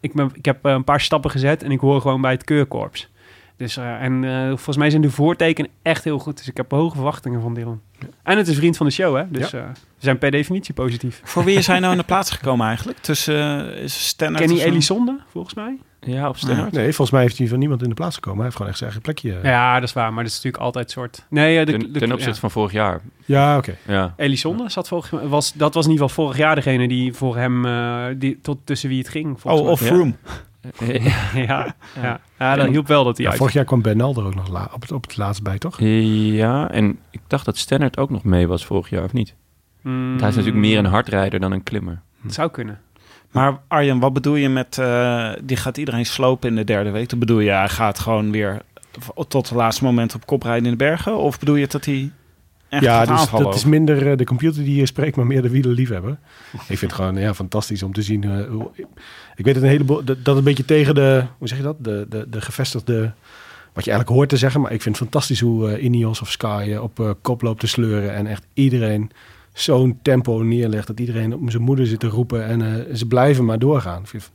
[SPEAKER 2] ik, ben, ik heb eh, een paar stappen gezet en ik hoor gewoon bij het keurkorps. Dus, eh, en eh, volgens mij zijn de voortekenen echt heel goed. Dus ik heb hoge verwachtingen van Dylan. En het is vriend van de show, hè? Dus eh, we zijn per definitie positief.
[SPEAKER 3] Voor wie is hij nou in de plaats gekomen eigenlijk? Tussen eh, is Stennert...
[SPEAKER 2] Kenny
[SPEAKER 3] of zo?
[SPEAKER 2] Elisonde, volgens mij.
[SPEAKER 1] Ja, op Stennard.
[SPEAKER 4] Nee, volgens mij heeft hij van niemand in de plaats gekomen. Hij heeft gewoon echt zijn eigen plekje. eh.
[SPEAKER 2] Ja, dat is waar, maar dat is natuurlijk altijd soort... Nee, eh, de,
[SPEAKER 1] Ten,
[SPEAKER 2] de-
[SPEAKER 1] ten
[SPEAKER 2] ja.
[SPEAKER 1] opzichte van vorig jaar.
[SPEAKER 4] Ja, oké.
[SPEAKER 1] Ja.
[SPEAKER 2] Elisonde zat volgens mij- was, dat was in ieder geval vorig jaar degene die voor hem, eh, die, tot tussen wie het ging. volgens
[SPEAKER 3] Oh,
[SPEAKER 2] mij.
[SPEAKER 1] ja.
[SPEAKER 3] Room.
[SPEAKER 2] ja, ja. ja, dat hielp wel dat hij
[SPEAKER 4] Ja,
[SPEAKER 2] uit.
[SPEAKER 4] vorig jaar kwam Bernal er ook nog la- op, het, op het laatst bij, toch?
[SPEAKER 1] ja, en ik dacht dat Stennard ook nog mee was vorig jaar, of niet?
[SPEAKER 2] Mm,
[SPEAKER 1] Want hij is natuurlijk meer een hardrijder dan een klimmer.
[SPEAKER 2] Het zou kunnen.
[SPEAKER 3] Maar Arjen, wat bedoel je met eh, die gaat iedereen slopen in de derde week? Dan bedoel je, hij gaat gewoon weer v- tot het laatste moment op kop rijden in de bergen? Of bedoel je dat hij echt
[SPEAKER 4] ja,
[SPEAKER 3] gaat
[SPEAKER 4] dus
[SPEAKER 3] aanvallen?
[SPEAKER 4] dat is minder eh, de computer die hier spreekt, maar meer de wielerliefhebber. ik vind het gewoon ja, fantastisch om te zien. eh, hoe, ik weet het een heleboel, dat, dat een beetje tegen de, hoe zeg je dat? De, de, de gevestigde, wat je eigenlijk hoort te zeggen. Maar ik vind het fantastisch hoe eh, Ineos of Sky eh, op eh, kop loopt te sleuren. En echt iedereen zo'n tempo neerlegt dat iedereen op zijn moeder zit te roepen. En eh, ze blijven maar doorgaan. Ik vind-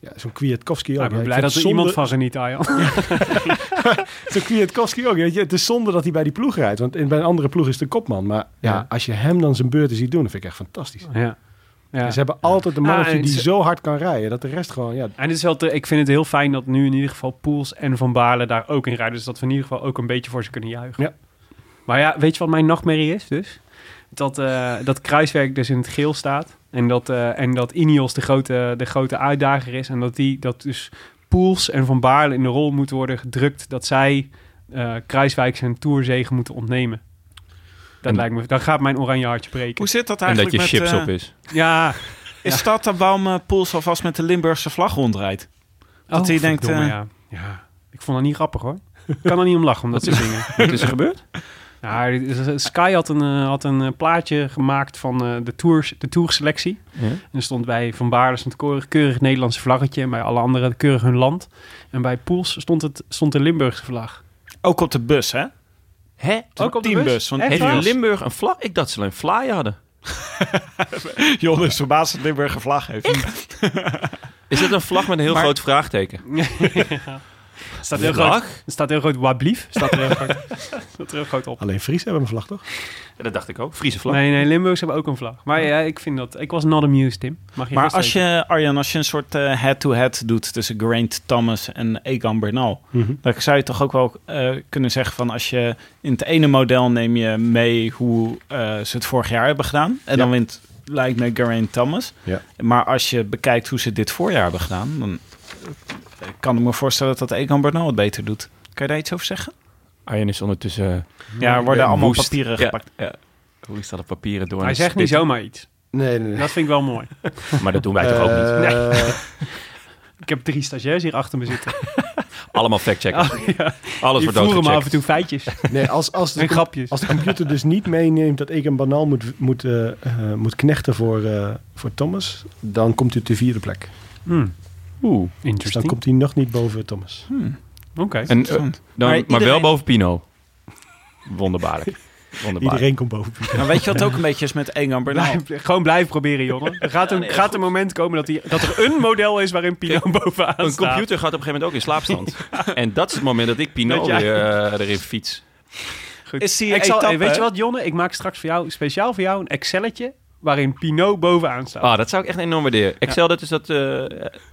[SPEAKER 4] Ja, zo'n Kwiatkowski ook.
[SPEAKER 2] ik
[SPEAKER 4] Ja,
[SPEAKER 2] ben
[SPEAKER 4] ik
[SPEAKER 2] blij
[SPEAKER 4] vind
[SPEAKER 2] dat er
[SPEAKER 4] zonde-
[SPEAKER 2] iemand van geniet, Arjan.
[SPEAKER 4] Zo'n Kwiatkowski ook. Weet je, het is zonde dat hij bij die ploeg rijdt. Want in- bij een andere ploeg is de kopman. Maar ja,
[SPEAKER 2] Ja.
[SPEAKER 4] als je hem dan zijn beurten ziet doen, dat vind ik echt fantastisch.
[SPEAKER 2] Ja. ja.
[SPEAKER 4] En ze hebben altijd een mannetje
[SPEAKER 2] Ah, en
[SPEAKER 4] die
[SPEAKER 2] ze-
[SPEAKER 4] zo hard kan rijden. Dat de rest gewoon, ja,
[SPEAKER 2] En het is wel te- ik vind het heel fijn dat nu in ieder geval Poels en Van Baarle daar ook in rijden. Dus dat we in ieder geval ook een beetje voor ze kunnen juichen.
[SPEAKER 4] Ja.
[SPEAKER 2] Maar ja, weet je wat mijn nachtmerrie is dus? Dat, eh, dat Kruiswerk dus in het geel staat. En dat, eh en dat Ineos de grote, de grote uitdager is. En dat, die, dat dus Poels en Van Baarle in de rol moeten worden gedrukt. Dat zij eh Kruiswijk zijn toerzegen moeten ontnemen. Dat
[SPEAKER 1] En-
[SPEAKER 2] lijkt me, dan gaat mijn oranje hartje breken.
[SPEAKER 3] Hoe zit dat
[SPEAKER 1] En dat
[SPEAKER 3] eigenlijk
[SPEAKER 1] je
[SPEAKER 3] met...
[SPEAKER 1] chips
[SPEAKER 3] eh,
[SPEAKER 1] op is.
[SPEAKER 2] Ja,
[SPEAKER 3] Is dat dan waarom eh, Poels alvast met de Limburgse vlag rondrijdt? Dat hij denkt,
[SPEAKER 2] Oh, verdomme,
[SPEAKER 3] eh,
[SPEAKER 2] ja. ja. Ik vond dat niet grappig hoor. Ik kan er niet om lachen om dat soort dingen.
[SPEAKER 1] Wat is er gebeurd?
[SPEAKER 2] Ja, dit is- Sky had een, eh, had een eh, plaatje gemaakt van eh, de, tours, de tourselectie.
[SPEAKER 1] Ja.
[SPEAKER 2] En er stond bij Van Baarle stond keurig, keurig het Nederlandse vlaggetje. En bij alle anderen keurig hun land. En bij Poels stond, het, stond de Limburgse vlag.
[SPEAKER 3] Ook op de bus, hè?
[SPEAKER 1] Hè?
[SPEAKER 2] Ook op de bus?
[SPEAKER 3] teambus, want
[SPEAKER 2] Echt
[SPEAKER 1] Heeft
[SPEAKER 2] waar?
[SPEAKER 1] Limburg een vlag? Ik dacht ze alleen een fly hadden.
[SPEAKER 3] Jon is verbaasd dat Limburg een vlag heeft.
[SPEAKER 1] Is het een vlag met een heel
[SPEAKER 3] Maar-
[SPEAKER 1] groot vraagteken?
[SPEAKER 2] Er staat heel groot,
[SPEAKER 1] vlag?
[SPEAKER 2] er staat heel groot wablief. Staat er heel groot, staat er heel groot op.
[SPEAKER 4] alleen Fries hebben een vlag, toch?
[SPEAKER 1] Ja, dat dacht ik ook. Friese vlag.
[SPEAKER 2] Nee, nee, Limburgers hebben ook een vlag. Maar ja, ik vind dat... Ik was not amused, Tim. Mag je
[SPEAKER 3] Maar
[SPEAKER 2] gerust
[SPEAKER 3] als je, Arjan, als je een soort eh, head-to-head doet tussen Geraint Thomas en Egan Bernal, dan zou je toch ook wel eh, kunnen zeggen van als je in het ene model neem je mee hoe eh, ze het vorig jaar hebben gedaan. En dan wint, lijkt me, Geraint Thomas.
[SPEAKER 4] Ja.
[SPEAKER 3] Maar als je bekijkt hoe ze dit voorjaar hebben gedaan, dan eh, kan ik me voorstellen dat Egan Bernal het beter doet. Kan je daar iets over zeggen?
[SPEAKER 1] Arjen is ondertussen... eh,
[SPEAKER 3] Ja, er
[SPEAKER 1] ik ben
[SPEAKER 3] worden allemaal
[SPEAKER 1] woest.
[SPEAKER 3] papieren
[SPEAKER 1] Ja.
[SPEAKER 3] gepakt.
[SPEAKER 1] ja. Hoe is dat op papieren door?
[SPEAKER 2] zeggen. Hij zegt niet zomaar iets.
[SPEAKER 4] Nee, nee, Eh,
[SPEAKER 2] Dat vind ik wel mooi.
[SPEAKER 1] Maar dat doen wij toch ook
[SPEAKER 2] Eh,
[SPEAKER 1] niet?
[SPEAKER 2] Ik heb drie stagiairs hier achter me zitten.
[SPEAKER 1] Allemaal factchecken.
[SPEAKER 2] Oh, ja.
[SPEAKER 1] Alles
[SPEAKER 2] Die
[SPEAKER 1] wordt
[SPEAKER 2] voeren me af en
[SPEAKER 1] doodgecheckt.
[SPEAKER 2] toe feitjes
[SPEAKER 4] nee als, als,
[SPEAKER 2] en
[SPEAKER 4] de,
[SPEAKER 2] grapjes.
[SPEAKER 4] als de computer dus niet meeneemt dat ik een banaal moet, moet, eh, eh, moet knechten voor, eh, voor Thomas, dan komt hij op de vierde plek.
[SPEAKER 2] Hmm.
[SPEAKER 1] Oeh.
[SPEAKER 4] Dus dan
[SPEAKER 2] Interesting.
[SPEAKER 4] komt hij nog niet boven Thomas.
[SPEAKER 3] Hmm,
[SPEAKER 2] Oké.
[SPEAKER 1] En, eh,
[SPEAKER 3] interessant.
[SPEAKER 1] dan,
[SPEAKER 3] Maar
[SPEAKER 1] maar, wel
[SPEAKER 3] iedereen-
[SPEAKER 1] boven Pino. Wonderbaarlijk. Wonderbaarlijk.
[SPEAKER 4] Iedereen komt boven.
[SPEAKER 3] Maar weet je wat ook een beetje is met Egan Bernal?
[SPEAKER 2] Blijf- Nou, gewoon blijven proberen, jongen. Er gaat een,
[SPEAKER 1] nee,
[SPEAKER 2] gaat een moment komen dat, die, dat er een model is waarin Pino bovenaan
[SPEAKER 1] Een
[SPEAKER 2] staat.
[SPEAKER 1] computer gaat op een gegeven moment ook in slaapstand. En dat is het moment dat ik Pino
[SPEAKER 2] Dat jij-
[SPEAKER 1] weer eh, erin fiets.
[SPEAKER 2] Goed.
[SPEAKER 3] Is die
[SPEAKER 2] ik zal,
[SPEAKER 3] etappe-
[SPEAKER 2] weet je wat, Jonne? Ik maak straks voor jou, speciaal voor jou, een Excelletje waarin Pino bovenaan staat.
[SPEAKER 1] Ah, dat zou ik echt enorm waarderen. Excel, dat is, dat, eh,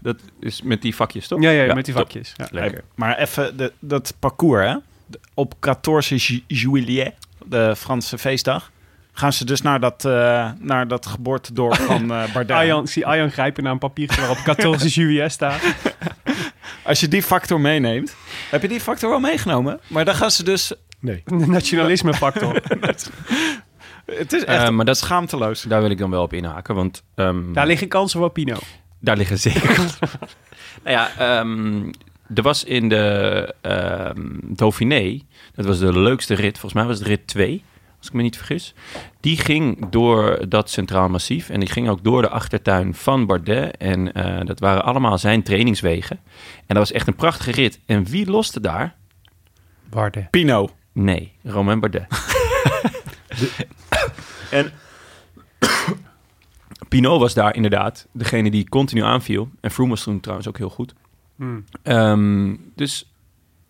[SPEAKER 1] dat is met die vakjes, toch?
[SPEAKER 2] ja, ja, met die
[SPEAKER 1] top.
[SPEAKER 2] vakjes. Ja.
[SPEAKER 1] Lekker.
[SPEAKER 3] Maar even de- dat parcours, hè? De- Op 14 ju- juillet, de Franse feestdag, gaan ze dus naar dat, eh, naar dat geboortedorp van eh Bardin.
[SPEAKER 2] Arjan, ik zie Arjan grijpen naar een papiertje waarop 14 juillet staat.
[SPEAKER 3] Als je die factor meeneemt, heb je die factor wel meegenomen? Maar dan gaan ze dus...
[SPEAKER 4] Nee.
[SPEAKER 2] De nationalisme factor.
[SPEAKER 3] Het is echt
[SPEAKER 1] Eh, maar dat-
[SPEAKER 3] schaamteloos.
[SPEAKER 1] Daar wil ik dan wel op inhaken, want... ehm,
[SPEAKER 2] Daar liggen kansen voor Pino.
[SPEAKER 1] Daar liggen zeker. kansen. nou ja, ehm, er was in de ehm Dauphiné, dat was de leukste rit, volgens mij was het rit 2, als ik me niet vergis. Die ging door dat Centraal Massief en die ging ook door de achtertuin van Bardet. En eh, dat waren allemaal zijn trainingswegen. En dat was echt een prachtige rit. En wie loste daar?
[SPEAKER 2] Barden.
[SPEAKER 3] Pino.
[SPEAKER 1] Nee, Romain Bardet. en Pinot was daar inderdaad degene die continu aanviel. En Froome was toen trouwens ook heel goed. Ehm, dus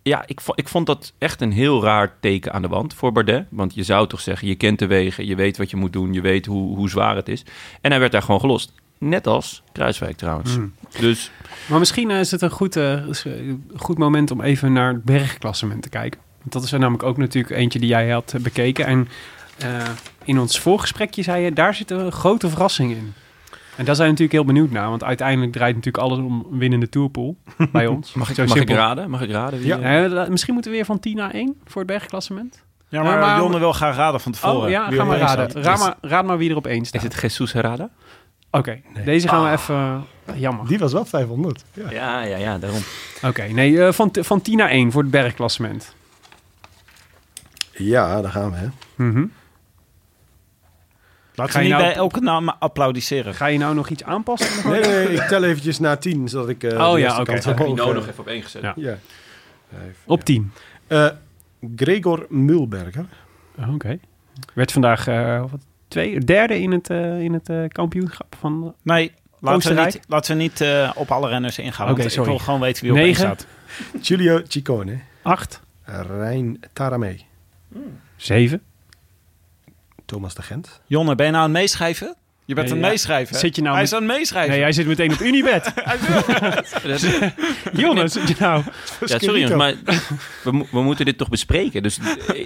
[SPEAKER 1] ja, ik, vo- ik vond dat echt een heel raar teken aan de wand voor Bardet. Want je zou toch zeggen, je kent de wegen, je weet wat je moet doen, je weet hoe, hoe zwaar het is. En hij werd daar gewoon gelost. Net als Kruiswijk trouwens.
[SPEAKER 2] Hmm.
[SPEAKER 1] Dus
[SPEAKER 2] Maar misschien eh, is het een goed, eh, is, eh, goed moment om even naar het bergklassement te kijken. Want dat is er namelijk ook natuurlijk eentje die jij had eh, bekeken. En eh, in ons voorgesprekje zei je, daar zit een grote verrassing in. En daar zijn we natuurlijk heel benieuwd naar. Want uiteindelijk draait natuurlijk alles om een winnende tourpool bij ons.
[SPEAKER 1] mag ik,
[SPEAKER 2] Zo
[SPEAKER 1] mag ik
[SPEAKER 2] simpel.
[SPEAKER 1] raden? Mag ik raden? Wie,
[SPEAKER 4] Ja.
[SPEAKER 1] eh,
[SPEAKER 2] Eh, la- misschien moeten we weer van 10 naar 1 voor het bergklassement.
[SPEAKER 3] Ja,
[SPEAKER 2] maar
[SPEAKER 3] maar,
[SPEAKER 2] maar-
[SPEAKER 3] Jonne wil graag raden van tevoren.
[SPEAKER 2] Oh ja,
[SPEAKER 3] Wie
[SPEAKER 2] ga
[SPEAKER 3] op
[SPEAKER 2] maar
[SPEAKER 3] één
[SPEAKER 2] raden.
[SPEAKER 3] staat.
[SPEAKER 2] Raad maar, raad maar wie er op één staat.
[SPEAKER 1] is het Ah. Jesus Herrada?
[SPEAKER 2] Oké, deze gaan we even... eh, Jammer.
[SPEAKER 4] Die was wel 500. Ja.
[SPEAKER 1] Ja, ja, ja, daarom.
[SPEAKER 2] Oké, nee, eh, van, t- van 10 naar 1 voor het bergklassement.
[SPEAKER 5] Ja, daar gaan we. Hè.
[SPEAKER 2] Mhm.
[SPEAKER 3] Laten
[SPEAKER 2] Ga
[SPEAKER 3] we
[SPEAKER 2] je
[SPEAKER 3] niet
[SPEAKER 2] nou-
[SPEAKER 3] bij elke naam applaudisseren.
[SPEAKER 2] Ga je nou nog iets aanpassen?
[SPEAKER 5] Nee, nee, ik tel eventjes naar 10, zodat ik. eh,
[SPEAKER 2] Oh
[SPEAKER 5] de
[SPEAKER 2] ja,
[SPEAKER 5] eerste
[SPEAKER 2] oké,
[SPEAKER 5] kans
[SPEAKER 2] oké.
[SPEAKER 5] omhoog, eh,
[SPEAKER 1] even op één gezet.
[SPEAKER 2] Ja.
[SPEAKER 5] Ja.
[SPEAKER 2] Op 10.
[SPEAKER 5] Eh, Gregor Mulberger.
[SPEAKER 2] Oh, Oké. Werd vandaag eh, wat, twee, derde in het, eh, in het eh, kampioenschap van
[SPEAKER 3] Nee, laten we
[SPEAKER 2] Oostenrijk?
[SPEAKER 3] niet, laten we niet eh, op alle renners ingaan.
[SPEAKER 2] Oké,
[SPEAKER 3] want
[SPEAKER 2] sorry.
[SPEAKER 3] Ik wil gewoon weten wie op
[SPEAKER 2] Negen.
[SPEAKER 3] één staat.
[SPEAKER 5] Giulio Ciccone.
[SPEAKER 2] 8,
[SPEAKER 5] Rijn Taramee.
[SPEAKER 2] 7.
[SPEAKER 5] Thomas de Gent.
[SPEAKER 3] Jonne, ben je nou aan het meeschrijven? Je bent
[SPEAKER 2] Nee,
[SPEAKER 3] aan
[SPEAKER 2] ja.
[SPEAKER 3] het meeschrijven.
[SPEAKER 2] Zit je nou
[SPEAKER 3] Hij
[SPEAKER 2] met-
[SPEAKER 3] is aan het meeschrijven.
[SPEAKER 2] Nee, jij zit meteen op Unibed. Jonas, zit je nou?
[SPEAKER 1] Ja, sorry jongens, maar we, mo- we moeten dit toch bespreken. Dus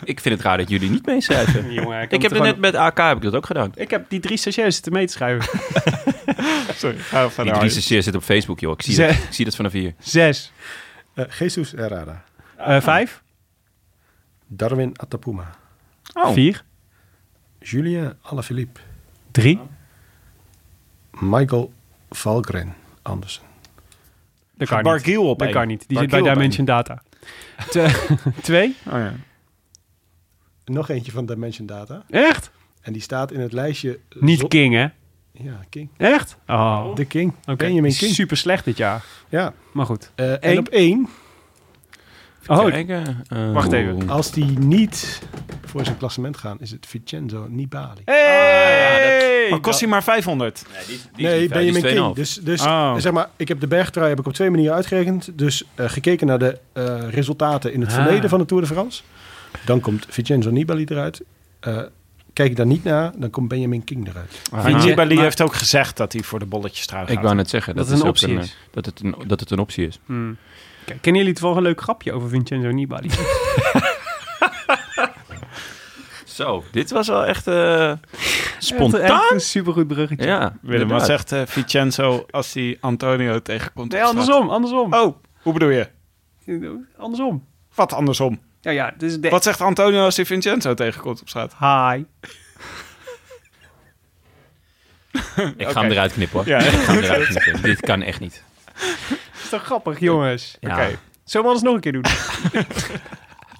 [SPEAKER 1] ik vind het raar dat jullie niet meeschrijven.
[SPEAKER 2] Jongen, ik,
[SPEAKER 1] Ik heb het net met AK heb ik dat ook gedaan.
[SPEAKER 2] ik heb die drie stagiairs zitten mee te schrijven.
[SPEAKER 3] Sorry, ga
[SPEAKER 1] Die
[SPEAKER 3] verder.
[SPEAKER 1] drie zeer zit op Facebook, joh. Ik zie,
[SPEAKER 2] Ze-
[SPEAKER 1] dat, ik zie dat vanaf hier.
[SPEAKER 2] 6,
[SPEAKER 5] Eh, Jesus Herrada.
[SPEAKER 2] Eh, 5,
[SPEAKER 5] Darwin Atapuma.
[SPEAKER 2] 4,
[SPEAKER 5] Julien Alaphilippe.
[SPEAKER 2] 3.
[SPEAKER 5] Michael Valgren Andersen.
[SPEAKER 2] Dat
[SPEAKER 3] Ga
[SPEAKER 2] kan niet.
[SPEAKER 3] Barguil op
[SPEAKER 2] Dat
[SPEAKER 3] één.
[SPEAKER 2] kan niet. Die zit bij
[SPEAKER 3] Barguil op
[SPEAKER 2] Dimension Data. 2,
[SPEAKER 3] één. Oh, ja.
[SPEAKER 5] Nog eentje van Dimension Data.
[SPEAKER 2] echt?
[SPEAKER 5] En die staat in het lijstje. eh,
[SPEAKER 2] Niet
[SPEAKER 5] zon-
[SPEAKER 2] King, hè?
[SPEAKER 5] Ja, King.
[SPEAKER 2] Echt? Oh,
[SPEAKER 5] De King.
[SPEAKER 2] oké.
[SPEAKER 5] Benjamin King.
[SPEAKER 2] Super slecht dit jaar.
[SPEAKER 5] Ja.
[SPEAKER 2] Maar goed.
[SPEAKER 5] Eh,
[SPEAKER 2] Eén.
[SPEAKER 5] en op één,
[SPEAKER 2] Oh,
[SPEAKER 1] Kijken, eh,
[SPEAKER 2] Wacht even.
[SPEAKER 4] Oh,
[SPEAKER 1] oeh.
[SPEAKER 5] als die niet voor zijn klassement gaan, is het Vincenzo Nibali.
[SPEAKER 2] Hey!
[SPEAKER 3] Maar kost hij maar 500?
[SPEAKER 1] Die is
[SPEAKER 5] nee,
[SPEAKER 1] niet vijf, die
[SPEAKER 5] Benjamin
[SPEAKER 1] is
[SPEAKER 5] King.
[SPEAKER 1] 2,5.
[SPEAKER 5] Dus, dus
[SPEAKER 3] Oh.
[SPEAKER 5] zeg maar, ik heb de bergtrui heb ik op twee manieren uitgerekend. Dus eh, gekeken naar de eh, resultaten in het
[SPEAKER 2] Ah.
[SPEAKER 5] verleden van de Tour de France. Dan komt Vincenzo Nibali eruit. Eh, kijk ik daar niet naar, dan komt Benjamin King eruit.
[SPEAKER 3] En
[SPEAKER 2] Ah.
[SPEAKER 3] Nibali
[SPEAKER 2] Maar-
[SPEAKER 3] heeft ook gezegd dat hij voor de bolletjes trouw gaat.
[SPEAKER 1] Ik wou net zeggen
[SPEAKER 2] Dat
[SPEAKER 1] dat,
[SPEAKER 2] het een
[SPEAKER 1] is ook
[SPEAKER 2] optie is.
[SPEAKER 1] eh, Dat het een, dat het een optie is.
[SPEAKER 2] Hmm. Kijk, kennen jullie het wel een leuk grapje over Vincenzo Nibali?
[SPEAKER 1] Zo, dit was wel echt eh,
[SPEAKER 2] Echt
[SPEAKER 1] spontaan.
[SPEAKER 2] een supergoed bruggetje.
[SPEAKER 1] Ja,
[SPEAKER 3] Willem,
[SPEAKER 1] inderdaad.
[SPEAKER 3] wat zegt eh, Vincenzo als hij Antonio tegenkomt?
[SPEAKER 2] Nee,
[SPEAKER 3] op straat?
[SPEAKER 2] andersom, andersom.
[SPEAKER 3] Oh, hoe bedoel je?
[SPEAKER 1] Oh.
[SPEAKER 2] Andersom.
[SPEAKER 3] Wat andersom?
[SPEAKER 2] Ja, ja, dit is de...
[SPEAKER 3] Wat zegt Antonio als hij Vincenzo tegenkomt op straat?
[SPEAKER 2] Hi.
[SPEAKER 1] Ik ga hem eruit knippen hoor.
[SPEAKER 3] Ja.
[SPEAKER 1] Ik ga hem eruit knippen. Dit kan echt niet.
[SPEAKER 2] Dat is toch grappig, jongens?
[SPEAKER 1] Ja.
[SPEAKER 3] Oké.
[SPEAKER 2] Zullen we anders nog een keer doen?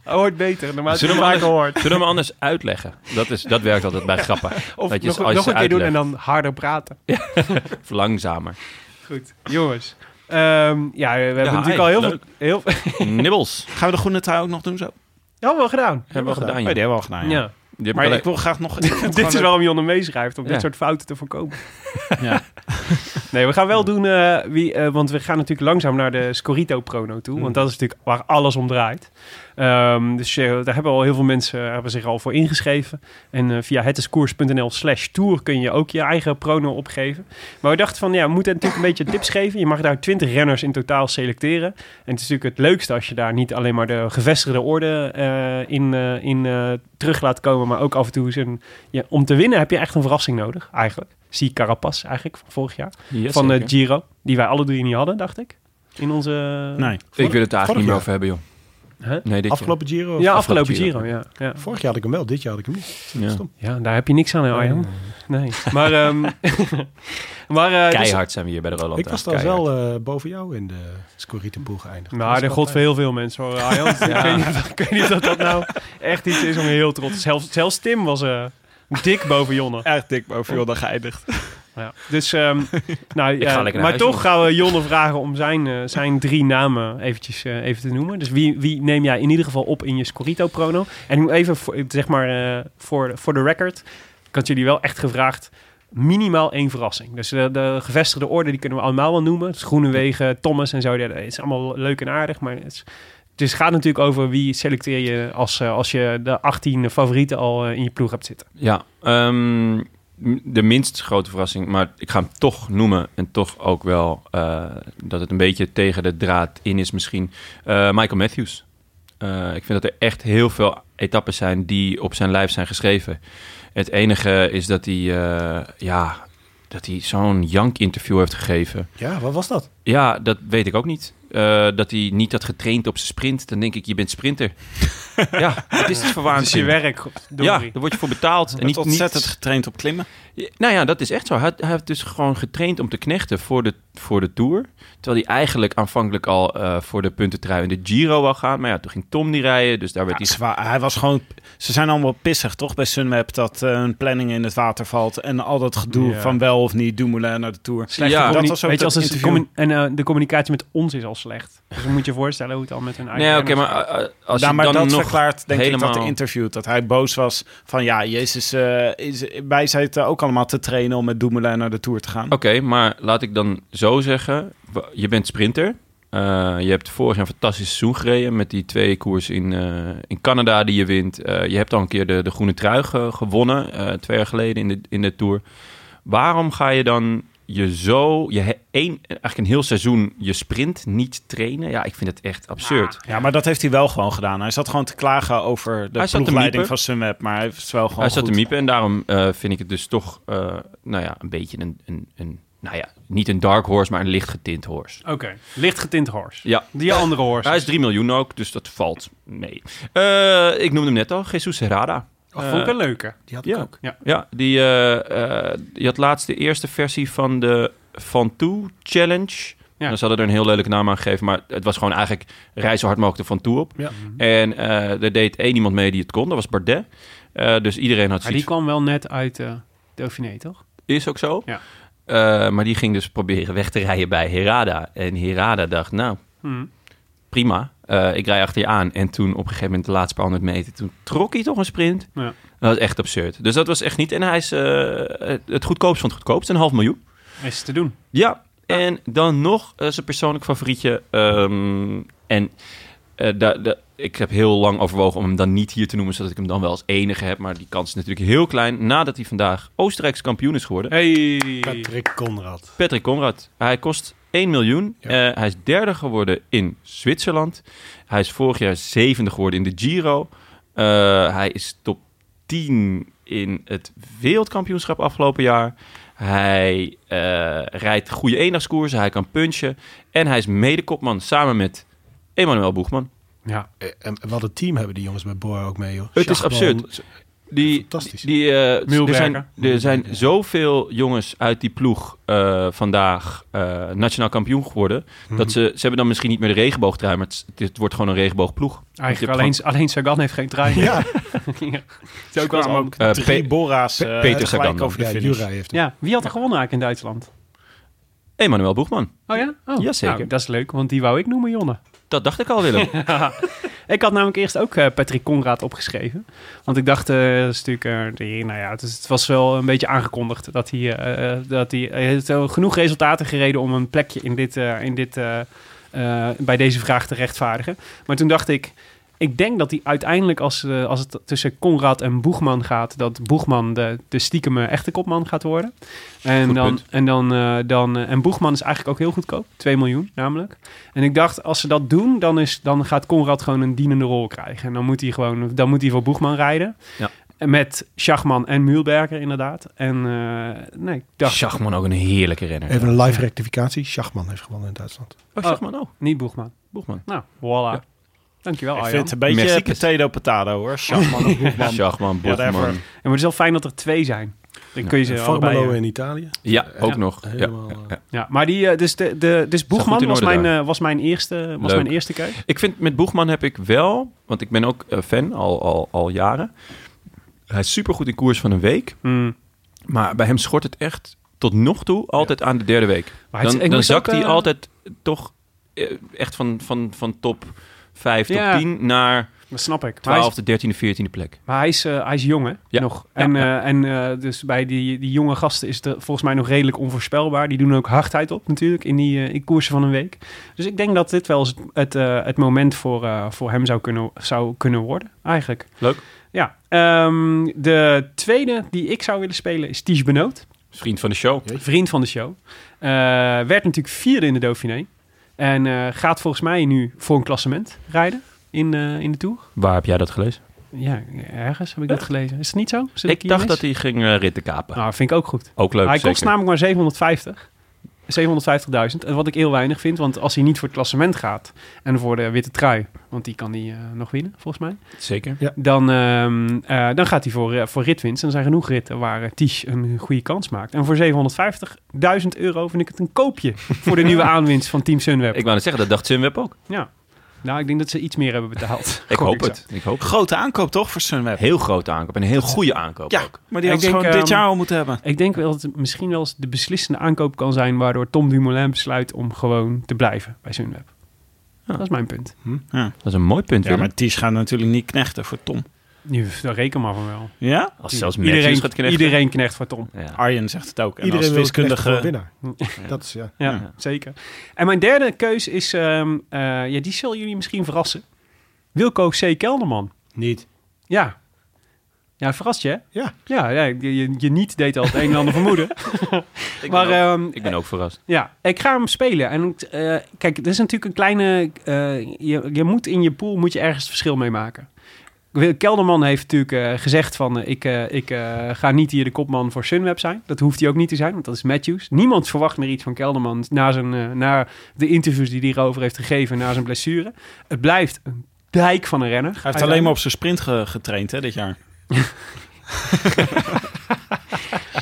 [SPEAKER 2] Oh, Hoort beter, normaal is het
[SPEAKER 1] Zullen we
[SPEAKER 2] vaker hoort.
[SPEAKER 1] Zullen we hem anders uitleggen? Dat, is, dat werkt altijd bij grappen.
[SPEAKER 2] Of
[SPEAKER 1] Dat je
[SPEAKER 2] nog,
[SPEAKER 1] als je
[SPEAKER 2] nog een keer doen
[SPEAKER 1] uitlegt.
[SPEAKER 2] en dan harder praten.
[SPEAKER 1] Of langzamer.
[SPEAKER 2] Goed, jongens. Ehm, ja, we hebben natuurlijk
[SPEAKER 1] hi,
[SPEAKER 2] al heel
[SPEAKER 1] leuk.
[SPEAKER 2] veel... Heel, veel-
[SPEAKER 1] Nibbels.
[SPEAKER 3] Gaan we de groene trui ook nog doen zo?
[SPEAKER 2] hebben we al gedaan.
[SPEAKER 1] Hebben we gedaan,
[SPEAKER 3] Oh,
[SPEAKER 1] joh.
[SPEAKER 3] die hebben we al gedaan, ja.
[SPEAKER 2] Ja.
[SPEAKER 1] Die heb
[SPEAKER 3] Maar
[SPEAKER 1] ik al-
[SPEAKER 3] ik wil graag nog...
[SPEAKER 2] Dit is waarom Jonne meeschrijft, om dit
[SPEAKER 1] Ja.
[SPEAKER 2] soort fouten te voorkomen.
[SPEAKER 3] Ja.
[SPEAKER 2] Nee, we gaan wel doen, eh, wie, eh, want we gaan natuurlijk langzaam naar de Scorito Prono toe. Want dat is natuurlijk waar alles om draait. Ehm, dus eh, daar hebben al heel veel mensen eh, hebben zich al voor ingeschreven. En eh, via hetescours.nl slash tour kun je ook je eigen prono opgeven. Maar we dachten van, ja, we moeten natuurlijk een beetje tips geven. Je mag daar 20 renners in totaal selecteren. En het is natuurlijk het leukste als je daar niet alleen maar de gevestigde orde eh, in, eh, in eh, terug laat komen, maar ook af en toe eens een... Ja, om te winnen heb je echt een verrassing nodig, eigenlijk. Zie Carapaz eigenlijk, van vorig jaar
[SPEAKER 1] Yes,
[SPEAKER 2] van
[SPEAKER 1] zeker.
[SPEAKER 2] eh, Giro. Die wij alle drie niet hadden, dacht ik. In onze...
[SPEAKER 3] Nee.
[SPEAKER 1] Ik wil het eigenlijk
[SPEAKER 5] vorig
[SPEAKER 1] niet meer
[SPEAKER 5] jaar.
[SPEAKER 1] over hebben, joh.
[SPEAKER 2] Hè?
[SPEAKER 1] Nee, dit
[SPEAKER 5] Afgelopen Giro.
[SPEAKER 2] Ja, afgelopen
[SPEAKER 1] afgelopen
[SPEAKER 2] Giro,
[SPEAKER 1] Giro.
[SPEAKER 2] ja. ja.
[SPEAKER 5] Vorig jaar had ik hem wel, dit jaar had ik hem niet.
[SPEAKER 1] jaar. Ja.
[SPEAKER 5] Stom.
[SPEAKER 2] Ja, daar heb je niks aan, hè, Arjan. Nee. Maar... ehm, maar eh, dus-
[SPEAKER 1] Keihard zijn we hier bij de Roland.
[SPEAKER 5] Ik was
[SPEAKER 1] daar
[SPEAKER 5] trouwens wel eh, boven jou in de Scorritenpoel geëindigd.
[SPEAKER 2] nou, de
[SPEAKER 5] Dat
[SPEAKER 2] god
[SPEAKER 5] was
[SPEAKER 2] voor
[SPEAKER 5] wel
[SPEAKER 2] heel veel mensen hoor, Arjan. Dus ik, weet niet, ik weet niet of dat nou echt iets is om je heel trots... Zelfs, zelfs Tim was eh, dik boven Jonne.
[SPEAKER 3] Echt dik boven Jordan geëindigd.
[SPEAKER 2] Ja. Dus, ehm, nou, ja,
[SPEAKER 1] ga lekker naar
[SPEAKER 2] maar
[SPEAKER 1] huis,
[SPEAKER 2] toch
[SPEAKER 1] jongen.
[SPEAKER 2] gaan we Jonne vragen om zijn, eh, zijn drie namen eventjes eh, even te noemen. Dus wie, wie neem jij in ieder geval op in je Scorito-prono? En nu even, voor, zeg maar, eh, voor, voor de record, ik had jullie wel echt gevraagd, minimaal één verrassing. Dus eh, de gevestigde orde, die kunnen we allemaal wel noemen. Dus Groenewegen, Thomas en zo, dat is allemaal leuk en aardig, maar het is... Dus het gaat natuurlijk over wie selecteer je als, eh, als je de 18 favorieten al eh, in je ploeg hebt zitten.
[SPEAKER 1] Ja, ehm, de minst grote verrassing, maar ik ga hem toch noemen. En toch ook wel eh, dat het een beetje tegen de draad in is misschien. Eh, Michael Matthews. Eh, ik vind dat er echt heel veel etappes zijn die op zijn lijf zijn geschreven. Het enige is dat hij, eh, ja, dat hij zo'n jank-interview heeft gegeven.
[SPEAKER 4] Ja, wat was dat?
[SPEAKER 1] Ja, dat weet ik ook niet. Eh, dat hij niet had getraind op zijn sprint. Dan denk ik, je bent sprinter. ja, dat is het
[SPEAKER 2] Het is Dus je
[SPEAKER 1] verwaarlijk.
[SPEAKER 2] werk.
[SPEAKER 1] Ja,
[SPEAKER 2] godverdorie.
[SPEAKER 1] daar word je voor betaald. En
[SPEAKER 3] niet,
[SPEAKER 1] niet,
[SPEAKER 3] ontzettend
[SPEAKER 1] niet,
[SPEAKER 3] getraind op klimmen.
[SPEAKER 1] ja, Nou ja, dat is echt zo. Hij, hij heeft dus gewoon getraind om te knechten voor de, voor de Tour. Terwijl hij eigenlijk aanvankelijk al eh, voor de puntentrui en de Giro wou gaan. Maar ja, toen ging Tom die rijden, dus daar werd
[SPEAKER 3] Ja,
[SPEAKER 1] hij...
[SPEAKER 3] zwaar. hij was gewoon... Ze zijn allemaal pissig, toch? Bij Sunweb dat eh, hun planning in het water valt. En al dat gedoe
[SPEAKER 2] Ja.
[SPEAKER 3] van wel of niet Dumoulin naar de Tour.
[SPEAKER 1] Ja,
[SPEAKER 2] Communi-
[SPEAKER 3] dat was ook
[SPEAKER 2] weet je, als
[SPEAKER 3] dat
[SPEAKER 2] het
[SPEAKER 3] interview.
[SPEAKER 2] commun- en eh, de communicatie met ons is al slecht. Dus dan moet je je voorstellen hoe het al met hun eigen...
[SPEAKER 1] Nee, oké,
[SPEAKER 2] renners-
[SPEAKER 1] maar eh, eh, als
[SPEAKER 3] Ja,
[SPEAKER 1] je
[SPEAKER 3] Nou, maar
[SPEAKER 1] dan
[SPEAKER 3] dat
[SPEAKER 1] nog...
[SPEAKER 3] verklaart denk ik dat
[SPEAKER 1] helemaal-
[SPEAKER 3] de interview dat hij boos was van ja, Jezus, eh, is, wij zitten ook allemaal te trainen om met Dumoulin naar de Tour te gaan.
[SPEAKER 1] Oké, maar laat ik dan zo zeggen. w- Je bent sprinter. Eh, je hebt vorig jaar een fantastisch seizoen gereden met die twee koers in, eh, in Canada die je wint. Eh, je hebt al een keer de, de groene trui ge- gewonnen, eh, twee jaar geleden in de, in de Tour. Waarom ga je dan je zo, je he- één, eigenlijk een heel seizoen, je sprint niet trainen? Ja, ik vind het echt eh, absurd.
[SPEAKER 2] Ah,
[SPEAKER 3] Ja, maar dat heeft hij wel gewoon gedaan. Hij zat gewoon te klagen over de
[SPEAKER 1] Hij zat te
[SPEAKER 3] ploegleiding
[SPEAKER 1] miepen.
[SPEAKER 3] van Sunweb, maar hij is wel gewoon
[SPEAKER 1] Hij zat te
[SPEAKER 3] goed.
[SPEAKER 1] miepen en daarom eh, vind ik het dus toch, eh, nou ja, een beetje een, een, een, nou ja, niet een dark horse, maar een licht getint horse.
[SPEAKER 2] Oké, licht getint horse.
[SPEAKER 1] Ja,
[SPEAKER 2] Die andere horse.
[SPEAKER 1] Hij is 3 miljoen ook, dus dat valt mee. Eh, ik noemde hem net al, Jesus Herrada.
[SPEAKER 2] Oh, vond ik een leuke.
[SPEAKER 4] Die had ik
[SPEAKER 1] Ja,
[SPEAKER 4] ook.
[SPEAKER 1] ja die, eh, eh, die had laatst de eerste versie van de Van Toe Challenge.
[SPEAKER 2] Ja.
[SPEAKER 1] En ze hadden er een heel leuke naam aan gegeven, maar het was gewoon eigenlijk rij zo hard mogelijk de Van Toe op.
[SPEAKER 4] Ja.
[SPEAKER 1] En eh er deed één iemand mee die het kon, dat was Bardet. Eh, dus iedereen had
[SPEAKER 2] Maar Ah, die
[SPEAKER 1] zoiets
[SPEAKER 2] kwam wel net uit eh Dauphiné, toch?
[SPEAKER 1] Is ook zo.
[SPEAKER 2] Ja.
[SPEAKER 1] Eh, maar die ging dus proberen weg te rijden bij Herada. En Herada dacht, nou,
[SPEAKER 2] Hm.
[SPEAKER 1] prima. Eh, ik rij achter je aan. En toen op een gegeven moment de laatste paar honderd meter... toen trok hij toch een sprint.
[SPEAKER 2] Ja.
[SPEAKER 1] Dat was echt absurd. Dus dat was echt niet... En hij is eh, het- het goedkoopst van het goedkoopst. Een half miljoen.
[SPEAKER 2] Is te doen.
[SPEAKER 1] Ja. En dan nog eh, zijn persoonlijk favorietje. ehm, en eh, da- da- ik heb heel lang overwogen om hem dan niet hier te noemen... zodat ik hem dan wel als enige heb. Maar die kans is natuurlijk heel klein... nadat hij vandaag Oostenrijkse kampioen is geworden.
[SPEAKER 2] Hey.
[SPEAKER 4] Patrick Conrad.
[SPEAKER 1] Patrick Conrad. Hij kost 1 miljoen. Eh, hij is derde geworden in Zwitserland. Hij is vorig jaar zevende geworden in de Giro. Eh, hij is top 10 in het wereldkampioenschap afgelopen jaar. Hij eh, rijdt goede eendagskoersen. Hij kan punchen. En hij is medekopman samen met Emmanuel Boegman.
[SPEAKER 2] Ja.
[SPEAKER 4] Eh, En en wat een team hebben die jongens bij Bora ook mee, joh.
[SPEAKER 1] Het is
[SPEAKER 4] Schachman,
[SPEAKER 1] absurd. Die,
[SPEAKER 4] Fantastisch.
[SPEAKER 1] Die, eh, er
[SPEAKER 2] Mühlberger.
[SPEAKER 1] zijn, er zijn zoveel jongens uit die ploeg eh, vandaag eh, nationaal kampioen geworden. Dat ze, ze hebben dan misschien niet meer de regenboogtrui, maar het, is- het is- het wordt gewoon een regenboogploeg.
[SPEAKER 2] Eigenlijk
[SPEAKER 1] hebt
[SPEAKER 2] alleen, alleen Sagan heeft geen trein.
[SPEAKER 4] Ja.
[SPEAKER 2] Is ook wel
[SPEAKER 3] kwamen
[SPEAKER 2] een-
[SPEAKER 3] ook
[SPEAKER 1] Eh,
[SPEAKER 3] drie
[SPEAKER 1] Pe-
[SPEAKER 3] Bora's
[SPEAKER 1] Pe-
[SPEAKER 3] eh,
[SPEAKER 1] Peter
[SPEAKER 3] gelijk
[SPEAKER 1] Sagan dan.
[SPEAKER 3] over de
[SPEAKER 4] Ja,
[SPEAKER 3] finish.
[SPEAKER 4] Jura heeft het.
[SPEAKER 2] Ja, wie had er gewonnen eigenlijk in Duitsland?
[SPEAKER 1] Emmanuel Boegman.
[SPEAKER 2] Oh ja? Oh.
[SPEAKER 1] Jazeker.
[SPEAKER 2] Nou, dat is leuk, want die wou ik noemen, Jonne.
[SPEAKER 1] Dat dacht ik al, Willem.
[SPEAKER 2] Ik had namelijk eerst ook eh, Patrick Conrad opgeschreven. Want ik dacht, eh dat is natuurlijk... eh, die- nou ja, het, is- het was wel een beetje aangekondigd dat hij... eh, eh, dat hij, hij heeft wel genoeg resultaten gereden om een plekje in dit, eh, in dit, eh, eh, bij deze vraag te rechtvaardigen. Maar toen dacht ik... Ik denk dat hij uiteindelijk, als, eh, als het tussen Conrad en Boegman gaat... dat Boegman de, de stiekeme echte kopman gaat worden. En,
[SPEAKER 1] Goed
[SPEAKER 2] dan,
[SPEAKER 1] punt.
[SPEAKER 2] en, dan, eh, dan, eh, en Boegman is eigenlijk ook heel goedkoop. 2 miljoen namelijk. En ik dacht, als ze dat doen, dan, is, dan gaat Conrad gewoon een dienende rol krijgen. En dan moet hij gewoon, dan moet hij voor Boegman rijden.
[SPEAKER 1] Ja.
[SPEAKER 2] En Met Schachman en Mühlberger inderdaad. En eh, nee, ik dacht,
[SPEAKER 1] Schachman ook een heerlijke renner.
[SPEAKER 4] Even een live rectificatie. Schachman heeft gewonnen in Duitsland.
[SPEAKER 1] Oh, Schachman ook.
[SPEAKER 2] niet Boegman.
[SPEAKER 1] Boegman.
[SPEAKER 2] Nou, voilà.
[SPEAKER 1] Ja.
[SPEAKER 2] Dankjewel,
[SPEAKER 3] Ik
[SPEAKER 2] Arjan.
[SPEAKER 3] vind het een beetje
[SPEAKER 1] Merci, Chris.
[SPEAKER 3] Oh, potato potato hoor. Schachman of Boegman.
[SPEAKER 1] Schachman,
[SPEAKER 3] Ja, daarvoor.
[SPEAKER 1] Boegman.
[SPEAKER 2] En maar het is wel fijn dat er twee zijn. Dan
[SPEAKER 1] Ja.
[SPEAKER 2] kun je ze allebei...
[SPEAKER 4] Formelo
[SPEAKER 2] eh,
[SPEAKER 4] in Italië.
[SPEAKER 1] Ja, ook
[SPEAKER 2] Ja.
[SPEAKER 1] nog. Ja.
[SPEAKER 4] Helemaal, eh,
[SPEAKER 2] ja, maar die, eh, dus, de, de, dus
[SPEAKER 1] goed
[SPEAKER 2] Boegman
[SPEAKER 1] in
[SPEAKER 2] was
[SPEAKER 1] orde
[SPEAKER 2] mijn,
[SPEAKER 1] daar.
[SPEAKER 2] eh, was mijn eerste, was
[SPEAKER 1] Leuk.
[SPEAKER 2] mijn eerste keus.
[SPEAKER 1] Ik vind met Boegman heb ik wel, want ik ben ook eh, fan al, al, al jaren. Hij is supergoed in koers van een week.
[SPEAKER 2] Hmm.
[SPEAKER 1] Maar bij hem schort het echt tot nog toe altijd aan de derde week.
[SPEAKER 2] Maar het
[SPEAKER 1] dan
[SPEAKER 2] is- eh, ik
[SPEAKER 1] dan
[SPEAKER 2] moest
[SPEAKER 1] zakt
[SPEAKER 2] ook,
[SPEAKER 1] hij
[SPEAKER 2] eh,
[SPEAKER 1] altijd toch eh, echt van, van, van top vijfde
[SPEAKER 2] Ja.
[SPEAKER 1] op tien naar
[SPEAKER 2] Dat snap ik. Maar hij is,
[SPEAKER 1] twaalfde, dertiende, veertiende plek.
[SPEAKER 2] maar hij is, eh, hij is jong, hè?
[SPEAKER 1] Ja.
[SPEAKER 2] Nog.
[SPEAKER 1] Ja,
[SPEAKER 2] en
[SPEAKER 1] ja.
[SPEAKER 2] eh, en eh, dus bij die, die jonge gasten is het eh, volgens mij nog redelijk onvoorspelbaar. Die doen ook hardheid op natuurlijk in die eh, in koersen van een week. Dus ik denk dat dit wel eens het, het, eh, het moment voor, eh, voor hem zou kunnen, zou kunnen worden, eigenlijk.
[SPEAKER 1] Leuk.
[SPEAKER 2] Ja. Ehm, de tweede die ik zou willen spelen is Ties Benoot.
[SPEAKER 1] Vriend van de show.
[SPEAKER 2] Vriend van de show. Eh, werd natuurlijk vierde in de Dauphiné. En eh, gaat volgens mij nu voor een klassement rijden in, eh, in de Tour.
[SPEAKER 1] Waar heb jij dat gelezen?
[SPEAKER 2] Ja, ergens heb ik dat gelezen. Is het niet zo? Zit
[SPEAKER 1] Ik
[SPEAKER 2] hier
[SPEAKER 1] dacht
[SPEAKER 2] mis?
[SPEAKER 1] dat hij ging eh, ritten kapen.
[SPEAKER 2] Nou, vind ik ook goed.
[SPEAKER 1] Ook leuk,
[SPEAKER 2] hij
[SPEAKER 1] zeker.
[SPEAKER 2] kost namelijk maar 750. 750.000. En Wat ik heel weinig vind, want als hij niet voor het klassement gaat... en voor de witte trui, want die kan hij eh, nog winnen, volgens mij...
[SPEAKER 1] Zeker.
[SPEAKER 2] dan, ehm, eh, dan gaat hij voor, eh, voor ritwinst. En er zijn genoeg ritten waar eh, Ties een goede kans maakt. En voor 750.000 euro vind ik het een koopje voor de nieuwe aanwinst van Team Sunweb.
[SPEAKER 1] Ik wou net zeggen, dat dacht Sunweb ook.
[SPEAKER 2] Ja. Nou, ik denk dat ze iets meer hebben betaald.
[SPEAKER 1] Ik
[SPEAKER 2] Gooi
[SPEAKER 1] hoop
[SPEAKER 2] zo.
[SPEAKER 1] het. Ik hoop het.
[SPEAKER 3] Grote aankoop toch voor Sunweb?
[SPEAKER 1] Heel grote aankoop en een heel goede aankoop
[SPEAKER 3] ja,
[SPEAKER 1] ook.
[SPEAKER 3] maar die
[SPEAKER 2] Ik
[SPEAKER 3] had ze
[SPEAKER 2] denk,
[SPEAKER 3] gewoon dit
[SPEAKER 2] ehm,
[SPEAKER 3] jaar al moeten hebben.
[SPEAKER 2] Ik denk wel dat het misschien wel eens de beslissende aankoop kan zijn... waardoor Tom Dumoulin besluit om gewoon te blijven bij Sunweb. Dat is mijn punt.
[SPEAKER 1] Dat is een mooi punt,
[SPEAKER 3] Ja,
[SPEAKER 1] Willem.
[SPEAKER 3] maar Ties gaat natuurlijk niet knechten voor Tom.
[SPEAKER 2] Nu, daar reken maar van wel.
[SPEAKER 3] Ja?
[SPEAKER 1] Als zelfs
[SPEAKER 2] iedereen,
[SPEAKER 1] Matthews gaat knechten.
[SPEAKER 2] iedereen knecht voor Tom.
[SPEAKER 1] Ja.
[SPEAKER 3] Arjen zegt het ook. En
[SPEAKER 4] Iedereen
[SPEAKER 3] als
[SPEAKER 4] wil wiskundige... voor een
[SPEAKER 3] wiskundige...
[SPEAKER 4] winnaar. Dat is, ja.
[SPEAKER 2] Ja,
[SPEAKER 1] Ja.
[SPEAKER 2] zeker. En mijn derde keus is... ehm, eh, ja, die zullen jullie misschien verrassen. Wilco C. Kelderman.
[SPEAKER 4] Niet.
[SPEAKER 2] Ja. Ja, verrast je, hè?
[SPEAKER 4] Ja.
[SPEAKER 2] Ja, ja, je, je- je niet deed al het een en ander vermoeden.
[SPEAKER 1] Ik,
[SPEAKER 2] maar
[SPEAKER 1] ben ook,
[SPEAKER 2] ehm,
[SPEAKER 1] ik ben ook verrast.
[SPEAKER 2] ja, ik ga hem spelen. En eh, kijk, het is natuurlijk een kleine... eh, je, je moet in je pool moet je ergens het verschil mee maken. Wil- Kelderman heeft natuurlijk eh, gezegd van... eh, ik eh, ik eh, ga niet hier de kopman voor Sunweb zijn. Dat hoeft hij ook niet te zijn, want dat is Matthews. Niemand verwacht meer iets van Kelderman... na, zijn, eh, na de interviews die hij hierover heeft gegeven... na zijn blessure. Het blijft een dijk van een renner.
[SPEAKER 3] Hij heeft alleen maar op zijn sprint ge- getraind hè, dit jaar.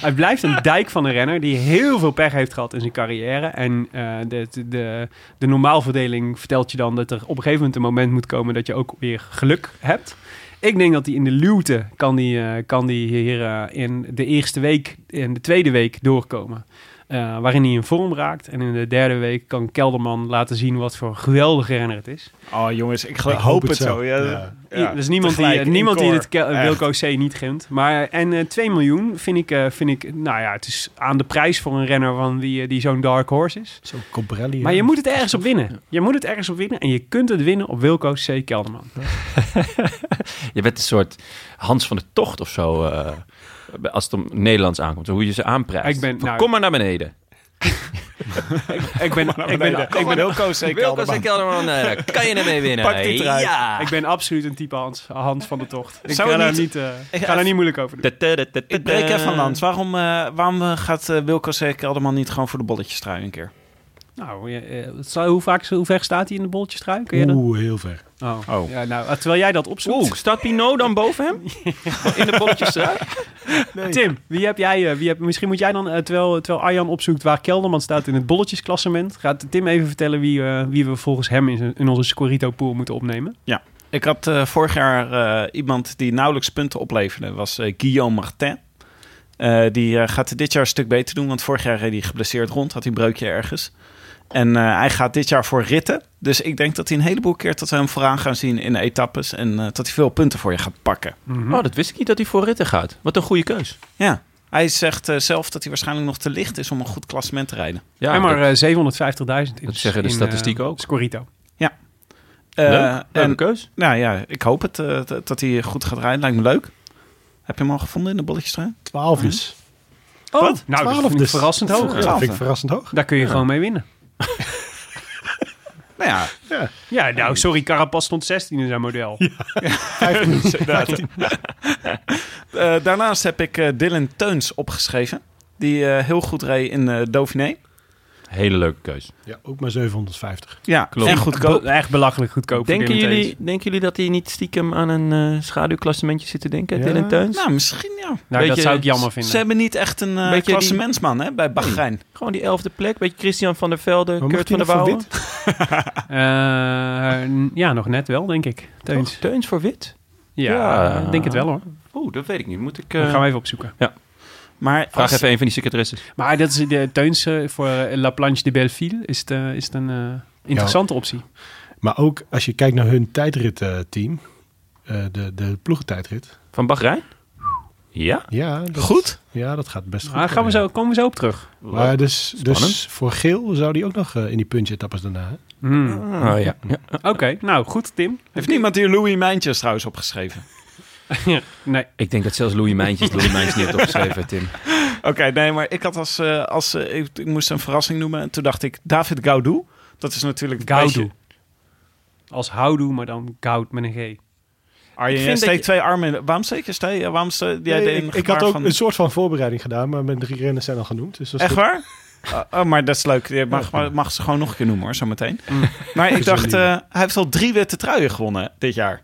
[SPEAKER 2] Hij blijft een dijk van een renner die heel veel pech heeft gehad in zijn carrière. En eh, de, de- de, de normaalverdeling vertelt je dan dat er op een gegeven moment een moment moet komen dat je ook weer geluk hebt. Ik denk dat hij in de luwte kan die, eh, kan die hier eh, in de eerste week en de tweede week doorkomen. Eh, waarin hij in vorm raakt. En in de derde week kan Kelderman laten zien wat voor een geweldige renner het is.
[SPEAKER 3] Oh jongens, ik, gel- hoop het zo. Ja,
[SPEAKER 4] Ja.
[SPEAKER 3] ja. Dus
[SPEAKER 2] er is dus niemand
[SPEAKER 3] Tegelijk,
[SPEAKER 2] die, eh,
[SPEAKER 3] in
[SPEAKER 2] niemand die
[SPEAKER 3] koor.
[SPEAKER 2] dit Ke- eh,
[SPEAKER 3] Echt.
[SPEAKER 2] Wilco C. niet gunt. Maar, en eh 2 miljoen vind ik, eh, vind ik, nou ja, het is aan de prijs voor een renner van die, eh, die zo'n dark horse is.
[SPEAKER 4] Zo Cobrelli. eh,
[SPEAKER 2] Maar je moet het ergens op winnen. Je moet het ergens op winnen en je kunt het winnen op Wilco C. Kelderman.
[SPEAKER 1] Je bent een soort Hans van de Tocht of zo. eh, als het om Nederlands aankomt. Hoe je ze aanprijst.
[SPEAKER 2] Ik ben-
[SPEAKER 1] Van,
[SPEAKER 2] nou-
[SPEAKER 1] kom maar naar beneden.
[SPEAKER 2] Ik ben,
[SPEAKER 3] Nou,
[SPEAKER 2] ik ben, ik ben,
[SPEAKER 3] Wilco C.
[SPEAKER 1] Wilco zei
[SPEAKER 3] Kelderman.
[SPEAKER 1] Kelderman, eh, kan je ermee winnen?
[SPEAKER 3] Pak die trui.
[SPEAKER 1] Ja.
[SPEAKER 2] ik ben absoluut een type Hans, Hans van de Tocht. Ik
[SPEAKER 3] Zou
[SPEAKER 2] ga,
[SPEAKER 3] het
[SPEAKER 2] daar
[SPEAKER 3] niet-
[SPEAKER 2] niet, eh,
[SPEAKER 3] Ik
[SPEAKER 2] ga daar
[SPEAKER 3] ga-
[SPEAKER 2] niet moeilijk over doen.
[SPEAKER 1] Da- da- da- da-
[SPEAKER 3] Ik breek
[SPEAKER 1] da-
[SPEAKER 3] even land. Waarom, eh, waarom eh, gaat eh, Wilco C. Kelderman niet gewoon voor de bolletjes trui een keer?
[SPEAKER 2] Nou, eh, eh, zou- hoe, vaak, hoe ver staat hij in de bolletjes trui? Kun je dat?
[SPEAKER 4] Oeh, heel ver.
[SPEAKER 2] Oh.
[SPEAKER 3] Oh.
[SPEAKER 2] Ja, nou, terwijl jij dat opzoekt.
[SPEAKER 1] Oeh, staat Pinot dan boven hem? In de bolletjes trui?
[SPEAKER 2] Tim, wie heb jij? eh, wie heb, misschien moet jij dan, eh, terwijl, terwijl Arjan opzoekt waar Kelderman staat in het bolletjesklassement, gaat Tim even vertellen wie, eh, wie we volgens hem in, zijn- in onze Scorito-pool moeten opnemen.
[SPEAKER 3] Ik had eh, vorig jaar eh, iemand die nauwelijks punten opleverde. was eh, Guillaume Martin. Eh, die eh, gaat het dit jaar een stuk beter doen. Want vorig jaar reed hij geblesseerd rond. Had hij een breukje ergens. En eh, hij gaat dit jaar voor ritten. Dus ik denk dat hij een heleboel keer dat we hem vooraan gaan zien in etappes. En eh, dat hij veel punten voor je gaat pakken.
[SPEAKER 1] Oh, dat wist ik niet dat hij voor ritten gaat. Wat een goede keus.
[SPEAKER 3] Ja, hij zegt eh, zelf dat hij waarschijnlijk nog te licht is om een goed klassement te rijden.
[SPEAKER 1] Ja,
[SPEAKER 2] en maar
[SPEAKER 1] dat-
[SPEAKER 2] eh, 750.000 in
[SPEAKER 1] dat zeggen de
[SPEAKER 2] in, eh,
[SPEAKER 1] statistieken ook.
[SPEAKER 2] Scorito.
[SPEAKER 3] Eh,
[SPEAKER 1] leuk. Leuke
[SPEAKER 3] en,
[SPEAKER 1] keus.
[SPEAKER 3] nou ja, ik hoop het eh, dat- dat hij goed gaat rijden. Lijkt me leuk. Heb je hem al gevonden in de bolletjestrui?
[SPEAKER 4] Twaalf dus.
[SPEAKER 2] Oh,
[SPEAKER 3] Wat?
[SPEAKER 2] nou, dat
[SPEAKER 4] 12
[SPEAKER 2] vind ik
[SPEAKER 4] dus.
[SPEAKER 2] verrassend hoog.
[SPEAKER 4] Ja, dat vind ik verrassend hoog.
[SPEAKER 2] Daar kun je gewoon mee winnen.
[SPEAKER 3] Nou ja,
[SPEAKER 2] Ja, nou, sorry, Carapaz stond 16 in zijn model.
[SPEAKER 3] Eh, daarnaast heb ik eh, Dylan Teuns opgeschreven. Die eh, heel goed reed in eh Dauphiné.
[SPEAKER 1] Hele leuke keus.
[SPEAKER 4] Ja, ook maar 750.
[SPEAKER 3] Ja,
[SPEAKER 1] Klopt.
[SPEAKER 3] en goedkoop.
[SPEAKER 2] Be- Echt belachelijk goedkoop. voor
[SPEAKER 1] Denken
[SPEAKER 2] Dylan Teuns.
[SPEAKER 1] jullie, denken jullie dat hij niet stiekem aan een eh, schaduwklassementje zit te denken,
[SPEAKER 4] Ja.
[SPEAKER 1] Dylan Teuns?
[SPEAKER 3] Nou, misschien ja.
[SPEAKER 2] Nou, dat
[SPEAKER 1] beetje-
[SPEAKER 2] zou ik jammer
[SPEAKER 3] Ze
[SPEAKER 2] vinden.
[SPEAKER 3] hebben niet echt een eh
[SPEAKER 1] Beetje die-
[SPEAKER 3] klassementsman hè, bij Bahrein.
[SPEAKER 1] Gewoon die elfde plek, beetje Christian van der Velde,
[SPEAKER 4] Maar
[SPEAKER 1] Kurt
[SPEAKER 4] mocht
[SPEAKER 1] van
[SPEAKER 4] hij
[SPEAKER 1] der
[SPEAKER 4] nog voor
[SPEAKER 1] Wouwen.
[SPEAKER 2] Eh, n- ja, nog net wel, denk ik. Teuns.
[SPEAKER 1] Toch? Teuns voor wit?
[SPEAKER 2] Ja,
[SPEAKER 1] Oh, Ja.
[SPEAKER 2] ik denk het wel hoor.
[SPEAKER 1] Oeh, dat weet ik niet. Moet ik...
[SPEAKER 2] Dat
[SPEAKER 1] eh,
[SPEAKER 2] gaan we even opzoeken.
[SPEAKER 3] Maar
[SPEAKER 1] Vraag
[SPEAKER 3] als-
[SPEAKER 1] even een van die secretaresses.
[SPEAKER 2] Maar dat is de Teuns eh, voor eh, La Planche de Belleville. Is het, eh, is het een eh, interessante optie?
[SPEAKER 4] Maar ook als je kijkt naar hun tijdritteam, eh de, de ploegentijdrit.
[SPEAKER 1] Van Bahrein? Ja?
[SPEAKER 4] Ja, dat,
[SPEAKER 3] Goed?
[SPEAKER 4] Ja, dat gaat best goed.
[SPEAKER 2] Daar Ah, gaan we zo, komen we zo op terug.
[SPEAKER 4] Maar dus,
[SPEAKER 1] Spannend.
[SPEAKER 4] dus voor Geel zou die ook nog eh, in die punch-etappes daarna. hè?
[SPEAKER 2] Hmm.
[SPEAKER 1] Oh ja. ja.
[SPEAKER 2] Oké, nou goed, Tim.
[SPEAKER 3] Heeft niemand hier Louis Mijntjes trouwens opgeschreven?
[SPEAKER 2] Nee,
[SPEAKER 1] Ik denk dat zelfs Louis Mijntjes Louis Mijntjes niet heeft opgeschreven, Tim.
[SPEAKER 3] Oké, nee, maar ik had als... eh, als eh, ik, ik moest een verrassing noemen. En toen dacht ik, David Gaudu. Dat is natuurlijk...
[SPEAKER 2] Gaudu. Als houdoe, maar dan goud met een G.
[SPEAKER 1] Ik
[SPEAKER 3] Arjen, jij
[SPEAKER 1] vind dat
[SPEAKER 3] Ah, steekt
[SPEAKER 1] je-
[SPEAKER 3] twee armen in... de- Waarom steek je steek? Waarom ste- jij
[SPEAKER 4] Nee,
[SPEAKER 3] deed een
[SPEAKER 4] ik, ik
[SPEAKER 3] gebaar
[SPEAKER 4] had ook
[SPEAKER 3] van-
[SPEAKER 4] een soort van voorbereiding gedaan, maar mijn drie renners zijn al genoemd. Dus dat is
[SPEAKER 3] Echt
[SPEAKER 4] goed.
[SPEAKER 3] waar? Oh, oh, maar dat is leuk. Je mag,
[SPEAKER 4] Ja, prima.
[SPEAKER 3] mag ze gewoon nog een keer noemen hoor, zometeen.
[SPEAKER 2] Mm.
[SPEAKER 3] Maar ik dacht,
[SPEAKER 4] Gezien
[SPEAKER 3] eh, hij heeft al drie witte truien gewonnen dit jaar.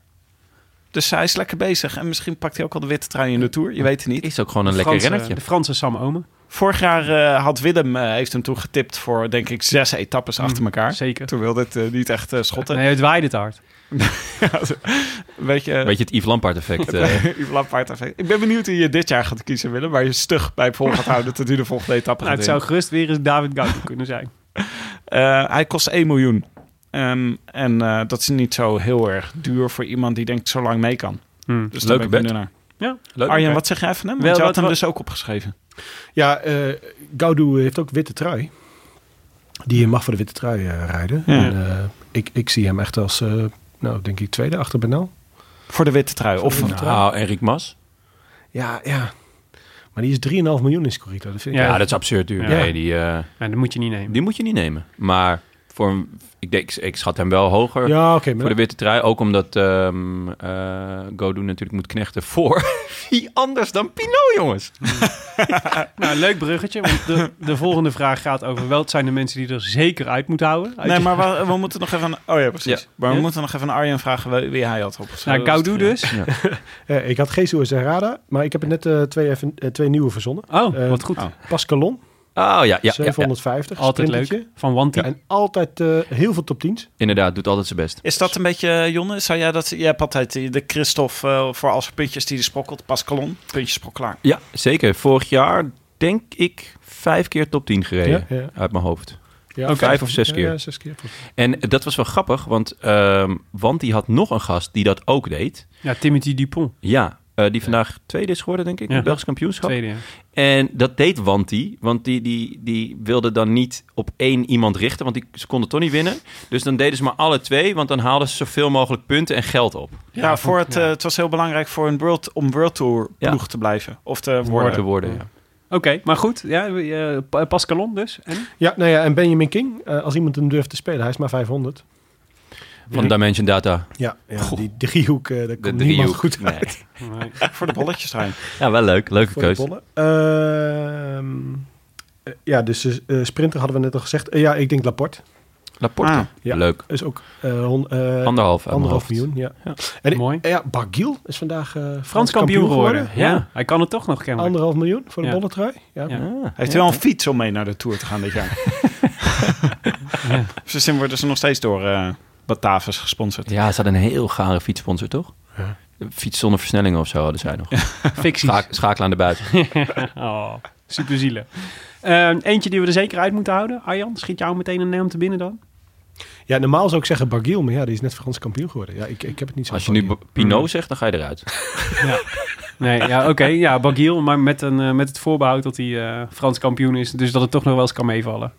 [SPEAKER 3] Dus hij is lekker bezig. En misschien pakt hij ook al de witte trui in de Tour. Je weet het niet.
[SPEAKER 1] Is ook gewoon een
[SPEAKER 2] De
[SPEAKER 1] lekker
[SPEAKER 2] Franse-
[SPEAKER 1] rennertje.
[SPEAKER 2] De Franse Sam Omen,
[SPEAKER 3] Vorig jaar eh, had Willem, eh, heeft hem toen getipt voor denk ik zes etappes
[SPEAKER 2] Mm,
[SPEAKER 3] achter elkaar.
[SPEAKER 2] zeker.
[SPEAKER 3] Toen wilde het eh, niet echt eh, schotten.
[SPEAKER 2] Nee, het waaide het hard.
[SPEAKER 3] Weet je,
[SPEAKER 1] Weet je het Yves Lampaard effect? eh?
[SPEAKER 3] Yves Lampaard heeft- Ik ben benieuwd wie je dit jaar gaat kiezen, Willem. Waar je stug bij vol gaat houden tot hij de volgende etappe
[SPEAKER 2] Nou,
[SPEAKER 3] gaat
[SPEAKER 2] het zou
[SPEAKER 3] winnen.
[SPEAKER 2] gerust weer eens David Gaudu kunnen zijn.
[SPEAKER 3] Eh, hij kost 1 miljoen. Ehm, en eh, dat is niet zo heel erg duur voor iemand die denkt zo lang mee kan.
[SPEAKER 2] Hmm.
[SPEAKER 3] Dus
[SPEAKER 1] Leuke
[SPEAKER 3] daar ben ik
[SPEAKER 1] bet.
[SPEAKER 3] benieuwd naar.
[SPEAKER 1] Leuk.
[SPEAKER 3] Arjen, wat zeg jij van hem?
[SPEAKER 2] Wel,
[SPEAKER 3] Want je had
[SPEAKER 2] wat-
[SPEAKER 3] hem
[SPEAKER 2] wat-
[SPEAKER 3] dus ook opgeschreven.
[SPEAKER 4] Ja, eh Gaudu heeft ook witte trui. Die mag voor de witte trui eh, rijden.
[SPEAKER 3] Ja.
[SPEAKER 4] En, eh, ik, ik zie hem echt als, eh, nou denk ik, tweede achter Benel.
[SPEAKER 3] Voor de witte trui. Of
[SPEAKER 4] Voor de witte
[SPEAKER 1] Nou, Enric Mas?
[SPEAKER 4] Ja, ja. Maar die is 3,5 miljoen in Scorito. Dat vind ik
[SPEAKER 2] Ja.
[SPEAKER 1] Ja, dat is absurd duur.
[SPEAKER 2] Ja.
[SPEAKER 1] Nee, die, eh,
[SPEAKER 2] Nou, dat moet je niet nemen.
[SPEAKER 1] die moet je niet nemen. Maar voor een, ik, denk, ik schat hem wel hoger
[SPEAKER 4] Ja, oké. maar
[SPEAKER 1] voor de witte trui. Ook omdat ehm eh, Godou natuurlijk moet knechten voor wie anders dan Pinot, jongens.
[SPEAKER 2] Nou, leuk bruggetje, want de, de volgende vraag gaat over welk zijn de mensen die er zeker uit moeten houden. Uit
[SPEAKER 3] Nee,
[SPEAKER 2] die-
[SPEAKER 3] maar we, we moeten nog even... aan- Oh ja, precies.
[SPEAKER 1] Ja.
[SPEAKER 3] Maar we
[SPEAKER 2] Ja.
[SPEAKER 3] moeten nog even aan Arjen vragen wie, wie hij had opgeschreven.
[SPEAKER 2] nou, Gaudu dus.
[SPEAKER 1] Oh,
[SPEAKER 4] Eh, ik had Jesus en Rada, maar ik heb er net eh, twee, even, eh, twee nieuwe verzonnen.
[SPEAKER 2] Oh,
[SPEAKER 4] Eh,
[SPEAKER 2] wat goed.
[SPEAKER 3] oh,
[SPEAKER 4] Pascalon,
[SPEAKER 1] Oh ja, ja, ja, ja.
[SPEAKER 4] 750.
[SPEAKER 2] Altijd
[SPEAKER 4] sprintertje.
[SPEAKER 2] leuk. Van Wanty.
[SPEAKER 4] En altijd eh, heel veel top 10's.
[SPEAKER 1] inderdaad, doet altijd zijn best.
[SPEAKER 3] Is dat een beetje, eh, Jonne? Zou jij dat... Jij hebt altijd die- de Christophe eh, voor als er puntjes die hij sprokkelt. Pascalon, puntjes sprokkelaar.
[SPEAKER 1] Ja, zeker. Vorig jaar denk ik vijf keer top 10 gereden.
[SPEAKER 4] Ja, ja.
[SPEAKER 1] Uit mijn hoofd.
[SPEAKER 4] Ja,
[SPEAKER 1] Ook vijf of zes
[SPEAKER 4] ja,
[SPEAKER 1] keer.
[SPEAKER 4] Ja, zes keer. volgens mij.
[SPEAKER 1] En dat was wel grappig, want, ehm, want die had nog een gast die dat ook deed.
[SPEAKER 2] Ja, Timothy Dupont,
[SPEAKER 1] Ja, eh, die vandaag tweede is geworden, denk ik.
[SPEAKER 2] Ja.
[SPEAKER 1] in het Belgisch kampioenschap.
[SPEAKER 2] tweede. ja.
[SPEAKER 1] En dat deed Wanti, want die, die, die wilde dan niet op één iemand richten, want die, ze konden toch niet winnen. Dus dan deden ze maar alle twee, want dan haalden ze zoveel mogelijk punten en geld op.
[SPEAKER 3] Ja, voor het, eh, het was heel belangrijk voor een world, om World Tour
[SPEAKER 1] Ja.
[SPEAKER 3] ploeg te blijven. Of te
[SPEAKER 1] Worden. Te
[SPEAKER 3] worden.
[SPEAKER 1] worden, ja.
[SPEAKER 2] Oké, maar goed. Ja, we- eh, Pa- Pascalon dus. En?
[SPEAKER 4] Ja, nou ja, en Benjamin King, eh, als iemand hem durft te spelen, hij is maar 500.
[SPEAKER 1] Van Dimension Data.
[SPEAKER 4] Ja, ja die driehoek, eh daar
[SPEAKER 1] De
[SPEAKER 4] komt niemand
[SPEAKER 1] driehoek.
[SPEAKER 4] goed
[SPEAKER 1] Nee.
[SPEAKER 4] uit
[SPEAKER 2] Nee.
[SPEAKER 3] Voor de bolletjes zijn.
[SPEAKER 1] Ja, wel leuk. Leuke
[SPEAKER 4] voor de
[SPEAKER 1] keuze.
[SPEAKER 4] bollen. Ehm, eh, ja, dus eh, sprinter hadden we net al gezegd. Eh, ja, ik denk Laporte.
[SPEAKER 1] Laporte.
[SPEAKER 3] Ah,
[SPEAKER 4] ja.
[SPEAKER 1] Leuk.
[SPEAKER 4] Is ook eh, hon- eh,
[SPEAKER 1] Anderhalf. uit mijn
[SPEAKER 4] anderhalf
[SPEAKER 1] hoofd.
[SPEAKER 4] miljoen, ja.
[SPEAKER 1] Ja.
[SPEAKER 4] En, ik-
[SPEAKER 2] Mooi.
[SPEAKER 4] eh, ja, Barguil is vandaag eh,
[SPEAKER 2] Frans kampioen geworden. Ja.
[SPEAKER 1] Ja.
[SPEAKER 2] hij kan het toch nog kennelijk.
[SPEAKER 4] Anderhalf miljoen voor de
[SPEAKER 2] Ja.
[SPEAKER 4] bolletrui. Ja.
[SPEAKER 2] Ja.
[SPEAKER 1] Ah,
[SPEAKER 3] Hij heeft
[SPEAKER 1] ja.
[SPEAKER 3] wel een fiets om mee naar de Tour te gaan dit jaar.
[SPEAKER 2] Ja.
[SPEAKER 3] Ze zijn- worden ze nog steeds door eh Batavus gesponsord.
[SPEAKER 1] Ja, ze hadden een heel gare fietssponsor, toch?
[SPEAKER 4] Ja.
[SPEAKER 1] Een Fiets zonder versnellingen of zo hadden zij nog.
[SPEAKER 2] Ficties.
[SPEAKER 1] Schaak- schakelen aan de buiten.
[SPEAKER 2] oh, super zielig. Eh, eentje die we er zeker uit moeten houden. Arjan, schiet jou meteen een naam te binnen dan?
[SPEAKER 4] ja, normaal zou ik zeggen Barguil, maar ja, die is net Frans kampioen geworden. Ja, ik, ik heb het niet zo
[SPEAKER 1] Als je
[SPEAKER 4] van
[SPEAKER 1] nu
[SPEAKER 2] Mm-hmm.
[SPEAKER 4] die-
[SPEAKER 1] B- Pinot zegt, dan ga je eruit.
[SPEAKER 2] Nee, ja, oké. ja, Bagiel, maar met, een, eh, met het voorbehoud dat hij eh, Frans kampioen is. Dus dat het toch nog wel eens kan meevallen.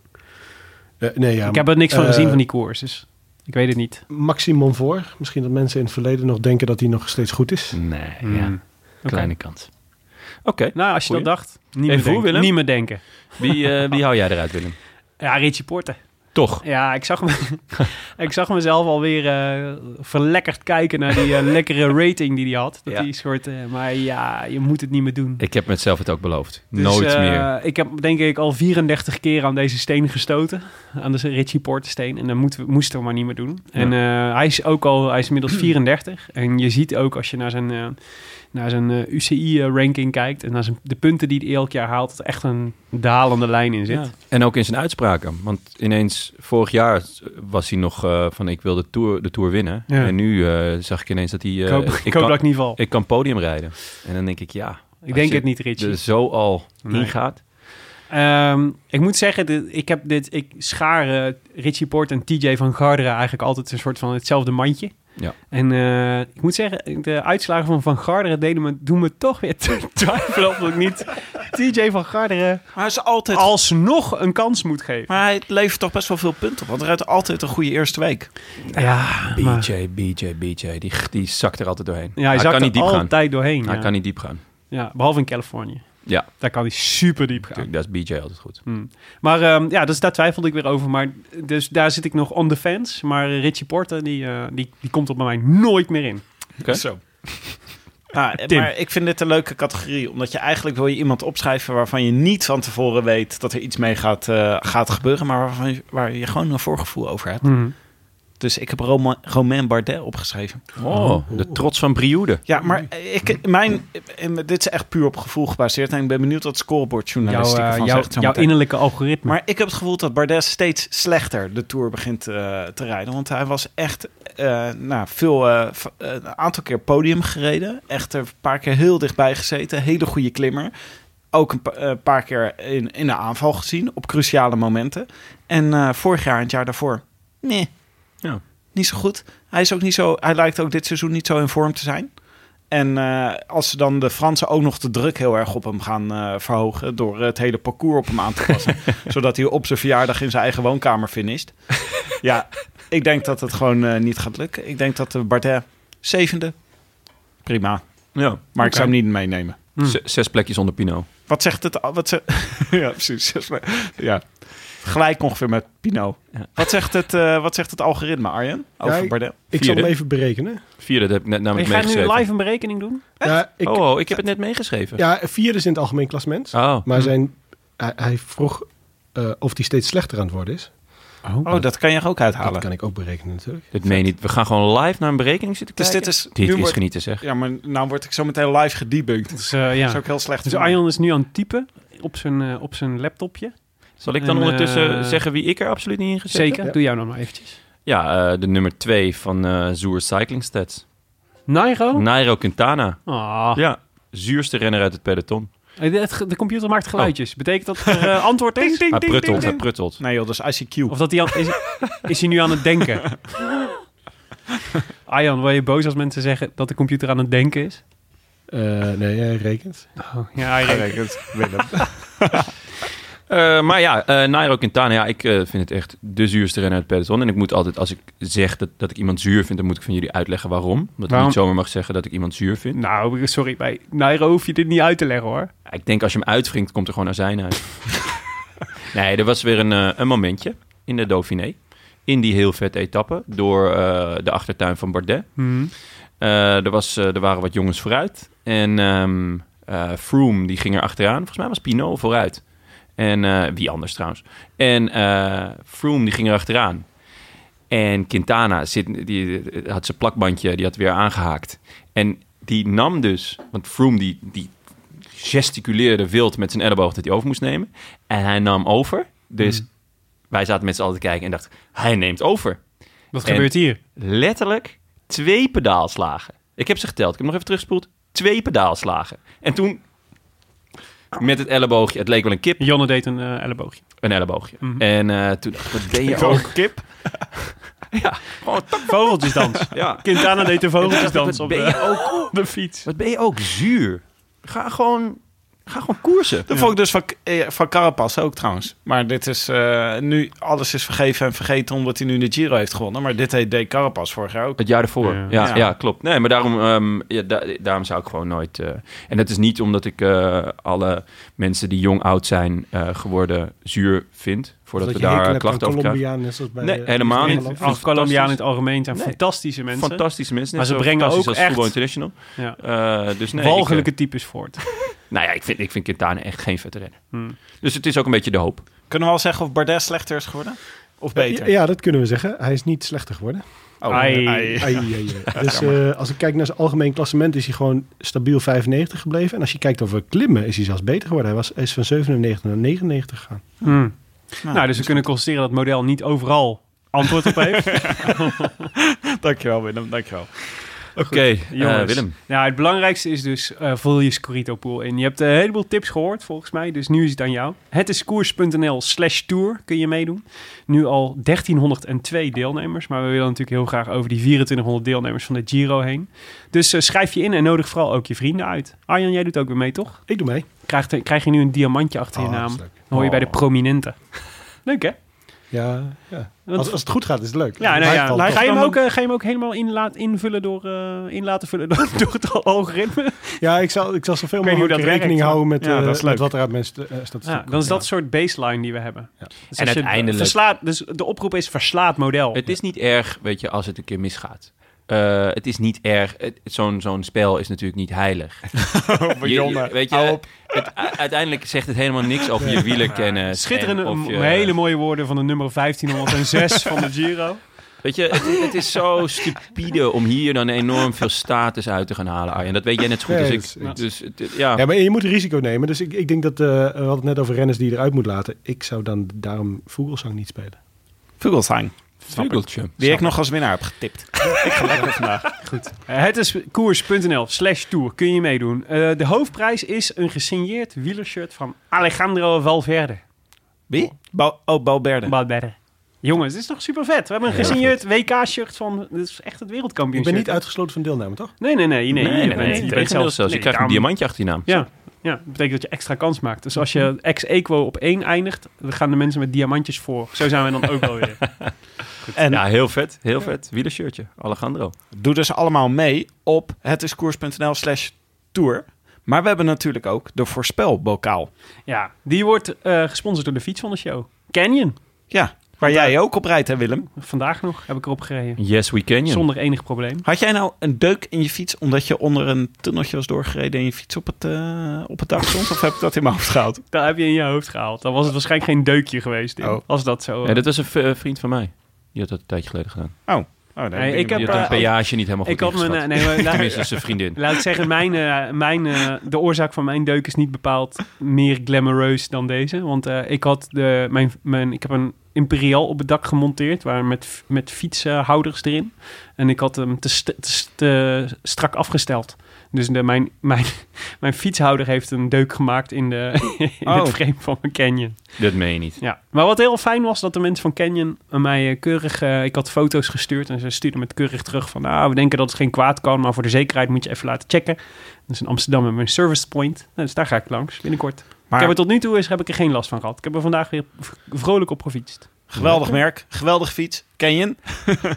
[SPEAKER 4] Eh, nee, ja,
[SPEAKER 2] ik heb er niks van
[SPEAKER 4] eh,
[SPEAKER 2] gezien van die koers, dus ik weet het niet.
[SPEAKER 4] Maxime Monfort. Misschien dat mensen in het verleden nog denken dat hij nog steeds goed is.
[SPEAKER 1] Nee,
[SPEAKER 2] Hmm.
[SPEAKER 1] ja. Kleine kans. Mm-hmm. Oké.
[SPEAKER 2] Nou, als je
[SPEAKER 1] Goeie.
[SPEAKER 2] dat dacht, niet
[SPEAKER 1] Even
[SPEAKER 2] meer,
[SPEAKER 1] voor,
[SPEAKER 2] denken,
[SPEAKER 1] Willem?
[SPEAKER 2] niet meer denken.
[SPEAKER 1] Wie, eh, wie hou jij eruit, Willem?
[SPEAKER 2] Ja, Richie Porte.
[SPEAKER 1] Toch?
[SPEAKER 2] Ja, ik zag, hem, ik zag mezelf alweer eh verlekkerd kijken naar die eh, lekkere rating die hij had. Dat
[SPEAKER 1] Ja.
[SPEAKER 2] die soort, eh, maar ja, je moet het niet meer doen.
[SPEAKER 1] Ik heb mezelf het ook beloofd.
[SPEAKER 2] Dus,
[SPEAKER 1] Nooit
[SPEAKER 2] eh,
[SPEAKER 1] meer.
[SPEAKER 2] Ik heb denk ik al 34 keer aan deze steen gestoten. Aan de Richie Porte steen. En dan moeten we, moesten we maar niet meer doen. En eh, hij is ook al, hij is inmiddels 34. En je ziet ook als je naar zijn, eh, naar zijn eh, UCI-ranking kijkt. En naar zijn, de punten die hij elk jaar haalt. Dat er echt een dalende lijn in zit.
[SPEAKER 1] Ja. En ook in zijn uitspraken. Want ineens, vorig jaar was hij nog eh, van ik wil de Tour, de tour winnen.
[SPEAKER 2] Ja.
[SPEAKER 1] En nu eh, zag ik ineens dat hij... eh,
[SPEAKER 2] ik hoop, ik hoop
[SPEAKER 1] kan,
[SPEAKER 2] dat ik niet val. Ik,
[SPEAKER 1] ik kan podium rijden. En dan denk ik, ja, als
[SPEAKER 2] denk
[SPEAKER 1] je-
[SPEAKER 2] het niet, Richie.
[SPEAKER 1] er zo al
[SPEAKER 2] Nee.
[SPEAKER 1] ingaat.
[SPEAKER 2] Ehm, ik moet zeggen, dit- ik, heb dit, ik schaar eh, Richie Port en TJ van Garderen eigenlijk altijd een soort van hetzelfde mandje.
[SPEAKER 1] Ja.
[SPEAKER 2] En eh, ik moet zeggen, de uitslagen van Van Garderen deden me, doen me toch weer te twijfelen of ik niet TJ van Garderen
[SPEAKER 3] Maar hij is altijd...
[SPEAKER 2] alsnog een kans moet geven.
[SPEAKER 3] Maar hij levert toch best wel veel punten op. Want hij rijdt altijd een goede eerste week.
[SPEAKER 2] Ja, maar-
[SPEAKER 1] BJ, BJ, BJ. Die, die zakt er altijd doorheen.
[SPEAKER 2] ja hij
[SPEAKER 1] hij
[SPEAKER 2] zakt
[SPEAKER 1] kan
[SPEAKER 2] er
[SPEAKER 1] niet diep gaan.
[SPEAKER 2] altijd doorheen.
[SPEAKER 1] Hij
[SPEAKER 2] ja.
[SPEAKER 1] kan niet diep gaan.
[SPEAKER 2] Ja, behalve in Californië.
[SPEAKER 1] Ja.
[SPEAKER 2] Daar kan hij super diep gaan.
[SPEAKER 1] Natuurlijk, dat is BJ altijd goed.
[SPEAKER 2] Hmm. Maar ehm, ja, dus daar twijfelde ik weer over. Maar dus daar zit ik nog on the fence. Maar Richie Porter, die, eh, die, die komt er bij mij nooit meer in.
[SPEAKER 1] Oké.
[SPEAKER 3] Zo. Ah, eh,
[SPEAKER 2] Tim.
[SPEAKER 3] maar ik vind dit een leuke categorie. Omdat je eigenlijk wil je iemand opschrijven waarvan je niet van tevoren weet dat er iets mee gaat, eh, gaat gebeuren. Maar waarvan je, waar je gewoon een voorgevoel over hebt.
[SPEAKER 2] Mhm.
[SPEAKER 3] Dus ik heb Roma, Romain Bardet opgeschreven.
[SPEAKER 1] Oh, de trots van Brioude.
[SPEAKER 3] Ja, maar ik, mijn, eh, dit is echt puur op gevoel gebaseerd. En ik ben benieuwd wat
[SPEAKER 2] Jouw,
[SPEAKER 3] scoreboardjournalistiek
[SPEAKER 2] eh,
[SPEAKER 3] ervan
[SPEAKER 2] jouw,
[SPEAKER 3] zegt. zo
[SPEAKER 2] jouw
[SPEAKER 3] meteen.
[SPEAKER 2] innerlijke algoritme.
[SPEAKER 3] Maar ik heb het gevoel dat Bardet steeds slechter de Tour begint eh, te rijden. Want hij was echt eh, nou, veel, eh, v- eh, een aantal keer podium gereden. Echt er een paar keer heel dichtbij gezeten. Hele goede klimmer. Ook een pa- eh, paar keer in, in de aanval gezien op cruciale momenten. En eh, vorig jaar en het jaar daarvoor, nee,
[SPEAKER 1] Ja.
[SPEAKER 3] niet zo goed. Hij, is ook niet zo, hij lijkt ook dit seizoen niet zo in vorm te zijn. En eh, als ze dan de Fransen ook nog de druk heel erg op hem gaan eh, verhogen... door het hele parcours op hem aan te passen... zodat hij op zijn verjaardag in zijn eigen woonkamer finisht. ja, ik denk dat het gewoon eh, niet gaat lukken. Ik denk dat de Bardet zevende, prima. Maar
[SPEAKER 1] Ja.
[SPEAKER 3] ik zou hem niet meenemen.
[SPEAKER 2] Hmm.
[SPEAKER 1] Z- Zes plekjes onder Pino.
[SPEAKER 3] Wat zegt het? al- Wat ze, ja, precies. Ja. Gelijk ongeveer met Pino.
[SPEAKER 1] Ja.
[SPEAKER 3] Wat, zegt het, eh, wat zegt het algoritme, Arjen? Over
[SPEAKER 4] Ja, ik-
[SPEAKER 3] Bardet?
[SPEAKER 4] Ik zal hem
[SPEAKER 1] Vierde.
[SPEAKER 4] even berekenen.
[SPEAKER 1] Vierde, dat heb ik net
[SPEAKER 2] je
[SPEAKER 1] namelijk
[SPEAKER 2] gaat nu
[SPEAKER 1] meegeschreven.
[SPEAKER 2] live een berekening doen?
[SPEAKER 4] Ja, ik,
[SPEAKER 1] oh, oh, ik heb het net meegeschreven.
[SPEAKER 4] ja, vierde is in het algemeen klassement.
[SPEAKER 1] Oh,
[SPEAKER 4] Maar zijn, hij, hij vroeg eh, of hij steeds slechter aan het worden is.
[SPEAKER 3] Oh, dat kan je er ook
[SPEAKER 4] Dat
[SPEAKER 3] uithalen.
[SPEAKER 4] kan ik ook berekenen natuurlijk.
[SPEAKER 1] dit meen je niet. We gaan gewoon live naar een berekening zitten
[SPEAKER 3] Dus
[SPEAKER 1] kijken.
[SPEAKER 3] dit is-
[SPEAKER 1] Dit
[SPEAKER 3] nu
[SPEAKER 1] is
[SPEAKER 3] wordt-
[SPEAKER 1] genieten, zeg.
[SPEAKER 3] Ja, maar nou word ik zo meteen live gedebunked.
[SPEAKER 2] Dus, eh, ja.
[SPEAKER 3] Dat is ook heel slecht.
[SPEAKER 2] dus
[SPEAKER 3] voor
[SPEAKER 2] Arjan is nu aan het typen op zijn, eh, op zijn laptopje.
[SPEAKER 1] Zal ik dan
[SPEAKER 2] En,
[SPEAKER 1] ondertussen
[SPEAKER 2] eh,
[SPEAKER 1] zeggen wie ik er absoluut niet in gezet heb?
[SPEAKER 2] Zeker, doe jou nou maar eventjes.
[SPEAKER 1] Ja, eh, de nummer twee van eh Zoer Cycling Stats.
[SPEAKER 2] Nairo?
[SPEAKER 1] Nairo Quintana.
[SPEAKER 2] Ah.
[SPEAKER 1] Ja, zuurste renner uit het peloton.
[SPEAKER 2] Eh, het ge- De computer maakt geluidjes. Betekent dat er eh, antwoord is?
[SPEAKER 1] Oh. Hij pruttelt, hij pruttelt.
[SPEAKER 3] Nee joh, dat is ICQ.
[SPEAKER 2] Of dat hij aan, is, is hij nu aan het denken? Arjan, word je boos als mensen zeggen dat de computer aan het denken is?
[SPEAKER 4] Eh, nee, hij rekent.
[SPEAKER 1] Oh,
[SPEAKER 2] Ja, Arjan.
[SPEAKER 1] Eh, maar ja, eh, Nairo Quintana, ja, ik eh, vind het echt de zuurste renner uit het peloton. En ik moet altijd, als ik zeg dat, dat ik iemand zuur vind, dan moet ik van jullie uitleggen waarom. Dat ik
[SPEAKER 2] Waarom?
[SPEAKER 1] niet zomaar mag zeggen dat ik iemand zuur vind.
[SPEAKER 2] Nou, sorry, bij Nairo hoef je dit niet uit te leggen hoor.
[SPEAKER 1] Ja, Ik denk als je hem uitwringt, komt er gewoon azijn uit. nee, er was weer een, eh, een momentje in de Dauphiné. In die heel vette etappe door eh, de achtertuin van Bardet. Eh, er, was, eh, er waren wat jongens vooruit. En ehm, eh, Froome die ging er achteraan. Volgens mij was Pinot vooruit. En eh, wie anders trouwens. En eh, Froome die ging er achteraan. En Quintana zit, die, had zijn plakbandje, die had weer aangehaakt. En die nam dus, want Froome die, die gesticuleerde wild met zijn elleboog dat hij over moest nemen. En hij nam over. Dus wij zaten met z'n allen te kijken en dachten, hij neemt over
[SPEAKER 2] Wat
[SPEAKER 1] En-
[SPEAKER 2] gebeurt hier?
[SPEAKER 1] letterlijk twee pedaalslagen. Ik heb ze geteld. Ik heb nog even teruggespoeld. Twee pedaalslagen. En toen met het elleboogje. Het leek wel een kip.
[SPEAKER 2] Jonne deed een eh, elleboogje.
[SPEAKER 1] Een elleboogje.
[SPEAKER 2] Mhm.
[SPEAKER 1] En eh, toen dacht ik, wat ben je ook?
[SPEAKER 3] Ook kip.
[SPEAKER 2] Vogeltjesdans.
[SPEAKER 1] Ja.
[SPEAKER 2] Quintana deed de vogeltjesdans
[SPEAKER 1] Wat
[SPEAKER 2] op
[SPEAKER 1] ben
[SPEAKER 2] de,
[SPEAKER 1] je ook,
[SPEAKER 2] de fiets.
[SPEAKER 1] wat ben je ook zuur? Ga gewoon, ga gewoon koersen.
[SPEAKER 3] Dat vond ik dus van, eh, van Carapaz ook trouwens. Maar dit is eh, nu... Alles is vergeven en vergeten omdat hij nu de Giro heeft gewonnen. Maar dit heet- deed Carapaz vorig jaar ook.
[SPEAKER 1] Het jaar ervoor.
[SPEAKER 2] Ja.
[SPEAKER 1] Ja, ja,
[SPEAKER 3] Ja.
[SPEAKER 1] klopt. Nee, maar daarom, ehm, ja, da- daarom zou ik gewoon nooit. eh, en dat is niet omdat ik eh, alle mensen die jong oud zijn eh, geworden zuur vind. Voordat we
[SPEAKER 4] je hekel
[SPEAKER 1] daar
[SPEAKER 4] hebt aan
[SPEAKER 1] klachten over krijgen.
[SPEAKER 4] Colombianen, net zoals bij...
[SPEAKER 1] Nee,
[SPEAKER 4] eh,
[SPEAKER 1] helemaal niet.
[SPEAKER 4] Nederland.
[SPEAKER 2] Af Colombianen in het algemeen zijn
[SPEAKER 1] Nee.
[SPEAKER 2] fantastische mensen.
[SPEAKER 1] Fantastische mensen.
[SPEAKER 2] Maar
[SPEAKER 1] Net
[SPEAKER 2] ze
[SPEAKER 1] zo
[SPEAKER 2] brengen
[SPEAKER 1] fantastisch
[SPEAKER 2] ook
[SPEAKER 1] als Voetbal
[SPEAKER 2] echt-
[SPEAKER 1] International.
[SPEAKER 2] Ja.
[SPEAKER 1] Eh, dus nee,
[SPEAKER 2] Walgelijke
[SPEAKER 1] Ik,
[SPEAKER 2] types voort.
[SPEAKER 1] eh, nou ja, ik vind, ik vind Quintana echt geen vette renner.
[SPEAKER 2] Hmm.
[SPEAKER 1] Dus het is ook een beetje de hoop.
[SPEAKER 3] Kunnen we al zeggen of Bardet slechter is geworden? Of beter?
[SPEAKER 4] Ja, dat kunnen we zeggen. Hij is niet slechter geworden.
[SPEAKER 3] Oh,
[SPEAKER 2] Ai.
[SPEAKER 3] ai.
[SPEAKER 4] Ai, ai, ai. Dus eh, als ik kijk naar zijn algemeen klassement is hij gewoon stabiel 95 gebleven. En als je kijkt over klimmen is hij zelfs beter geworden. Hij was, hij is van 97 naar 99 gegaan.
[SPEAKER 3] Nou,
[SPEAKER 2] nou, dus we kunnen constateren dat het model niet overal antwoord op heeft.
[SPEAKER 3] Dankjewel Willem, dankjewel.
[SPEAKER 1] Oké, eh,
[SPEAKER 2] jongens.
[SPEAKER 1] Willem.
[SPEAKER 2] Nou, het belangrijkste is dus eh vul je Scorito pool in. Je hebt eh, een heleboel tips gehoord volgens mij, dus nu is het aan jou. Het is koers.nl slash tour kun je meedoen. Nu al 1302 deelnemers, maar we willen natuurlijk heel graag over die 2400 deelnemers van de Giro heen. Dus eh, schrijf je in en nodig vooral ook je vrienden uit. Arjan, jij doet ook weer mee, toch?
[SPEAKER 4] Ik doe mee.
[SPEAKER 2] Krijg, krijg je nu een diamantje achter je
[SPEAKER 4] Oh,
[SPEAKER 2] naam.
[SPEAKER 4] dat is
[SPEAKER 2] Dan
[SPEAKER 4] leuk.
[SPEAKER 2] hoor je bij de prominenten. Leuk hè?
[SPEAKER 4] Ja, ja.
[SPEAKER 2] Want-
[SPEAKER 4] Als, als het goed gaat, is het leuk.
[SPEAKER 2] Ja, nou
[SPEAKER 4] Mij
[SPEAKER 2] ja.
[SPEAKER 4] valt
[SPEAKER 2] Ga je, hem
[SPEAKER 4] toch-
[SPEAKER 2] ook, eh, ga je hem ook helemaal in, laat- invullen door, eh, in laten vullen door, door het algoritme?
[SPEAKER 4] Ja, ik zal, ik zal zoveel
[SPEAKER 2] Ik weet niet hoe
[SPEAKER 4] mogelijk
[SPEAKER 2] dat
[SPEAKER 4] rekening
[SPEAKER 2] werkt, maar-
[SPEAKER 4] houden met,
[SPEAKER 3] Ja,
[SPEAKER 4] eh,
[SPEAKER 3] dat is
[SPEAKER 4] met
[SPEAKER 3] leuk.
[SPEAKER 4] wat er uit mensen eh, statistiek
[SPEAKER 2] Ja,
[SPEAKER 4] komt.
[SPEAKER 2] dan is dat
[SPEAKER 4] Ja.
[SPEAKER 2] soort baseline die we hebben. Dus
[SPEAKER 1] En
[SPEAKER 2] als je
[SPEAKER 1] uiteindelijk-
[SPEAKER 2] Verslaat, dus de oproep is verslaat model.
[SPEAKER 1] Het is niet erg, weet je, als het een keer misgaat. Eh, het is niet erg. het- Zo'n zo'n spel is natuurlijk niet heilig. Je- je- weet
[SPEAKER 3] hou
[SPEAKER 1] je, het, u- uiteindelijk zegt het helemaal niks over je wielerkennis.
[SPEAKER 2] Schitterende,
[SPEAKER 1] en of je-
[SPEAKER 2] m- hele mooie woorden van de nummer 1506 van de Giro.
[SPEAKER 1] Weet je, het, het is zo stupide om hier dan enorm veel status uit te gaan halen, Arjen. Dat weet jij net zo goed
[SPEAKER 4] Nee,
[SPEAKER 1] als
[SPEAKER 4] dat
[SPEAKER 1] ik. Dus
[SPEAKER 4] is-
[SPEAKER 1] het- ja.
[SPEAKER 4] Ja, maar je moet risico nemen. Dus ik, ik denk dat, eh we hadden het net over renners die je eruit moet laten. Ik zou dan daarom Vogelsang niet spelen.
[SPEAKER 3] Vugelsang.
[SPEAKER 1] Vugeltje.
[SPEAKER 3] Die ik nog als winnaar heb getipt. ik ga lekker vandaag.
[SPEAKER 2] Eh, het is koers.nl slash tour. Kun je meedoen. Eh, de hoofdprijs is een gesigneerd wielershirt van Alejandro Valverde.
[SPEAKER 3] Wie? Bal oh, Balberde.
[SPEAKER 2] Valverde. Jongens, dit is toch super vet. We hebben een gesigneerd WK-shirt van... Dit is echt het
[SPEAKER 4] Ik ben
[SPEAKER 2] wereldkampioenschap.
[SPEAKER 4] niet uitgesloten van deelname, toch?
[SPEAKER 2] Nee, nee, nee. nee,
[SPEAKER 1] Nee, nee,
[SPEAKER 2] je
[SPEAKER 1] nee,
[SPEAKER 2] bent- je
[SPEAKER 1] je
[SPEAKER 2] bent zelfs-
[SPEAKER 1] zelfs. Je
[SPEAKER 2] nee,
[SPEAKER 1] krijgt een
[SPEAKER 2] daarom-
[SPEAKER 1] diamantje achter je naam.
[SPEAKER 2] Ja. ja, dat betekent dat je extra kans maakt. Dus als je ex-equo op één eindigt, dan gaan de mensen met diamantjes voor. Zo zijn we dan ook wel weer.
[SPEAKER 3] En
[SPEAKER 1] Ja, heel vet. Heel vet. Wielershirtje. Alejandro.
[SPEAKER 3] doe dus allemaal mee op hetiskoers.nl slash tour. Maar we hebben natuurlijk ook de voorspelbokaal.
[SPEAKER 2] Ja, die wordt eh, gesponsord door de fiets van de show. Canyon.
[SPEAKER 3] Ja, waar jij ook op rijdt hè Willem.
[SPEAKER 2] Vandaag nog heb ik erop gereden.
[SPEAKER 1] Yes, we can you.
[SPEAKER 2] Zonder enig probleem.
[SPEAKER 3] Had jij nou een deuk in je fiets omdat je onder een tunneltje was doorgereden en je fiets op het, eh, op het dak stond? of heb ik dat in mijn hoofd gehaald?
[SPEAKER 2] Daar heb je in je hoofd gehaald. Dan was het waarschijnlijk geen deukje geweest. Tim.
[SPEAKER 3] Oh.
[SPEAKER 2] Als dat zo. eh,
[SPEAKER 1] Ja, dat was een v- eh, vriend van mij. Die had dat een tijdje geleden gedaan.
[SPEAKER 3] Oh, nee,
[SPEAKER 2] Nee,
[SPEAKER 3] ben
[SPEAKER 2] ik
[SPEAKER 1] Die
[SPEAKER 2] heb,
[SPEAKER 3] benieuwd.
[SPEAKER 1] had een
[SPEAKER 2] eh,
[SPEAKER 1] peage niet helemaal goed
[SPEAKER 2] ik had mijn. eh,
[SPEAKER 1] ingeschat.
[SPEAKER 2] nee, maar, laat,
[SPEAKER 1] Tenminste, zijn vriendin.
[SPEAKER 2] laat ik zeggen, mijn, eh, mijn, eh, de oorzaak van mijn deuk is niet bepaald meer glamoureus dan deze. Want eh, ik had de, mijn, mijn, ik heb een imperial op het dak gemonteerd, waar met, met fietshouders erin. En ik had hem te, st- te, st- te strak afgesteld. Dus de, mijn, mijn, mijn fietshouder heeft een deuk gemaakt in, de, in
[SPEAKER 3] Oh.
[SPEAKER 2] het frame van mijn Canyon.
[SPEAKER 1] Dat meen je niet.
[SPEAKER 2] Ja, maar wat heel fijn was, dat de mensen van Canyon aan mij eh, keurig... eh, ik had foto's gestuurd en ze stuurden me het keurig terug van... Nou, we denken dat het geen kwaad kan, maar voor de zekerheid moet je even laten checken. Dus in Amsterdam hebben we een service point. Nou, dus daar ga ik langs binnenkort.
[SPEAKER 3] Maar
[SPEAKER 2] Ik heb er tot nu toe is, heb ik er geen last van gehad. Ik heb er vandaag weer v- vrolijk op gefietst.
[SPEAKER 3] geweldig merk, geweldig fiets, Canyon.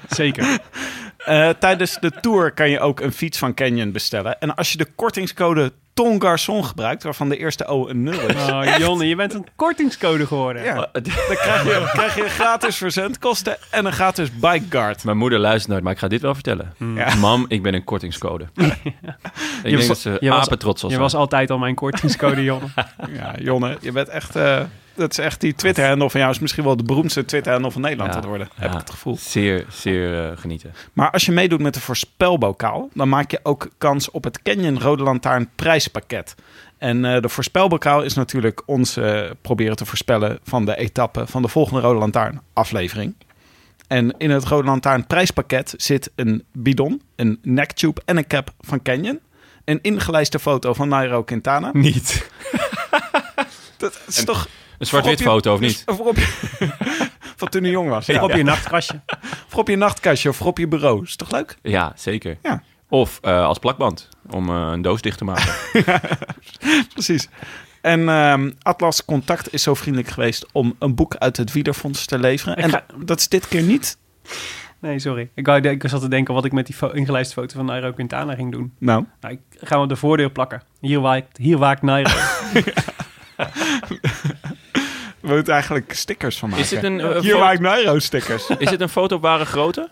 [SPEAKER 2] Zeker.
[SPEAKER 3] Eh, tijdens de tour kan je ook een fiets van Canyon bestellen. En als je de kortingscode TONGARSON gebruikt, waarvan de eerste O een 0 is,
[SPEAKER 2] Oh, Jonne, je bent een kortingscode geworden.
[SPEAKER 3] Ja. Dan krijg je, krijg je gratis verzendkosten en een gratis bikeguard.
[SPEAKER 1] Mijn moeder luistert nooit, maar ik ga dit wel vertellen.
[SPEAKER 3] Ja.
[SPEAKER 1] Mam, ik ben een kortingscode. Ik
[SPEAKER 2] was-
[SPEAKER 1] denk dat ze
[SPEAKER 2] Hmm. je was-
[SPEAKER 1] apen trots was.
[SPEAKER 2] Je was altijd al mijn kortingscode, Jonne.
[SPEAKER 3] Ja, Jonne, je bent echt... eh, dat is echt die Twitter-handle van jou is misschien wel de beroemdste Twitter-handle van Nederland
[SPEAKER 1] Ja.
[SPEAKER 3] aan het worden. Heb
[SPEAKER 1] Ja.
[SPEAKER 3] ik het gevoel.
[SPEAKER 1] Zeer, zeer eh, genieten.
[SPEAKER 3] Maar als je meedoet met de voorspelbokaal, dan maak je ook kans op het Canyon Rode Lantaarn prijspakket. En eh, de voorspelbokaal is natuurlijk ons eh, proberen te voorspellen van de etappe van de volgende Rode Lantaarn aflevering. En in het Rode Lantaarn prijspakket zit een bidon, een necktube en een cap van Canyon. Een ingelijste foto van Nairo Quintana.
[SPEAKER 1] Niet.
[SPEAKER 3] Dat is toch...
[SPEAKER 1] Een zwart-wit foto, of niet?
[SPEAKER 3] Voorop je- van toen hij jong was. Ja.
[SPEAKER 2] Op je nachtkastje.
[SPEAKER 3] Voorop je nachtkastje of voorop je bureau. Is toch leuk?
[SPEAKER 2] Dus-
[SPEAKER 1] Ja, zeker.
[SPEAKER 3] Ja.
[SPEAKER 1] Of eh, als plakband, om eh, een doos dicht te maken.
[SPEAKER 3] Precies. En ehm, Atlas Contact is zo vriendelijk geweest om een boek uit het Wiederfonds te leveren.
[SPEAKER 2] Ik
[SPEAKER 3] En
[SPEAKER 2] ga-
[SPEAKER 3] dat is dit keer niet.
[SPEAKER 2] Nee, sorry. Ik, wou- ik zat te denken wat ik met die fo- ingelijste foto van Nairo Quintana ging doen.
[SPEAKER 3] Nou,
[SPEAKER 2] Nou, ik ga hem op de voordeur plakken. Hier waakt, hier waakt Nairo.
[SPEAKER 3] we moeten eigenlijk stickers van maken.
[SPEAKER 1] Is dit een, eh,
[SPEAKER 3] Hier
[SPEAKER 1] fo-
[SPEAKER 3] maak Nairo stickers.
[SPEAKER 1] is dit een foto op ware grootte?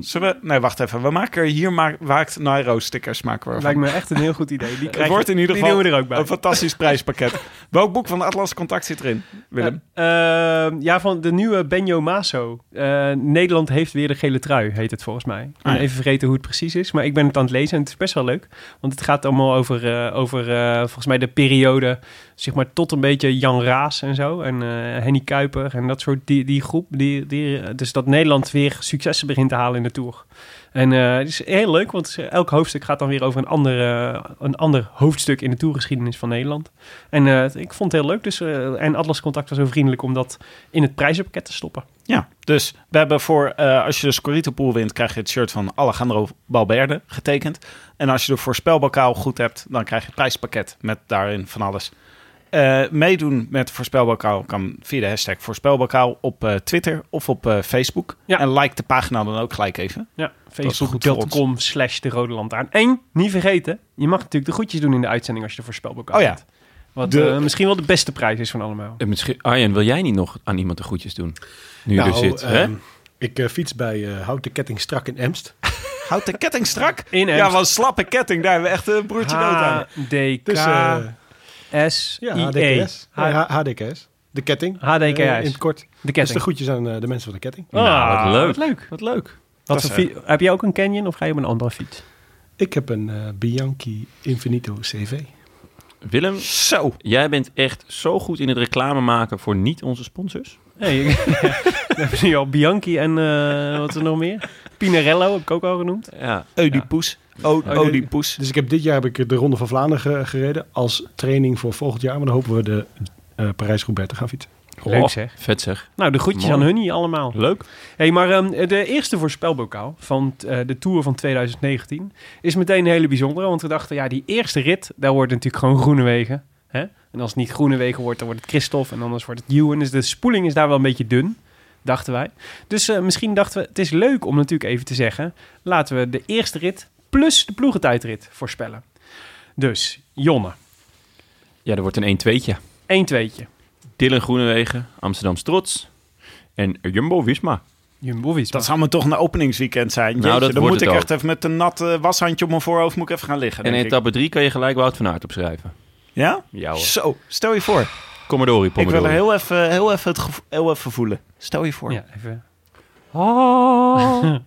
[SPEAKER 3] Zullen we... Nee, wacht even. We maken er hier maak, waakt Nairo stickers maken we
[SPEAKER 2] Dat
[SPEAKER 3] ervan.
[SPEAKER 2] lijkt me echt een heel goed idee. Die
[SPEAKER 3] Het
[SPEAKER 2] krijg
[SPEAKER 3] wordt in ieder
[SPEAKER 2] die
[SPEAKER 3] geval
[SPEAKER 2] doen we er ook bij.
[SPEAKER 3] een fantastisch prijspakket. Welk boek van Atlas Contact zit erin, Willem?
[SPEAKER 2] Eh, eh, ja, van de nieuwe Benjo Maso. Eh, Nederland heeft weer de gele trui, heet het volgens mij. Ik ben
[SPEAKER 3] Ah, ja.
[SPEAKER 2] even vergeten hoe het precies is, maar ik ben het aan het lezen en het is best wel leuk. Want het gaat allemaal over, eh, over eh, volgens mij de periode zeg maar tot een beetje Jan Raas en zo. En eh, Henny Kuiper en dat soort die, die groep. Die, die, dus dat Nederland weer successen begint te halen in de Tour. En eh, het is heel leuk, want elk hoofdstuk gaat dan weer over een, andere, een ander hoofdstuk in de toergeschiedenis van Nederland. En eh, ik vond het heel leuk. Dus, eh, en Atlas Contact was zo vriendelijk om dat in het prijzenpakket te stoppen.
[SPEAKER 3] Ja, dus we hebben voor, eh, als je de Scorito-pool wint, krijg je het shirt van Alejandro Balberde getekend. En als je de voorspelbokaal goed hebt, dan krijg je het prijspakket met daarin van alles. Eh, meedoen met voorspelbokaal kan via de hashtag voorspelbokaal op eh, Twitter of op eh, Facebook.
[SPEAKER 2] Ja.
[SPEAKER 3] En like de pagina dan ook gelijk even.
[SPEAKER 2] Ja,
[SPEAKER 3] is goed voor
[SPEAKER 2] facebook.com slash de Rode Lantaarn. En, niet vergeten, je mag natuurlijk de goedjes doen in de uitzending als je de voorspelboek
[SPEAKER 3] Oh ja.
[SPEAKER 2] hebt. Wat
[SPEAKER 3] De-
[SPEAKER 2] eh, misschien wel de beste prijs is van allemaal.
[SPEAKER 1] Eh, Misschien, Arjen, wil jij niet nog aan iemand de groetjes doen? Nu
[SPEAKER 2] Nou,
[SPEAKER 1] je er zit. hè?
[SPEAKER 4] ehm, ik eh, fiets bij eh, Houd de Ketting Strak in Emst.
[SPEAKER 3] Houd de ketting strak.
[SPEAKER 2] In
[SPEAKER 3] ja,
[SPEAKER 2] Emst.
[SPEAKER 3] wat nou een slappe ketting. Daar hebben we echt een broertje dood aan.
[SPEAKER 2] HDK
[SPEAKER 4] Dus eh
[SPEAKER 3] Dus,
[SPEAKER 2] S
[SPEAKER 3] eh,
[SPEAKER 4] ja,
[SPEAKER 2] I E.
[SPEAKER 4] HDKS. Nee, H- HDKS. De ketting.
[SPEAKER 2] HDKS.
[SPEAKER 4] Eh, in het kort.
[SPEAKER 2] De
[SPEAKER 4] Dus de
[SPEAKER 2] ketting. Ah,
[SPEAKER 4] groetjes aan eh, de mensen van de ketting.
[SPEAKER 1] Nou, wat leuk.
[SPEAKER 2] Wat leuk. Wat leuk. Wat
[SPEAKER 3] Dat
[SPEAKER 2] voor
[SPEAKER 3] is, eh,
[SPEAKER 2] fi- heb jij ook een Canyon of ga je op een andere fiets?
[SPEAKER 4] Ik heb een eh, Bianchi Infinito CV.
[SPEAKER 1] Willem,
[SPEAKER 3] Zo.
[SPEAKER 1] jij bent echt zo goed in het reclame maken voor niet onze sponsors.
[SPEAKER 2] Nee, ik- ja. We hebben nu al Bianchi en eh, wat is er nog meer? Pinarello heb ik ook al genoemd.
[SPEAKER 1] Ja.
[SPEAKER 3] Oedipus. O-
[SPEAKER 4] Oké.
[SPEAKER 3] Oedipus.
[SPEAKER 4] Dus ik heb dit jaar heb ik de Ronde van Vlaanderen ge- gereden als training voor volgend jaar. Maar dan hopen we de eh Parijs-Roubaix te gaan fietsen.
[SPEAKER 2] Leuk zeg.
[SPEAKER 1] Oh, Vet zeg.
[SPEAKER 2] Nou, de groetjes
[SPEAKER 1] Mooi.
[SPEAKER 2] aan hun hier allemaal.
[SPEAKER 1] Leuk.
[SPEAKER 2] Hé, maar ehm, de eerste voorspelbokaal van eh, de Tour van 2019 is meteen een hele bijzondere. Want we dachten, ja, die eerste rit, daar wordt natuurlijk gewoon Groene Wegen. Hè? En als het niet Groene Wegen wordt, dan wordt het Christophe en anders wordt het Ewan. Dus de spoeling is daar wel een beetje dun, dachten wij. Dus eh, misschien dachten we, het is leuk om natuurlijk even te zeggen... laten we de eerste rit plus de ploegentijdrit voorspellen. Dus, Jonne,
[SPEAKER 1] Ja, er wordt een 1-2'tje.
[SPEAKER 2] 1 tweetje.
[SPEAKER 1] Dylan Groenewegen, Amsterdam Trots en Jumbo Visma.
[SPEAKER 2] Jumbo
[SPEAKER 3] Dat zou me toch een openingsweekend zijn. Jeetje,
[SPEAKER 1] Nou, dat
[SPEAKER 3] dan
[SPEAKER 1] wordt
[SPEAKER 3] moet
[SPEAKER 1] het
[SPEAKER 3] ik
[SPEAKER 1] ook.
[SPEAKER 3] echt even met een nat eh, washandje op mijn voorhoofd moet ik even gaan
[SPEAKER 1] En
[SPEAKER 3] liggen.
[SPEAKER 1] in
[SPEAKER 3] denk ik.
[SPEAKER 1] etappe 3 kan je gelijk Wout van Aert opschrijven.
[SPEAKER 3] Ja?
[SPEAKER 1] Ja hoor.
[SPEAKER 3] Zo, stel je voor.
[SPEAKER 1] Commodori,
[SPEAKER 3] Ik wil er
[SPEAKER 1] Pomodori.
[SPEAKER 3] heel even, heel, even het gevo- heel even voelen. Stel je voor.
[SPEAKER 2] Ja, even.
[SPEAKER 1] Ja.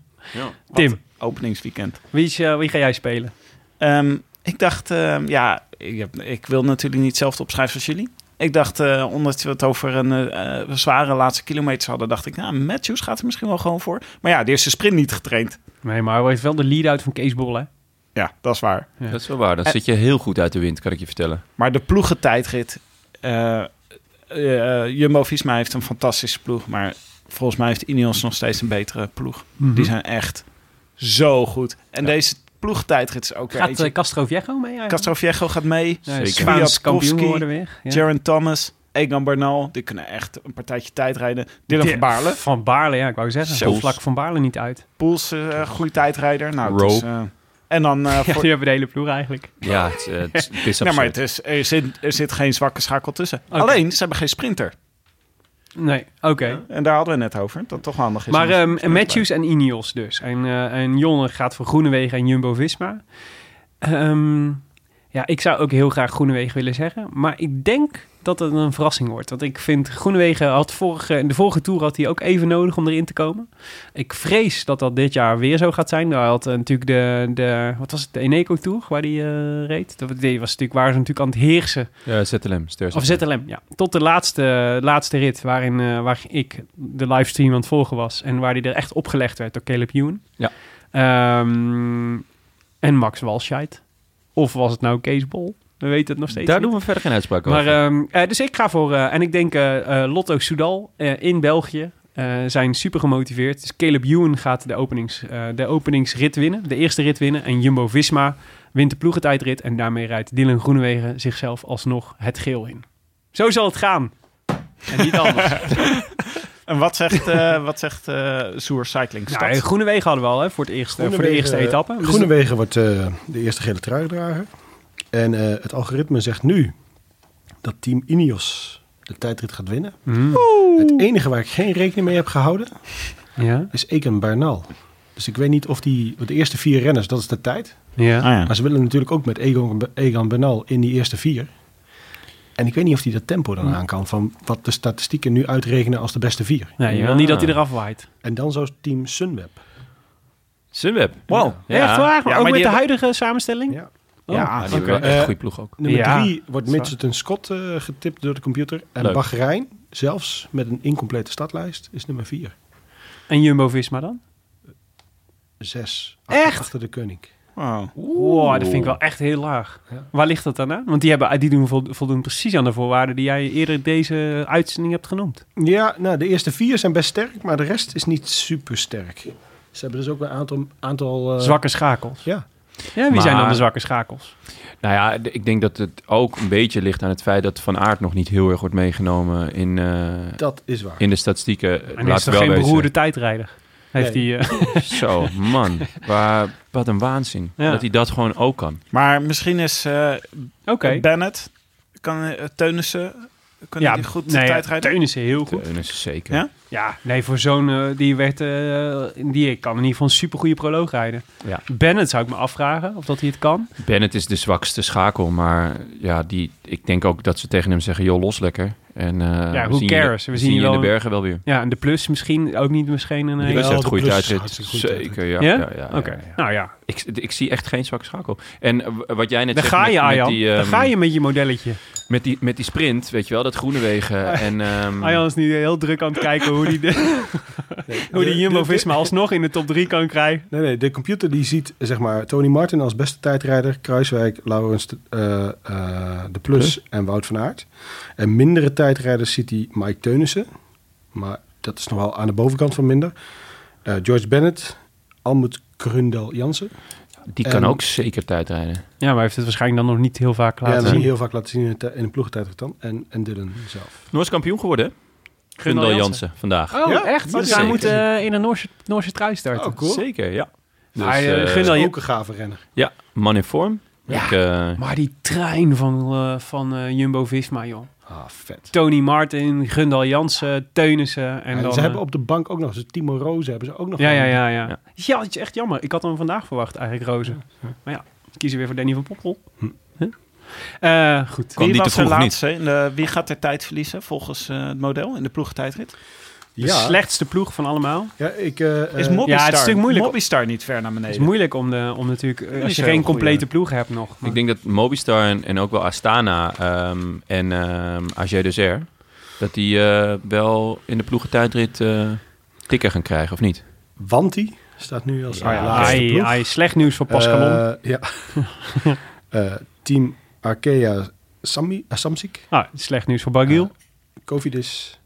[SPEAKER 3] Wat
[SPEAKER 2] Tim,
[SPEAKER 3] Openingsweekend.
[SPEAKER 2] wie, is, eh, wie ga jij spelen?
[SPEAKER 3] Ehm, ik dacht, ehm, ja, ik, heb- ik wil natuurlijk niet hetzelfde opschrijven als jullie. Ik dacht, eh, omdat we het over een eh, eh, zware laatste kilometers hadden, dacht ik, nou, Matthews gaat er misschien wel gewoon voor. Maar ja, de eerste sprint niet getraind.
[SPEAKER 2] Nee, maar hij heeft wel de lead-out van Kees Bol, hè?
[SPEAKER 3] Ja, dat is waar.
[SPEAKER 1] Dat is wel waar.
[SPEAKER 2] Eh.
[SPEAKER 1] Dan
[SPEAKER 3] En-
[SPEAKER 1] zit je heel goed uit de wind, kan ik je vertellen.
[SPEAKER 3] Maar de ploegentijdrit. eh eh Jumbo-Visma heeft een fantastische ploeg. Maar volgens mij heeft Ineos nog steeds een betere ploeg. Die
[SPEAKER 2] Mhm.
[SPEAKER 3] zijn echt zo goed. En deze ploegentijdrit is ook weer
[SPEAKER 2] Gaat
[SPEAKER 3] eentje.
[SPEAKER 2] eh, Castro Viejo mee eigenlijk?
[SPEAKER 3] Castro Viejo gaat mee.
[SPEAKER 2] nee,
[SPEAKER 1] Zeker.
[SPEAKER 2] Spaans kampioen
[SPEAKER 3] Kwiatkowski,
[SPEAKER 2] worden weer. Ja.
[SPEAKER 3] Jaron Thomas. Egan Bernal. Die kunnen echt een partijtje tijd rijden. Dylan
[SPEAKER 2] Ja,
[SPEAKER 3] van Baarle.
[SPEAKER 2] Van Baarle, ja, ik wou zeggen.
[SPEAKER 1] Zelfs.
[SPEAKER 2] Zo vlak van Baarle niet uit.
[SPEAKER 3] Poels, eh goede tijdrijder. Nou, het is, eh, en dan... eh,
[SPEAKER 2] Ja,
[SPEAKER 3] voor...
[SPEAKER 2] die hebben de hele ploeg eigenlijk.
[SPEAKER 1] Ja, het, eh, het is- het is
[SPEAKER 3] Nee, maar het
[SPEAKER 1] absurd.
[SPEAKER 3] is, er, zit, er zit geen zwakke schakel tussen. Alleen, ze hebben geen sprinter.
[SPEAKER 2] Nee, oké.
[SPEAKER 3] En daar hadden we net over. Dat toch handig is.
[SPEAKER 2] Maar
[SPEAKER 3] om een
[SPEAKER 2] ehm,
[SPEAKER 3] sprinter bij te
[SPEAKER 2] Matthews en Ineos dus. En, eh, en Jonne gaat voor Groenewegen en Jumbo-Visma. Ehm, ja, ik zou ook heel graag Groenewegen willen zeggen. Maar ik denk dat het een verrassing wordt. Want ik vind Groenewegen had vorige, in de vorige Tour had hij ook even nodig om erin te komen. Ik vrees dat dat dit jaar weer zo gaat zijn. Hij had eh, natuurlijk de, de, wat was het, de Eneco Tour waar hij eh, reed. Dat was natuurlijk, waren ze natuurlijk aan het heersen
[SPEAKER 1] Ja, ZLM. Ster
[SPEAKER 2] of ZLM, ja. Tot de laatste, laatste rit waarin eh, waar ik de livestream aan het volgen was. En waar die er echt opgelegd werd door Caleb Ewan.
[SPEAKER 1] Ja.
[SPEAKER 2] Ehm, en Max Walscheid. Of was het nou Kees Bol? We weten het nog steeds
[SPEAKER 1] Daar
[SPEAKER 2] niet.
[SPEAKER 1] doen we verder geen uitspraak over.
[SPEAKER 2] Maar, ehm, eh, dus ik ga voor... eh, en ik denk eh, eh, Lotto Soudal eh, in België eh, zijn super gemotiveerd. Dus Caleb Ewan gaat de, openings, eh, de openingsrit winnen. De eerste rit winnen. En Jumbo-Visma wint de ploegentijdrit. En daarmee rijdt Dylan Groenewegen zichzelf alsnog het geel in. Zo zal het gaan. En niet anders. Nou,
[SPEAKER 3] En wat zegt, eh wat zegt eh Soer Cycling Stad?
[SPEAKER 2] nou, eh, Groenewegen hadden we al hè, voor, het eerste, voor de eerste etappe. Dus-
[SPEAKER 4] Groenewegen wordt eh, de eerste gele trui gedragen. En eh, het algoritme zegt nu dat team Ineos de tijdrit gaat winnen.
[SPEAKER 2] Mm.
[SPEAKER 4] Het enige waar ik geen rekening mee heb gehouden
[SPEAKER 2] Ja,
[SPEAKER 4] is Eken Bernal. Dus ik weet niet of die... want De eerste vier renners, dat is de tijd.
[SPEAKER 2] ja.
[SPEAKER 3] Ah, ja.
[SPEAKER 4] Maar ze willen natuurlijk ook met Egan, Egan Bernal in die eerste vier. En ik weet niet of hij dat tempo dan aan kan... van wat de statistieken nu uitrekenen als de beste vier.
[SPEAKER 2] Nee, je wil
[SPEAKER 1] Ja.
[SPEAKER 2] niet dat hij eraf waait.
[SPEAKER 4] En dan zo team Sunweb.
[SPEAKER 1] Sunweb.
[SPEAKER 3] Wow.
[SPEAKER 1] Ja.
[SPEAKER 2] Echt waar?
[SPEAKER 3] Ja,
[SPEAKER 2] ook
[SPEAKER 3] maar
[SPEAKER 2] met
[SPEAKER 3] die
[SPEAKER 2] de
[SPEAKER 3] hebben-
[SPEAKER 2] huidige samenstelling? Oh.
[SPEAKER 4] Ja.
[SPEAKER 1] ja, die hebben wel echt een
[SPEAKER 2] Eh.
[SPEAKER 1] goede ploeg ook.
[SPEAKER 4] Nummer
[SPEAKER 2] Ja,
[SPEAKER 4] drie wordt
[SPEAKER 2] is waar.
[SPEAKER 4] Mitchelton Scott eh, getipt door de computer. En
[SPEAKER 1] Leuk.
[SPEAKER 4] Bahrein, zelfs met een incomplete startlijst, is nummer vier.
[SPEAKER 2] En Jumbo-Visma dan?
[SPEAKER 4] Zes. Achter,
[SPEAKER 2] Echt?
[SPEAKER 4] Achter de koning.
[SPEAKER 3] Wow.
[SPEAKER 2] Wow, dat vind ik wel echt heel laag.
[SPEAKER 4] Ja.
[SPEAKER 2] Waar ligt dat dan aan? Want die, hebben, die doen vol- voldoen precies aan de voorwaarden die jij eerder deze uitzending hebt genoemd.
[SPEAKER 4] Ja, nou, de eerste vier zijn best sterk, maar de rest is niet super sterk. Ze hebben dus ook een aantal... aantal eh,
[SPEAKER 2] Zwakke schakels.
[SPEAKER 4] Ja.
[SPEAKER 2] Ja, wie
[SPEAKER 1] Maar-
[SPEAKER 2] zijn dan de zwakke schakels?
[SPEAKER 1] Nou ja, d- ik denk dat het ook een beetje ligt aan het feit dat Van Aert nog niet heel erg wordt meegenomen in, eh,
[SPEAKER 4] Dat is waar.
[SPEAKER 1] in de statistieken.
[SPEAKER 2] En is
[SPEAKER 1] Laat
[SPEAKER 2] toch
[SPEAKER 1] wel
[SPEAKER 2] geen
[SPEAKER 1] wezen.
[SPEAKER 2] beroerde tijdrijder? Heeft
[SPEAKER 4] Nee.
[SPEAKER 2] die, eh,
[SPEAKER 1] Zo, man. Waar, wat een waanzin.
[SPEAKER 2] Ja.
[SPEAKER 1] Dat hij dat gewoon ook kan.
[SPEAKER 3] Maar misschien is eh,
[SPEAKER 2] Oké.
[SPEAKER 3] Bennett, kan, eh, Teunissen, kan
[SPEAKER 2] Ja,
[SPEAKER 3] die goed
[SPEAKER 2] nee,
[SPEAKER 3] tijd rijden?
[SPEAKER 2] Teunissen heel goed.
[SPEAKER 1] Teunissen zeker.
[SPEAKER 3] Ja?
[SPEAKER 2] Ja, nee, voor zo'n eh, die werd, eh, die kan in ieder geval een supergoeie proloog rijden.
[SPEAKER 1] Ja.
[SPEAKER 2] Bennett zou ik me afvragen of dat hij het kan.
[SPEAKER 1] Bennett is de zwakste schakel, maar ja, die, ik denk ook dat ze tegen hem zeggen, joh, los lekker. En, eh,
[SPEAKER 2] who
[SPEAKER 1] we zien je-
[SPEAKER 2] cares? We zien
[SPEAKER 1] je
[SPEAKER 2] je
[SPEAKER 1] in de
[SPEAKER 2] wel-
[SPEAKER 1] bergen wel weer.
[SPEAKER 2] Ja, en de plus misschien ook niet misschien een.
[SPEAKER 1] De
[SPEAKER 2] eh,
[SPEAKER 1] Plus heeft
[SPEAKER 4] de
[SPEAKER 1] goede
[SPEAKER 4] Plus is
[SPEAKER 1] tijdrit.
[SPEAKER 4] hartstikke goede tijdrit.
[SPEAKER 1] Zeker, ja.
[SPEAKER 2] Ja?
[SPEAKER 1] ja, ja, ja,
[SPEAKER 2] Oké,
[SPEAKER 1] ja.
[SPEAKER 2] nou ja.
[SPEAKER 1] Ik, ik zie echt geen zwakke schakel. En eh, w- wat jij net
[SPEAKER 2] Daar
[SPEAKER 1] zegt
[SPEAKER 2] ga je,
[SPEAKER 1] met, met,
[SPEAKER 2] Arjan.
[SPEAKER 1] die,
[SPEAKER 2] Daar
[SPEAKER 1] ehm,
[SPEAKER 2] ga je met je modelletje.
[SPEAKER 1] Met, die, met die sprint, weet je wel, dat groene wegen. En, ehm,
[SPEAKER 2] Arjan is nu heel druk aan het kijken hoe die, de, hoe Oh, die Jumbo-Visma alsnog in de top 3 kan krijgen.
[SPEAKER 4] Nee, nee, de computer die ziet eh, zeg maar Tony Martin als beste tijdrijder, Kruiswijk, Laurens de, eh, eh, de Plus en Wout van Aert. En mindere tijdrijders ziet hij Mike Teunissen, maar dat is nogal aan de bovenkant van minder. Eh, George Bennett, Almut Grundel Jansen.
[SPEAKER 1] die kan
[SPEAKER 4] en-
[SPEAKER 1] ook zeker tijdrijden.
[SPEAKER 2] Ja, maar hij heeft het waarschijnlijk dan nog niet heel vaak
[SPEAKER 4] Ja, dat
[SPEAKER 2] laten
[SPEAKER 4] zie je
[SPEAKER 2] zien.
[SPEAKER 4] heel vaak laten zien in een tij- in een ploegentijdrit dan. En, en Dylan zelf.
[SPEAKER 1] Noors kampioen geworden, hè? Gundal
[SPEAKER 2] Jansen.
[SPEAKER 1] Jansen vandaag.
[SPEAKER 2] Oh,
[SPEAKER 4] Ja,
[SPEAKER 2] echt?
[SPEAKER 1] dat
[SPEAKER 2] Dus
[SPEAKER 1] is
[SPEAKER 2] hij
[SPEAKER 1] zeker.
[SPEAKER 2] moet eh, in een Noorse, Noorse trui starten.
[SPEAKER 4] Oh, cool.
[SPEAKER 1] Zeker, ja. Dus,
[SPEAKER 2] Maar, eh,
[SPEAKER 1] eh,
[SPEAKER 2] Gundal-
[SPEAKER 4] Ook een gave renner.
[SPEAKER 1] ja, man in vorm.
[SPEAKER 2] Ja.
[SPEAKER 1] Ik, eh,
[SPEAKER 2] Maar die trein van, eh, van eh, Jumbo-Visma, joh.
[SPEAKER 4] Ah, vet.
[SPEAKER 2] Tony Martin, Gundal Jansen, Teunissen. En
[SPEAKER 4] En
[SPEAKER 2] dan,
[SPEAKER 4] ze hebben
[SPEAKER 2] eh,
[SPEAKER 4] op de bank ook nog, dus Timo Rozen hebben ze ook nog.
[SPEAKER 2] ja, ja,
[SPEAKER 4] aan-
[SPEAKER 2] ja, ja,
[SPEAKER 1] Ja.
[SPEAKER 2] ja. het is echt jammer. Ik had hem vandaag verwacht eigenlijk, Rozen. Maar ja, Hm. kiezen weer voor Danny van Poppel. Huh? Eh, goed.
[SPEAKER 1] Kwam
[SPEAKER 3] wie
[SPEAKER 1] die te
[SPEAKER 3] was de
[SPEAKER 1] vroeg
[SPEAKER 3] laatste? In de- wie gaat er tijd verliezen volgens eh, het model in de
[SPEAKER 2] Eh,
[SPEAKER 3] ploegtijdrit?
[SPEAKER 2] De slechtste ploeg van allemaal.
[SPEAKER 4] ja, ik, eh,
[SPEAKER 3] Is
[SPEAKER 4] eh,
[SPEAKER 3] Mobistar,
[SPEAKER 2] het is natuurlijk moeilijk.
[SPEAKER 3] Mobistar niet ver naar
[SPEAKER 2] Het
[SPEAKER 3] beneden?
[SPEAKER 2] is moeilijk om, de, om natuurlijk, eh, als
[SPEAKER 3] is
[SPEAKER 2] je
[SPEAKER 3] wel
[SPEAKER 2] geen
[SPEAKER 3] een goeie.
[SPEAKER 2] complete ploeg hebt nog. Maar-
[SPEAKER 1] Ik denk dat Mobistar en, en ook wel Astana ehm, en ehm AG Deser, dat die eh, wel in de ploegentijdrit eh tikken gaan krijgen, of niet?
[SPEAKER 4] Wanti staat nu als
[SPEAKER 2] Ah
[SPEAKER 1] Ja,
[SPEAKER 4] Ah ja, laatste
[SPEAKER 2] Ai,
[SPEAKER 4] ploeg.
[SPEAKER 2] ai, slecht nieuws voor Pascalon.
[SPEAKER 4] Eh, ja. Eh, team Arkea Sami, ah, Samsic,
[SPEAKER 2] ah, slecht nieuws voor Bagiel.
[SPEAKER 4] Covidis.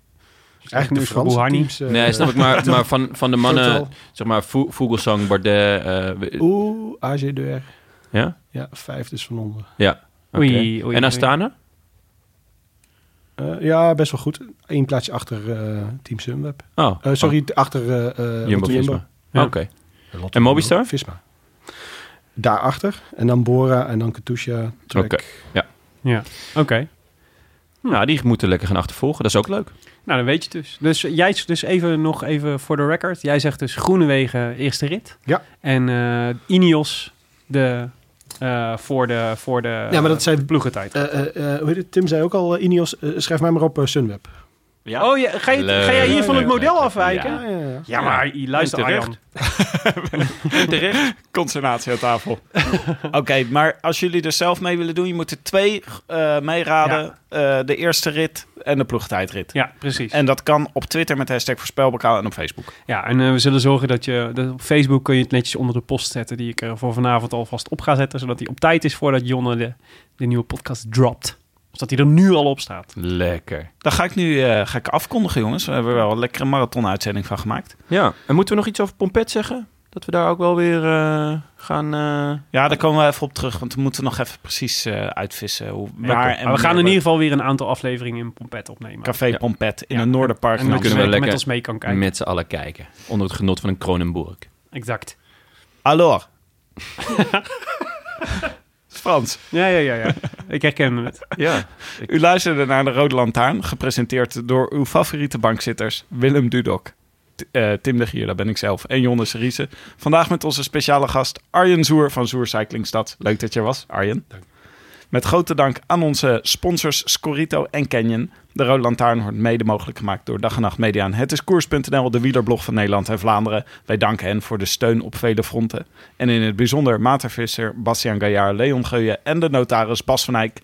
[SPEAKER 2] Eigenlijk
[SPEAKER 4] Eigenlijk
[SPEAKER 2] nieuws
[SPEAKER 4] de
[SPEAKER 2] voor
[SPEAKER 4] Franse
[SPEAKER 2] Buhani.
[SPEAKER 4] teams. eh,
[SPEAKER 1] nee, snap ik. Maar, maar van, van de mannen,
[SPEAKER 4] Total.
[SPEAKER 1] zeg maar, Vo- Vogelsang, Bardet, eh, we-
[SPEAKER 4] Oeh, AG2R.
[SPEAKER 1] ja?
[SPEAKER 4] Ja, vijf dus van onder.
[SPEAKER 1] Oké.
[SPEAKER 2] Oei, oei,
[SPEAKER 1] en Astana?
[SPEAKER 4] Eh, ja, best wel goed. Eén plaatsje achter eh, Team Sunweb.
[SPEAKER 1] Oh,
[SPEAKER 4] Eh, sorry, achter eh, eh,
[SPEAKER 1] oh,
[SPEAKER 4] Lotto
[SPEAKER 1] Jumbo-Visma.
[SPEAKER 2] Ja.
[SPEAKER 1] Oké. En Mobistar?
[SPEAKER 4] Visma. Daarachter. En dan Bora en dan Katusha. Trek.
[SPEAKER 1] Oké.
[SPEAKER 2] Oké,
[SPEAKER 1] Nou, die moeten lekker gaan achtervolgen. Dat is ook leuk.
[SPEAKER 2] nou dan weet je het dus. Dus eh, jij is dus even nog even voor de record. Jij zegt dus Groenewegen eerste rit.
[SPEAKER 4] Ja.
[SPEAKER 2] En eh, Ineos de, eh, voor de, voor de
[SPEAKER 4] Ja, maar dat zijn-
[SPEAKER 2] eh, ploegentijd.
[SPEAKER 4] Eh, eh, eh, hoe heet het? Tim zei ook al, eh, Ineos, eh, schrijf mij maar op eh, Sunweb.
[SPEAKER 1] Ja.
[SPEAKER 2] Oh, ja, ga, je, ga jij hier van het
[SPEAKER 1] Leuk, leuk,
[SPEAKER 2] model
[SPEAKER 1] leuk.
[SPEAKER 2] afwijken?
[SPEAKER 1] Ja.
[SPEAKER 2] Ja,
[SPEAKER 4] ja, ja.
[SPEAKER 2] maar luister
[SPEAKER 1] En terecht.
[SPEAKER 2] Arjan.
[SPEAKER 3] Terecht. Consternatie aan tafel. Oké, maar als jullie er zelf mee willen doen, je moet er twee eh meeraden. Eh, de eerste rit en de ploegtijdrit.
[SPEAKER 2] Ja, precies.
[SPEAKER 3] En dat kan op Twitter met hashtag voorspelbokaal en op Facebook.
[SPEAKER 2] Ja, en eh, we zullen zorgen dat je... Dat op Facebook kun je het netjes onder de post zetten... die ik er voor vanavond alvast op ga zetten... zodat die op tijd is voordat Jonne de, de nieuwe podcast dropt. Zodat hij er nu al op staat.
[SPEAKER 1] Lekker.
[SPEAKER 3] Dan ga ik nu eh, ga ik afkondigen, jongens. We hebben wel een lekkere marathon-uitzending van gemaakt.
[SPEAKER 1] Ja. En moeten we nog iets over Pompet zeggen? Dat we daar ook wel weer eh, gaan... eh,
[SPEAKER 3] Ja, daar komen we even op terug, want we moeten nog even precies eh, uitvissen. Hoe, waar
[SPEAKER 2] Maar,
[SPEAKER 3] en
[SPEAKER 2] we gaan in
[SPEAKER 3] wanneer
[SPEAKER 2] ieder geval weer een aantal afleveringen in Pompet opnemen.
[SPEAKER 3] Café
[SPEAKER 1] Ja.
[SPEAKER 3] Pompet in
[SPEAKER 2] Ja.
[SPEAKER 3] het Noorderpark.
[SPEAKER 2] en dan
[SPEAKER 3] in
[SPEAKER 1] dan
[SPEAKER 2] kunnen
[SPEAKER 3] Amsterdam.
[SPEAKER 2] we
[SPEAKER 1] we lekker
[SPEAKER 2] met ons mee kan kijken.
[SPEAKER 1] met z'n allen kijken. Onder het genot van een Kronenburg.
[SPEAKER 2] Exact.
[SPEAKER 3] Alors. Frans.
[SPEAKER 2] Ja, ja, ja, ja. ik herken het.
[SPEAKER 1] Ja.
[SPEAKER 3] U luisterde naar de Rode Lantaarn, gepresenteerd door uw favoriete bankzitters Willem Dudok, T- eh, Tim de Gier, dat ben ik zelf, en Jonne Riese. Vandaag met onze speciale gast Arjen Zoer van Zoer Cyclingstad. Leuk dat je er was, Arjen. Met grote dank aan onze sponsors Scorito en Canyon. De Rode Lantaarn wordt mede mogelijk gemaakt door Dag en Nacht Media en Het is Koers.nl, de wielerblog van Nederland en Vlaanderen. Wij danken hen voor de steun op vele fronten. En in het bijzonder Maarten Visser, Bastiaan Gaillard, Leon Geuyen en de notaris Bas van Eyck.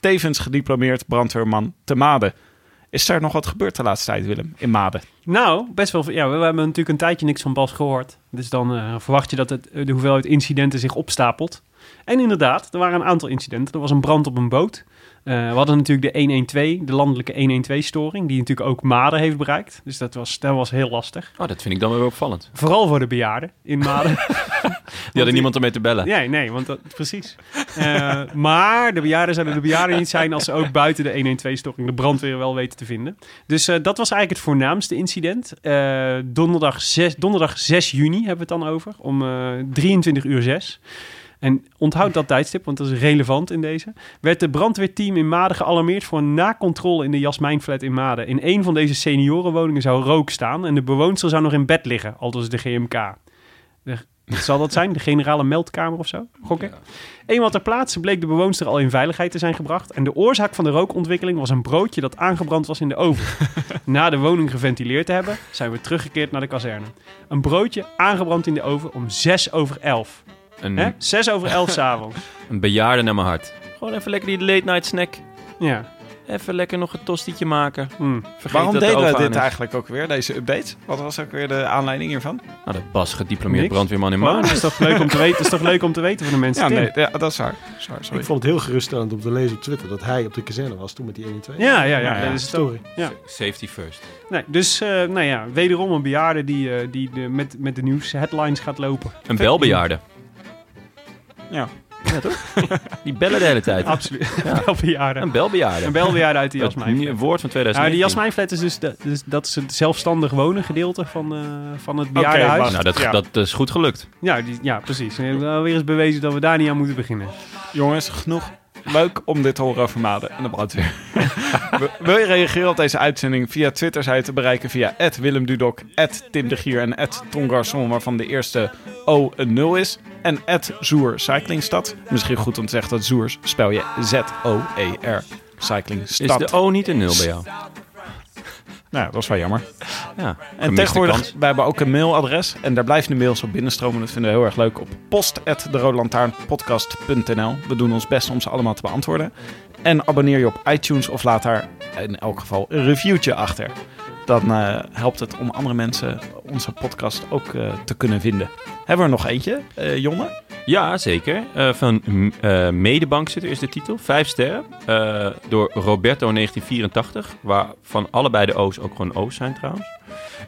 [SPEAKER 3] Tevens gediplomeerd brandweerman te Maden. Is er nog wat gebeurd de laatste tijd, Willem, in Maden?
[SPEAKER 2] Nou, best wel. veel- Ja, we, we hebben natuurlijk een tijdje niks van Bas gehoord. Dus dan eh, verwacht je dat het, eh, de hoeveelheid incidenten zich opstapelt. En inderdaad, er waren een aantal incidenten. Er was een brand op een boot. Eh, we hadden natuurlijk de 112, de landelijke 112-storing, die natuurlijk ook Maden heeft bereikt. Dus dat was, dat was heel lastig.
[SPEAKER 1] Oh, dat vind ik dan weer opvallend.
[SPEAKER 2] Vooral voor de bejaarden in Maden.
[SPEAKER 1] Die hadden niemand ermee te bellen.
[SPEAKER 2] Nee, nee, want dat, precies. Eh, maar de bejaarden zouden de bejaarden niet zijn als ze ook buiten de 112-storing de brandweer wel weten te vinden. Dus eh, dat was eigenlijk het voornaamste incident. Eh, donderdag, 6, donderdag 6 juni hebben we het dan over, om eh 23 uur 6. En onthoud dat tijdstip, want dat is relevant in deze. Werd de brandweerteam in Maden gealarmeerd voor een nakontrole in de Jasmijnflat in Maden. In een van deze seniorenwoningen zou rook staan en de bewoonster zou nog in bed liggen, aldus de GMK. De- wat zal dat zijn? De generale meldkamer of zo? Gokken. Eenmaal ter plaatse bleek de bewoonster al in veiligheid te zijn gebracht. En de oorzaak van de rookontwikkeling was een broodje dat aangebrand was in de oven. Na de woning geventileerd te hebben, zijn we teruggekeerd naar de kazerne. Een broodje aangebrand in de oven om 6 over 11.
[SPEAKER 3] Hmm.
[SPEAKER 2] Hè?
[SPEAKER 1] Een,
[SPEAKER 2] 6 over 11 s'avonds.
[SPEAKER 1] een bejaarde naar mijn hart. Gewoon even lekker die late night snack.
[SPEAKER 2] Ja.
[SPEAKER 1] Even lekker nog een tostietje maken.
[SPEAKER 2] Hm.
[SPEAKER 1] Vergeet
[SPEAKER 3] Waarom
[SPEAKER 1] dat de
[SPEAKER 3] deden
[SPEAKER 1] oven
[SPEAKER 3] we
[SPEAKER 1] aan
[SPEAKER 3] dit
[SPEAKER 1] is.
[SPEAKER 3] eigenlijk ook weer, deze update? Wat was ook weer de aanleiding hiervan?
[SPEAKER 1] Nou, dat Bas, gediplomeerd
[SPEAKER 2] Niks.
[SPEAKER 1] brandweerman in
[SPEAKER 2] Maar
[SPEAKER 1] Maan.
[SPEAKER 2] Oh, dat is toch leuk om te weten, is toch leuk om te weten voor de mensen.
[SPEAKER 3] Ja,
[SPEAKER 2] Tim?
[SPEAKER 3] nee, ja, dat is waar. Sorry, sorry.
[SPEAKER 5] Ik vond het heel geruststellend om te lezen op Twitter dat hij op de kazerne was toen met die 1 en 2.
[SPEAKER 2] ja, ja, ja,
[SPEAKER 3] Ja, ja.
[SPEAKER 2] Dat is het ook.
[SPEAKER 5] Story.
[SPEAKER 1] Safety first.
[SPEAKER 2] Nee, dus, eh, nou ja, wederom een bejaarde die, eh, die de, met, met de nieuws headlines gaat lopen.
[SPEAKER 1] Een belbejaarde.
[SPEAKER 3] Ja.
[SPEAKER 1] Die bellen de hele tijd.
[SPEAKER 2] Absoluut. Wel bejaarden.
[SPEAKER 1] Een belbejaarde.
[SPEAKER 2] Een belbejaarde uit de
[SPEAKER 1] Dat
[SPEAKER 2] Jasmijn.
[SPEAKER 1] nieuwe woord van
[SPEAKER 2] Nou,
[SPEAKER 1] 2019.
[SPEAKER 2] die Jasmijnflat is dus, dat, dus dat is het zelfstandig wonen gedeelte van, eh, van het
[SPEAKER 3] Oké,
[SPEAKER 2] bejaardenhuis.
[SPEAKER 3] wacht.
[SPEAKER 1] Nou, dat,
[SPEAKER 3] Ja.
[SPEAKER 1] dat is goed gelukt.
[SPEAKER 2] ja, die, ja, precies. En we hebben alweer eens bewezen dat we daar niet aan moeten beginnen.
[SPEAKER 3] Jongens, genoeg. Leuk om dit te horen over Maden en de brandweer. Wil- Wil je reageren op deze uitzending? Via Twitter zijn te bereiken via Willem Dudok, Tim de Gier en Ton Garçon, waarvan de eerste O een 0 is. En Zoer Cyclingstad. Misschien goed om te zeggen dat Zoers spel je E Z-O-E-R.
[SPEAKER 1] Is
[SPEAKER 3] Cyclingstad.
[SPEAKER 1] de O niet een nul bij jou?
[SPEAKER 3] Nou, dat is wel jammer.
[SPEAKER 1] Ja.
[SPEAKER 3] En tegenwoordig, wij hebben ook een mailadres. En daar blijven de mails op binnenstromen. Dat vinden we heel erg leuk. Op post.deroodlantaarnpodcast.nl We doen ons best om ze allemaal te beantwoorden. En abonneer je op iTunes of laat daar in elk geval een reviewtje achter. Dan eh, helpt het om andere mensen onze podcast ook eh, te kunnen vinden. Hebben we er nog eentje, eh, Jonne?
[SPEAKER 1] Ja, zeker. Eh, van mm, eh, Medebank zit er is de titel. Vijf sterren. Eh, door Roberto 1984. Waarvan allebei de O's ook gewoon O's zijn trouwens.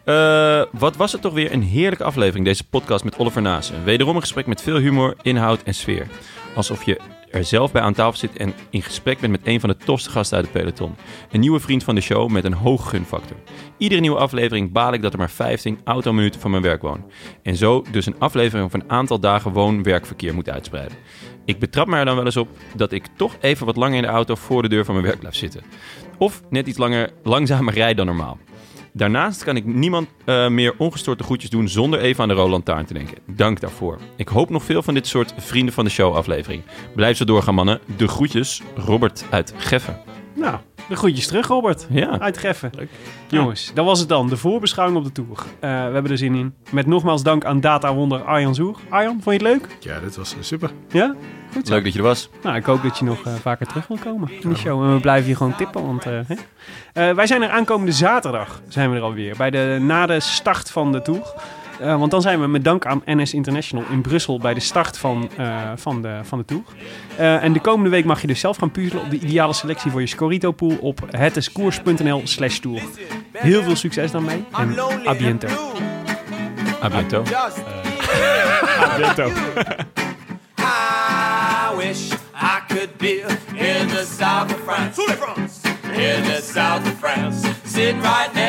[SPEAKER 1] Eh, wat was het toch weer een heerlijke aflevering, deze podcast met Oliver Naassen. Wederom een gesprek met veel humor, inhoud en sfeer. Alsof je er zelf bij aan tafel zit en in gesprek bent met een van de tofste gasten uit het peloton. Een nieuwe vriend van de show met een hoog gunfactor. Iedere nieuwe aflevering baal ik dat er maar 15 autominuten van mijn werk woon. En zo dus een aflevering van een aantal dagen woon-werkverkeer moet uitspreiden. Ik betrap me er dan wel eens op dat ik toch even wat langer in de auto voor de deur van mijn werk blijf zitten. Of net iets langer, langzamer rijd dan normaal. Daarnaast kan ik niemand eh, meer ongestoord de groetjes doen zonder even aan de Roland Taarn te denken. Dank daarvoor. Ik hoop nog veel van dit soort vrienden van de show aflevering. Blijf zo doorgaan mannen. De groetjes, Robert uit Geffen.
[SPEAKER 2] Nou, de groetjes terug, Robert.
[SPEAKER 1] Ja,
[SPEAKER 2] Uit Geffen.
[SPEAKER 3] Leuk.
[SPEAKER 2] Jongens, dat was het dan. De voorbeschouwing op de Tour. Eh, we hebben er zin in. Met nogmaals dank aan Data Wonder Arjan Zoer. Arjan, vond je het leuk?
[SPEAKER 5] Ja, dit was eh, super.
[SPEAKER 2] Ja?
[SPEAKER 1] leuk dat je er was.
[SPEAKER 2] Nou, ik hoop dat je nog eh, vaker terug wil komen in de show. En we blijven je gewoon tippen, want... eh, hè? Eh, wij zijn er aankomende zaterdag, zijn we er alweer. Bij de, na de start van de Tour. Eh, want dan zijn we met dank aan NS International in Brussel bij de start van, eh, van, de, van de Tour. Eh, en de komende week mag je dus zelf gaan puzzelen op de ideale selectie voor je Scorito-pool op hetiskoers.nl slash tour. Heel veel succes daarmee en a biento.
[SPEAKER 1] A bientôt.
[SPEAKER 6] I wish I could be in the south of France. In the south of France. Sitting right next